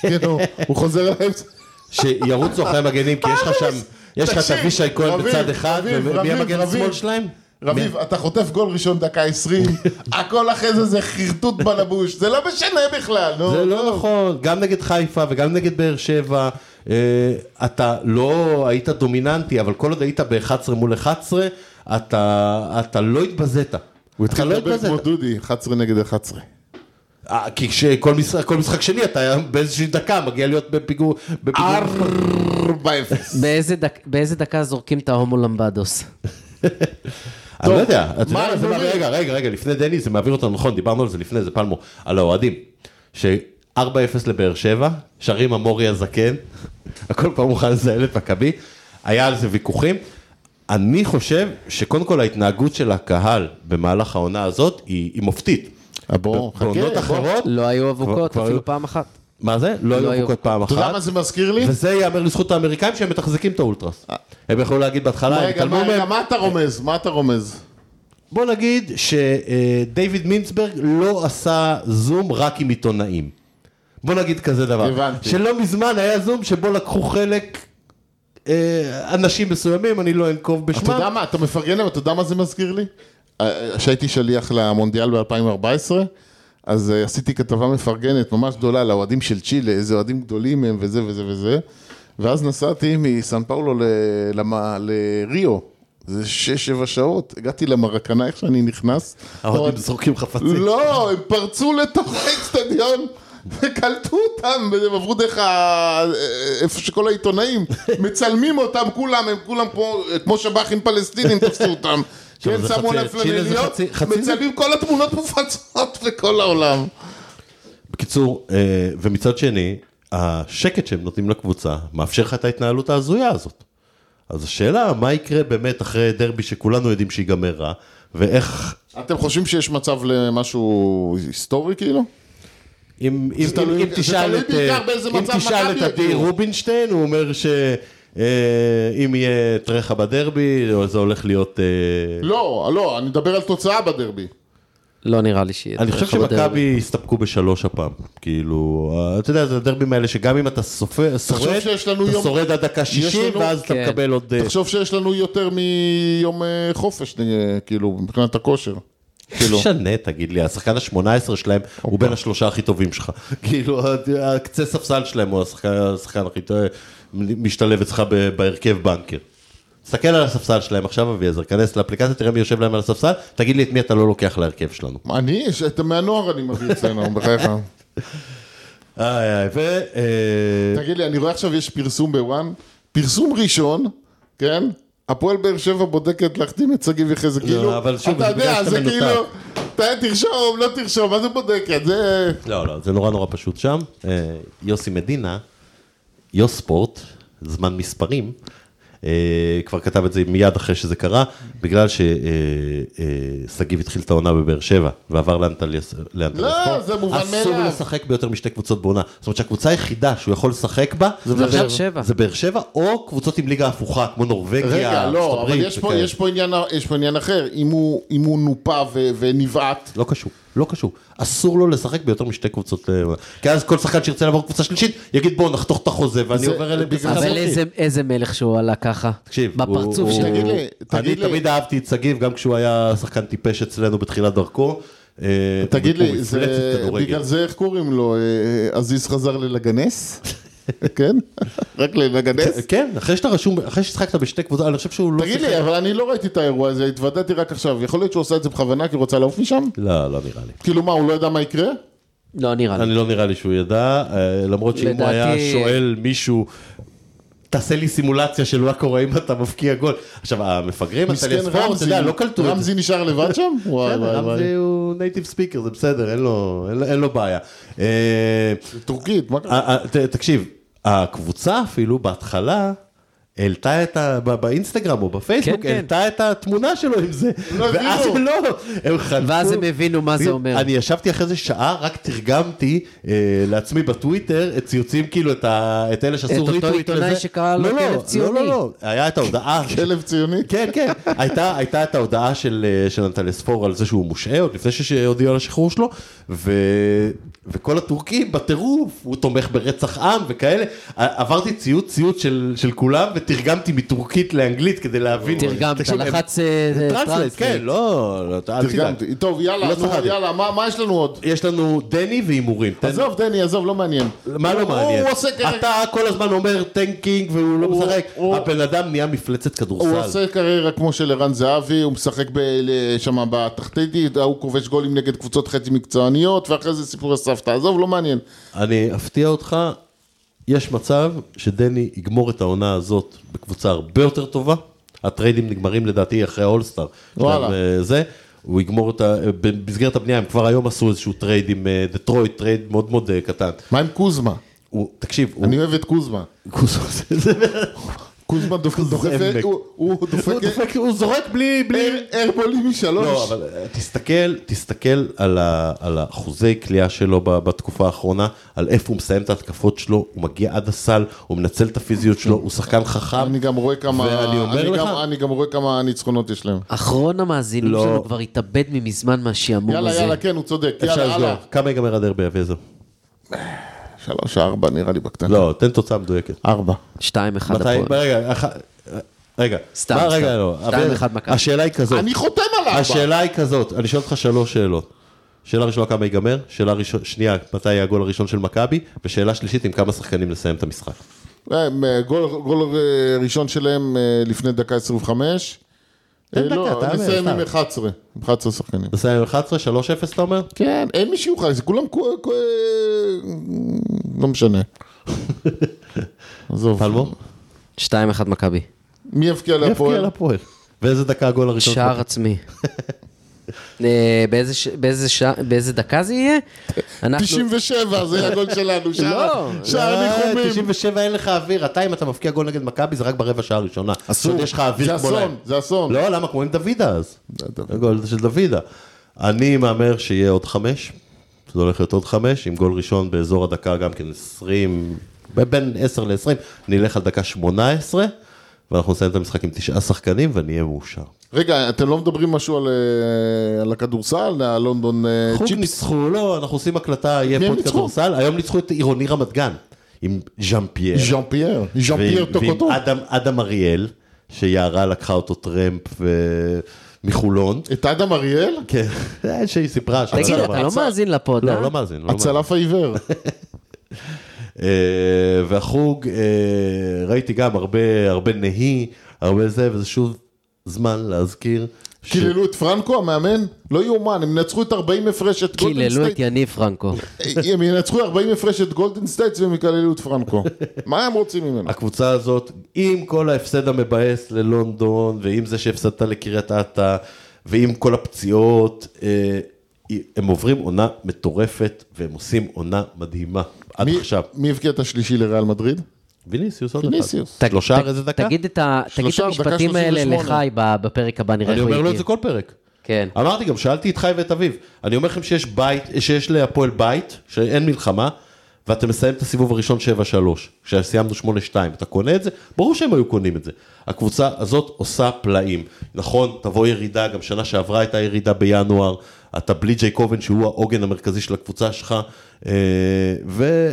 C: כן, הוא- הוא חוזר לאמצע.
B: שירוצו אחרי המגנים, כי יש לך שם, יש לך את
C: תקשיב,
B: אבישי כהן
C: רביב,
B: בצד אחד,
C: רביב,
B: ומי
C: רביב,
B: המגן
C: רביב.
B: השמאל שלהם?
C: רביב, אתה חוטף גול ראשון דקה 20, הכל אחרי זה זה חרטוט בלבוש, זה לא משנה בכלל, נו.
B: זה לא נכון, גם נגד חיפה וגם נגד באר שבע, אה, אתה לא היית דומיננטי, אבל כל עוד היית ב-11 מול 11, אתה אתה לא התבזית.
C: הוא התחיל
B: אתה לא
C: לדבר
B: התבזית.
C: כמו דודי, 11 נגד 11.
B: אה, כי כשכל משחק, כל משחק שני אתה באיזושהי דקה מגיע להיות בפיגור, בפיגור.
C: 4-0.
A: באיזה דק- באיזה דקה זורקים את ההומו למבדוס?
B: אני לא יודע, אתה
C: מה
B: יודע, מה זה
C: הגולים?
B: מעביר- רגע, רגע, רגע, לפני דני, זה מעביר אותנו, נכון, דיברנו על זה לפני, זה פלמו, על האוהדים, ש-4-0 לבאר שבע, שרים המורי הזקן, הכל פעם מוכן לזייל את מכבי, היה על זה ויכוחים. אני חושב שקודם כל ההתנהגות של הקהל במהלך העונה הזאת היא, היא מופתית.
C: אה, בוא, חכה,
B: בעונות
C: בוא.
B: אחרות,
A: לא היו אבוקות
B: כבר היו-
A: אפילו פעם אחת.
B: מה זה? לא
A: לא
B: היו
A: היו.
B: אבוקות פעם
C: אתה יודע מה
B: אחת.
C: זה מזכיר לי?
B: וזה ייאמר לזכות האמריקאים שהם מתחזקים את האולטרס. הם יכלו להגיד בהתחלה, הם
C: אה. רגע,
B: התעלמו
C: מה-
B: מהם,
C: רגע, מה אתה רומז? מה אתה רומז?
B: בוא נגיד שדייוויד מינצברג לא עשה זום רק עם עיתונאים. בוא נגיד כזה דבר.
C: הבנתי.
B: שלא מזמן היה זום שבו לקחו חלק אה, אנשים מסוימים, אני לא אנקוב בשמם.
C: אתה יודע מה, אתה מפרגן להם, אתה יודע מה זה מזכיר לי? אה, כשהייתי שליח למונדיאל ב-2014, אז אה, עשיתי כתבה מפרגנת ממש גדולה על האוהדים של צ'ילה, איזה אוהדים גדולים הם וזה וזה וזה, ואז נסעתי מסן פאולו ל- למ- לריו, זה שש-שבע שעות, הגעתי למרקנה, איך שאני נכנס,
B: האוהדים
C: האוהד-
B: זורקים חפצים.
C: לא, הם פרצו לתוך האצטדיון וקלטו אותם, והם עברו דרך ה... איפה שכל העיתונאים מצלמים אותם, כולם, הם כולם פה, כמו שב"חים פלסטינים תפסו אותם.
B: טוב,
C: כן,
B: זה
C: שמו
B: חצי-
C: עליהם
B: צ'ילה זה
C: פלנליות,
B: חצי- חצי זה?
C: מצלמים כל התמונות מופצות בכל העולם.
B: בקיצור, אה, ומצד שני, השקט שהם נותנים לקבוצה מאפשר לך את ההתנהלות ההזויה הזאת. אז השאלה, מה יקרה באמת אחרי דרבי שכולנו יודעים שיגמר רע, ואיך...
C: אתם חושבים שיש מצב למשהו היסטורי כאילו?
B: כן. אם, אם, אם,
C: תלוי-
B: אם
C: זה
B: תשאל
C: תלוי
B: את,
C: בעיקר
B: אה,
C: באיזה
B: אם
C: מצב
B: תשאל את
C: מכבי
B: עדי
C: יגיעו.
B: רובינשטיין, הוא אומר שאם יהיה טרחה בדרבי, או זה הולך להיות... אה,
C: לא, לא, אני מדבר על תוצאה בדרבי.
A: לא נראה לי שיהיה.
B: אני חושב
A: דרך בדרך.
B: שמכבי הסתפקו בשלוש הפעם. כאילו, אה, אתה יודע, זה הדרבים האלה שגם אם אתה סופר- שורד,
C: שיש לנו
B: אתה
C: יום-
B: שורד עד דקה 60,
C: לנו-
B: ואז אתה
A: כן.
B: מקבל עוד... אה,
C: תחשוב שיש לנו יותר מיום אה, חופש, אה, כאילו, מבחינת הכושר.
B: כאילו. משנה, תגיד לי, השחקן ה-18 שלהם הוא בין השלושה הכי טובים שלך. כאילו, הקצה ספסל שלהם הוא השחקן, השחקן הכי טוב, משתלב אצלך ב- בהרכב בנקר. תסתכל על הספסל שלהם עכשיו, אביעזר, כנס לאפליקציה, תראה מי יושב להם על הספסל, תגיד לי את מי אתה לא לוקח להרכב שלנו.
C: אני, שאתה מהנוער אני מביא אצלנו, בחייך.
B: איי איי, ו... אה,
C: תגיד לי, אני רואה עכשיו יש פרסום בוואן, פרסום ראשון, כן? הפועל באר שבע בודקת להחתים את שגיב יחזקאל, כאילו,
B: לא, אבל שוב,
C: אתה
B: זה בגלל
C: יודע,
B: שאתה
C: זה
B: מנותק.
C: כאילו, אתה תרשום, לא תרשום, מה זה בודקת? זה...
B: לא, לא, זה נורא נורא פשוט שם. אה, יוסי מדינה, יוספורט, זמן מספרים, אה, כבר כתב את זה מיד אחרי שזה קרה, בגלל ששגיב התחיל את העונה בבאר שבע ועבר לאנטליה לאנטליה
C: לא,
B: ספורט,
C: זה מובן
B: אסור
C: מאליו.
B: לשחק ביותר משתי קבוצות בעונה. זאת אומרת שהקבוצה היחידה שהוא יכול לשחק בה, זה
A: באר שבע.
B: זה באר שבע, או קבוצות עם ליגה הפוכה, כמו נורבגיה,
C: רגע,
B: ארצות
C: לא, אבל
B: הברית
C: יש פה-
B: וכאלה.
C: יש פה עניין- יש פה עניין אחר, אם הוא- אם הוא נופה ו- ונבעט,
B: לא קשור, לא קשור. אסור לו לשחק ביותר משתי קבוצות. אה, כי אז כל שחקן שירצה לעבור קבוצה שלישית, יגיד בואו נחתוך את החוזה ואני
C: זה-
B: עובר אליהם
C: בגלל
B: בשחקן
A: אבל
B: חופשי."
A: איזה- איזה מלך שהוא עלה ככה.
B: תקשיב,
A: בפרצוף
B: הוא-
A: שלו.
C: תגיד לי,
B: אני
C: תגיד לי-
B: תמיד אהבתי את שגיב, גם כשהוא היה שחקן טיפש אצלנו בתחילת דרכו. אה,
C: תגיד
B: הוא-
C: לי,
B: הוא מפלצת
C: זה-
B: כדורגל.
C: בגלל זה איך קוראים לו, אה, עזיז חזר ללגנס? כן? רק ללגנס?
B: כן, אחרי שאתה רשום, אחרי ששחקת בשתי קבוצות, אני חושב שהוא לא...
C: תגיד
B: שיחק-
C: לי, אבל אני לא ראיתי את האירוע הזה, התוודעתי רק עכשיו. יכול להיות שהוא עושה את זה בכוונה כי הוא רוצה לעוף משם?
B: לא, לא נראה לי.
C: כאילו מה, הוא לא ידע מה יקרה?
A: לא נראה לי.
B: אני לא נראה לי שהוא ידע, אה, למרות שאם הוא
A: לדעתי-
B: היה שואל מישהו, תעשה לי סימולציה של מה קורה אם אתה מבקיע גול. עכשיו, המפגרים,
C: מסכן
B: הטלספורט, אתה יודע, לא קלטו את זה.
C: רמזי נשאר לבד שם? וואי
B: בסדר,
C: וואי
B: רמזי
C: וואי.
B: הוא נייטיב ספיקר, זה בסדר, אין לו- אין לו- אין לו בעיה. אה,
C: טורקית, מה קרה?
B: אה, אה, ת- תקשיב, הקבוצה אפילו בהתחלה... העלתה את ה... ב- באינסטגרם או בפייסבוק,
A: כן, כן.
B: העלתה את התמונה שלו עם זה.
C: לא
B: ואז
C: הבינו.
B: הם לא, הם חלקו.
A: ואז הם הבינו מה זה אומר.
B: אני ישבתי אחרי זה שעה, רק תרגמתי אה, לעצמי בטוויטר את ציוצים, כאילו את, ה... את אלה שעשו
A: את אותו
B: ריטוויט לזה.
A: עיתונאי שקרא לו
B: לא, לא,
A: כלב
B: לא, לא,
A: ציוני.
B: לא, היה את ההודעה.
C: כלב ציוני?
B: כן, כן. הייתה, הייתה את ההודעה של, אה, של אנטלס פור על זה שהוא מושעה, עוד לפני שהודיעו על השחרור שלו, ו, וכל הטורקים בטירוף, הוא תומך ברצח עם וכאלה. ע- עברתי ציוץ ציוץ של, של כולם, ו, ותרגמתי מטורקית לאנגלית כדי להבין.
A: תרגמת,
B: תקשיב, הם-
A: לחץ, אה,
B: זה
A: זה
B: טרנסלייט,
A: טרנסלייט.
B: כן, לא, לא, אל תדאג.
C: תרגמתי. טוב, יאללה,
B: לא
C: נו,
B: צחקתי.
C: יאללה, מה מה יש לנו עוד?
B: יש לנו דני והימורים. תן-
C: עזוב, דני, עזוב, לא מעניין.
B: מה לא
C: הוא-
B: מעניין?
C: הוא עושה כרגע...
B: אתה כל הזמן אומר טנקינג והוא לא
C: הוא-
B: משחק.
C: הוא-
B: הבן אדם נהיה מפלצת
C: הוא
B: כדורסל.
C: עושה קריירה כמו של ערן זהבי, הוא משחק שם בתחתית, הוא כובש גולים נגד קבוצות חצי מקצועניות, ואחרי זה סיפור הסבתא. עזוב, לא מעניין.
B: אני אפתיע אותך, יש מצב שדני יגמור את העונה הזאת בקבוצה הרבה יותר טובה. הטריידים נגמרים לדעתי אחרי האולסטאר.
C: וואלה.
B: שלהם, אה, זה. הוא יגמור את ה... אה, במסגרת הבנייה הם כבר היום עשו איזשהו טרייד עם אה, דטרויט, טרייד מאוד מאוד אה, קטן.
C: מה עם קוזמה?
B: הוא, תקשיב, הוא...
C: אני אוהב את קוזמה.
B: קוזוס, זה-
C: קוזמה דופק,
B: זמק.
C: הוא- הוא
B: הוא
C: דופק
B: דופק, הוא זורק בלי... בלי...
C: אר- ארבולים
B: לא,
C: משלוש.
B: אבל אה, תסתכל, תסתכל על, ה, על האחוזי קליעה שלו ב- בתקופה האחרונה, על איפה הוא מסיים את ההתקפות שלו, הוא מגיע עד הסל, הוא מנצל את הפיזיות שלו, הוא שחקן חכם.
C: אני גם רואה כמה,
B: ואני אומר
C: אני
B: לך-
C: גם- אני גם רואה כמה ניצחונות יש להם.
A: אחרון המאזינים
B: לא.
A: שלנו כבר התאבד ממזמן מהשעמום
C: יאללה,
A: הזה.
C: יאללה, כן, הוא צודק.
B: אפשר
C: יאללה,
B: לסגור,
C: הלאה.
B: כמה ייגמר הדרבי אביעזר?
A: אוקיי.
C: שלוש, ארבע, נראה לי בקטנה.
B: לא, תן תוצאה מדויקת.
C: ארבע.
A: 2-1
B: כן. מתי,
A: הפועל.
B: רגע, אח- אה, רגע,
A: סתם,
B: מה,
A: סתם.
B: רגע, לא,
A: שתיים,
B: אביעזר,
A: אחד מכבי.
B: השאלה היא כזאת,
C: אני חותם על ארבע.
B: השאלה היא כזאת, אני שואל אותך שלוש שאלות. שאלה ראשונה כמה ייגמר, שאלה ראשונה, שנייה, מתי יהיה הגול הראשון של מכבי, ושאלה שלישית עם כמה שחקנים לסיים את המשחק.
C: הם, אה, גול, גול אה, ראשון שלהם אה, לפני דקה 25. אה,
B: אין דקה,
C: לא,
B: אתה
C: נסיים
B: אומר,
C: עם 11, עם 11 שחקנים.
B: נסיים עם 11, 3-0 אתה אומר?
C: כן, אין מי שיוכל, זה כולם כו- כו- אה, לא משנה. עזוב.
B: פלמור?
A: 2-1 מכבי.
C: מי יבקיע
B: יפקיע
C: להפועל?
B: לפועל. ואיזה דקה הגול הראשון?
A: שער עצמי. אה, באיזה ש- באיזה שע- באיזה דקה זה יהיה? אנחנו-
C: 97, זה הגול שלנו, שער
A: לא.
C: שער
B: אה,
C: ניחומים.
B: 97 אין לך אוויר, אתה אם אתה מבקיע גול נגד מכבי זה רק ברבע שעה הראשונה.
C: אסור.
B: עוד יש לך אוויר
C: זה
B: כמו
C: אסון,
B: להם.
C: זה אסון.
B: לא, למה? כמו עם דוידה אז.
C: דוד.
B: הגול של דוידה. אני מהמר שיהיה עוד חמש, זה הולך להיות עוד חמש, עם גול ראשון באזור הדקה גם כן 20, בין 10 ל-20, נלך על דקה 18, ואנחנו נסיים את המשחק עם תשעה שחקנים ונהיה מאושר.
C: רגע, אתם לא מדברים משהו על, אה, על הכדורסל, הלונדון אה,
B: חוג
C: צ'יפס?
B: ניצחו, לא, אנחנו עושים הקלטה, יהיה
C: מי הם
B: פודקאסט
C: ניצחו?
B: כדורסל, היום ניצחו את עירוני רמת גן, עם ז'אן פייר.
C: ז'אן פייר, ז'אן פייר
B: ועם-
C: טוקוטו.
B: ועם אדם, אדם אריאל, שיערה לקחה אותו טרמפ ו... מחולון.
C: את אדם אריאל?
B: כן, זה שהיא סיפרה. שנה
A: תגיד,
B: שעברה.
A: אתה לא מאזין לפוד, אה?
B: לא, לא מאזין. לא מאזין.
C: הצלף העיוור.
B: אה, והחוג, אה, ראיתי גם הרבה, הרבה נהי, הרבה זה, וזה שוב זמן להזכיר. ש-
C: קיללו את פרנקו המאמן? לא יאומן, הם ינצחו את 40 הפרש את גולדן
A: קיללו את
C: סטייט. אה,
A: יניב פרנקו.
C: הם ינצחו 40 הפרש את גולדן סטייט והם יקללו את פרנקו. מה הם רוצים ממנו?
B: הקבוצה הזאת, עם כל ההפסד המבאס ללונדון, ועם זה שהפסדת לקריית אתא, ועם כל הפציעות, אה, הם עוברים עונה מטורפת, והם עושים עונה מדהימה עד
C: מי-
B: עכשיו.
C: מי הבקיע את השלישי לריאל מדריד?
B: ויניסיוס עוד אחד.
C: ויניסיוס.
A: ת-
B: שלושה
A: ת-
B: אחרי זה דקה?
A: תגיד את ה- תגיד את
C: שלושה, דקה
A: המשפטים האלה
C: 38.
A: לחי ב- בפרק הבא, נראה
B: אני
A: איך הוא
B: אומר לו את
A: יגיב.
B: זה כל פרק.
A: כן.
B: אמרתי גם, שאלתי את חי ואת אביו. אני אומר לכם שיש בית, שיש להפועל בית, שאין מלחמה, ואתם מסיים את הסיבוב הראשון 7-3, כשסיימנו 8-2, אתה קונה את זה? ברור שהם היו קונים את זה. הקבוצה הזאת עושה פלאים. נכון, תבוא ירידה, גם שנה שעברה הייתה ירידה בינואר, אתה בלי ג'יי קובן שהוא העוגן המרכזי של הקבוצה שלך, אה,
A: תגיד,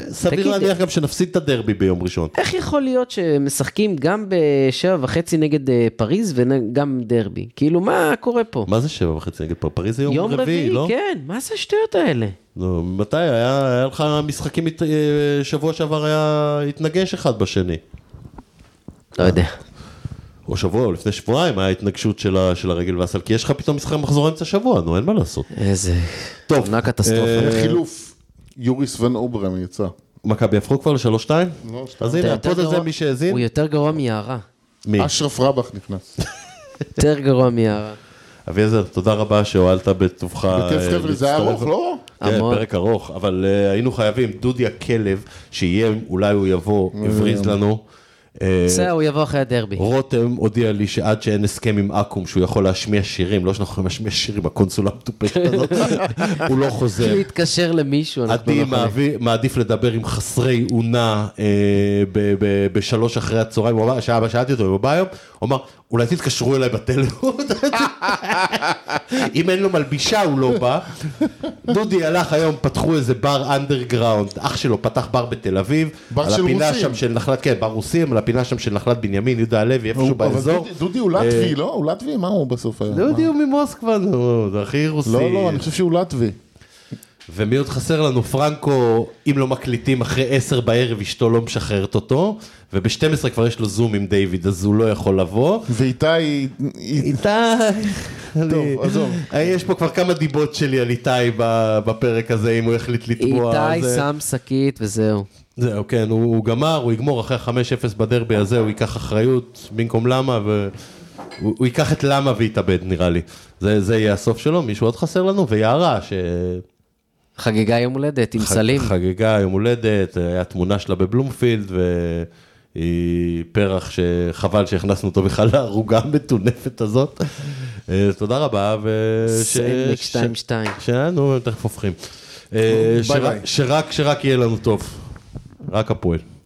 B: וסביר להניח גם שנפסיד את הדרבי ביום ראשון.
A: איך יכול להיות שמשחקים גם בשבע וחצי נגד אה, פריז וגם דרבי? כאילו, מה קורה פה?
B: מה זה שבע וחצי נגד פרפריז? זה יום רביעי, לא?
A: כן, מה זה השטויות האלה?
B: נו, מתי? היה, היה לך משחקים, הת- אה, שבוע שעבר היה התנגש אחד בשני.
A: לא יודע.
B: או שבוע, או לפני שבועיים, היה התנגשות של, ה, של הרגל והסל, כי יש לך פתאום משחק מחזור אמצע שבוע, נו, אין מה לעשות.
A: איזה...
B: טוב,
A: עונה
B: אה,
A: קטסטרופה.
C: חילוף. יוריס ון אוברם יצא.
B: מכבי הפכו כבר לשלוש שתיים?
C: לא,
B: אז
A: אתה
B: הנה,
A: יותר
B: הפוד הזה,
A: גרוע-
B: מי שהאזין,
A: הוא יותר גרוע מיערה.
B: מי?
C: אשרף רבח נכנס.
A: יותר גרוע מיערה.
B: אה, אביעזר, תודה רבה שהואלת בטובך.
C: בכיף
B: אה,
C: חבר'ה, זה היה
B: להצטרף.
C: ארוך, לא?
B: כן,
A: המון.
B: פרק ארוך, אבל אה, היינו חייבים, דודי הכלב, שיהיה, אולי הוא יבוא, יבריז לנו. אה,
A: בסדר, הוא יבוא אחרי הדרבי.
B: רותם הודיע לי שעד שאין הסכם עם אקו"ם שהוא יכול להשמיע שירים, לא שאנחנו יכולים להשמיע שירים, הקונסולה המטופשת הזאת, הוא לא חוזר.
A: הוא יתקשר למישהו, אנחנו לא
B: עדי
A: יכולים.
B: מעבי- מעדיף לדבר עם חסרי אונה אה, ב- ב- בשלוש אחרי הצהריים, הוא אמר, שעה- שאלתי אותו, הוא בא היום, הוא אמר, אולי תתקשרו אליי בטלפון, אם אין לו מלבישה הוא לא בא. דודי הלך היום, פתחו איזה בר אנדרגראונד, אח שלו פתח בר בתל אביב,
C: בר
B: על
C: של
B: הפינה
C: רוסים.
B: שם של נחלת, כן, בר רוסים, על הפינה שם של נחלת בנימין, יהודה הלוי, איפשהו
C: אבל
B: באזור. אה,
C: דודי- דודי הוא לטבי, לא? הוא לטבי? מה הוא בסוף היום?
B: דודי
C: מה?
B: הוא ממוסקבה, נו, זה הכי רוסי.
C: לא, לא, אני חושב שהוא לטבי.
B: ומי עוד חסר לנו? פרנקו, אם לא מקליטים אחרי עשר בערב, אשתו לא משחררת אותו, וב-12 כבר יש לו זום עם דיוויד, אז הוא לא יכול לבוא.
C: ואיתי... היא- היא-
B: איתי, אני-
C: עזוב.
B: אה, יש פה כבר כמה דיבות שלי על איתי ב- בפרק הזה, אם הוא החליט לתבוע.
A: איתי
B: זה-
A: שם שקית וזהו.
B: זהו, כן, הוא הוא גמר, הוא יגמור אחרי 5-0 בדרבי הזה, הוא ייקח אחריות במקום למה, והוא הוא ייקח את למה ויתאבד נראה לי. זה זה יהיה הסוף שלו, מישהו עוד חסר לנו, ויערה, ש...
A: חגיגה יום הולדת עם
B: חג-
A: סלים.
B: חגגה יום הולדת, אה, היה תמונה שלה בבלומפילד, והיא פרח שחבל שהכנסנו אותו בכלל לערוגה המטונפת הזאת. אה, תודה רבה, ו... ש-
A: סלניק
B: ש-
A: 2-2.
B: שלנו, הם תכף הופכים. אה,
C: ביי
B: שרק-
C: ביי.
B: שרק, שרק יהיה לנו טוב. רק הפועל.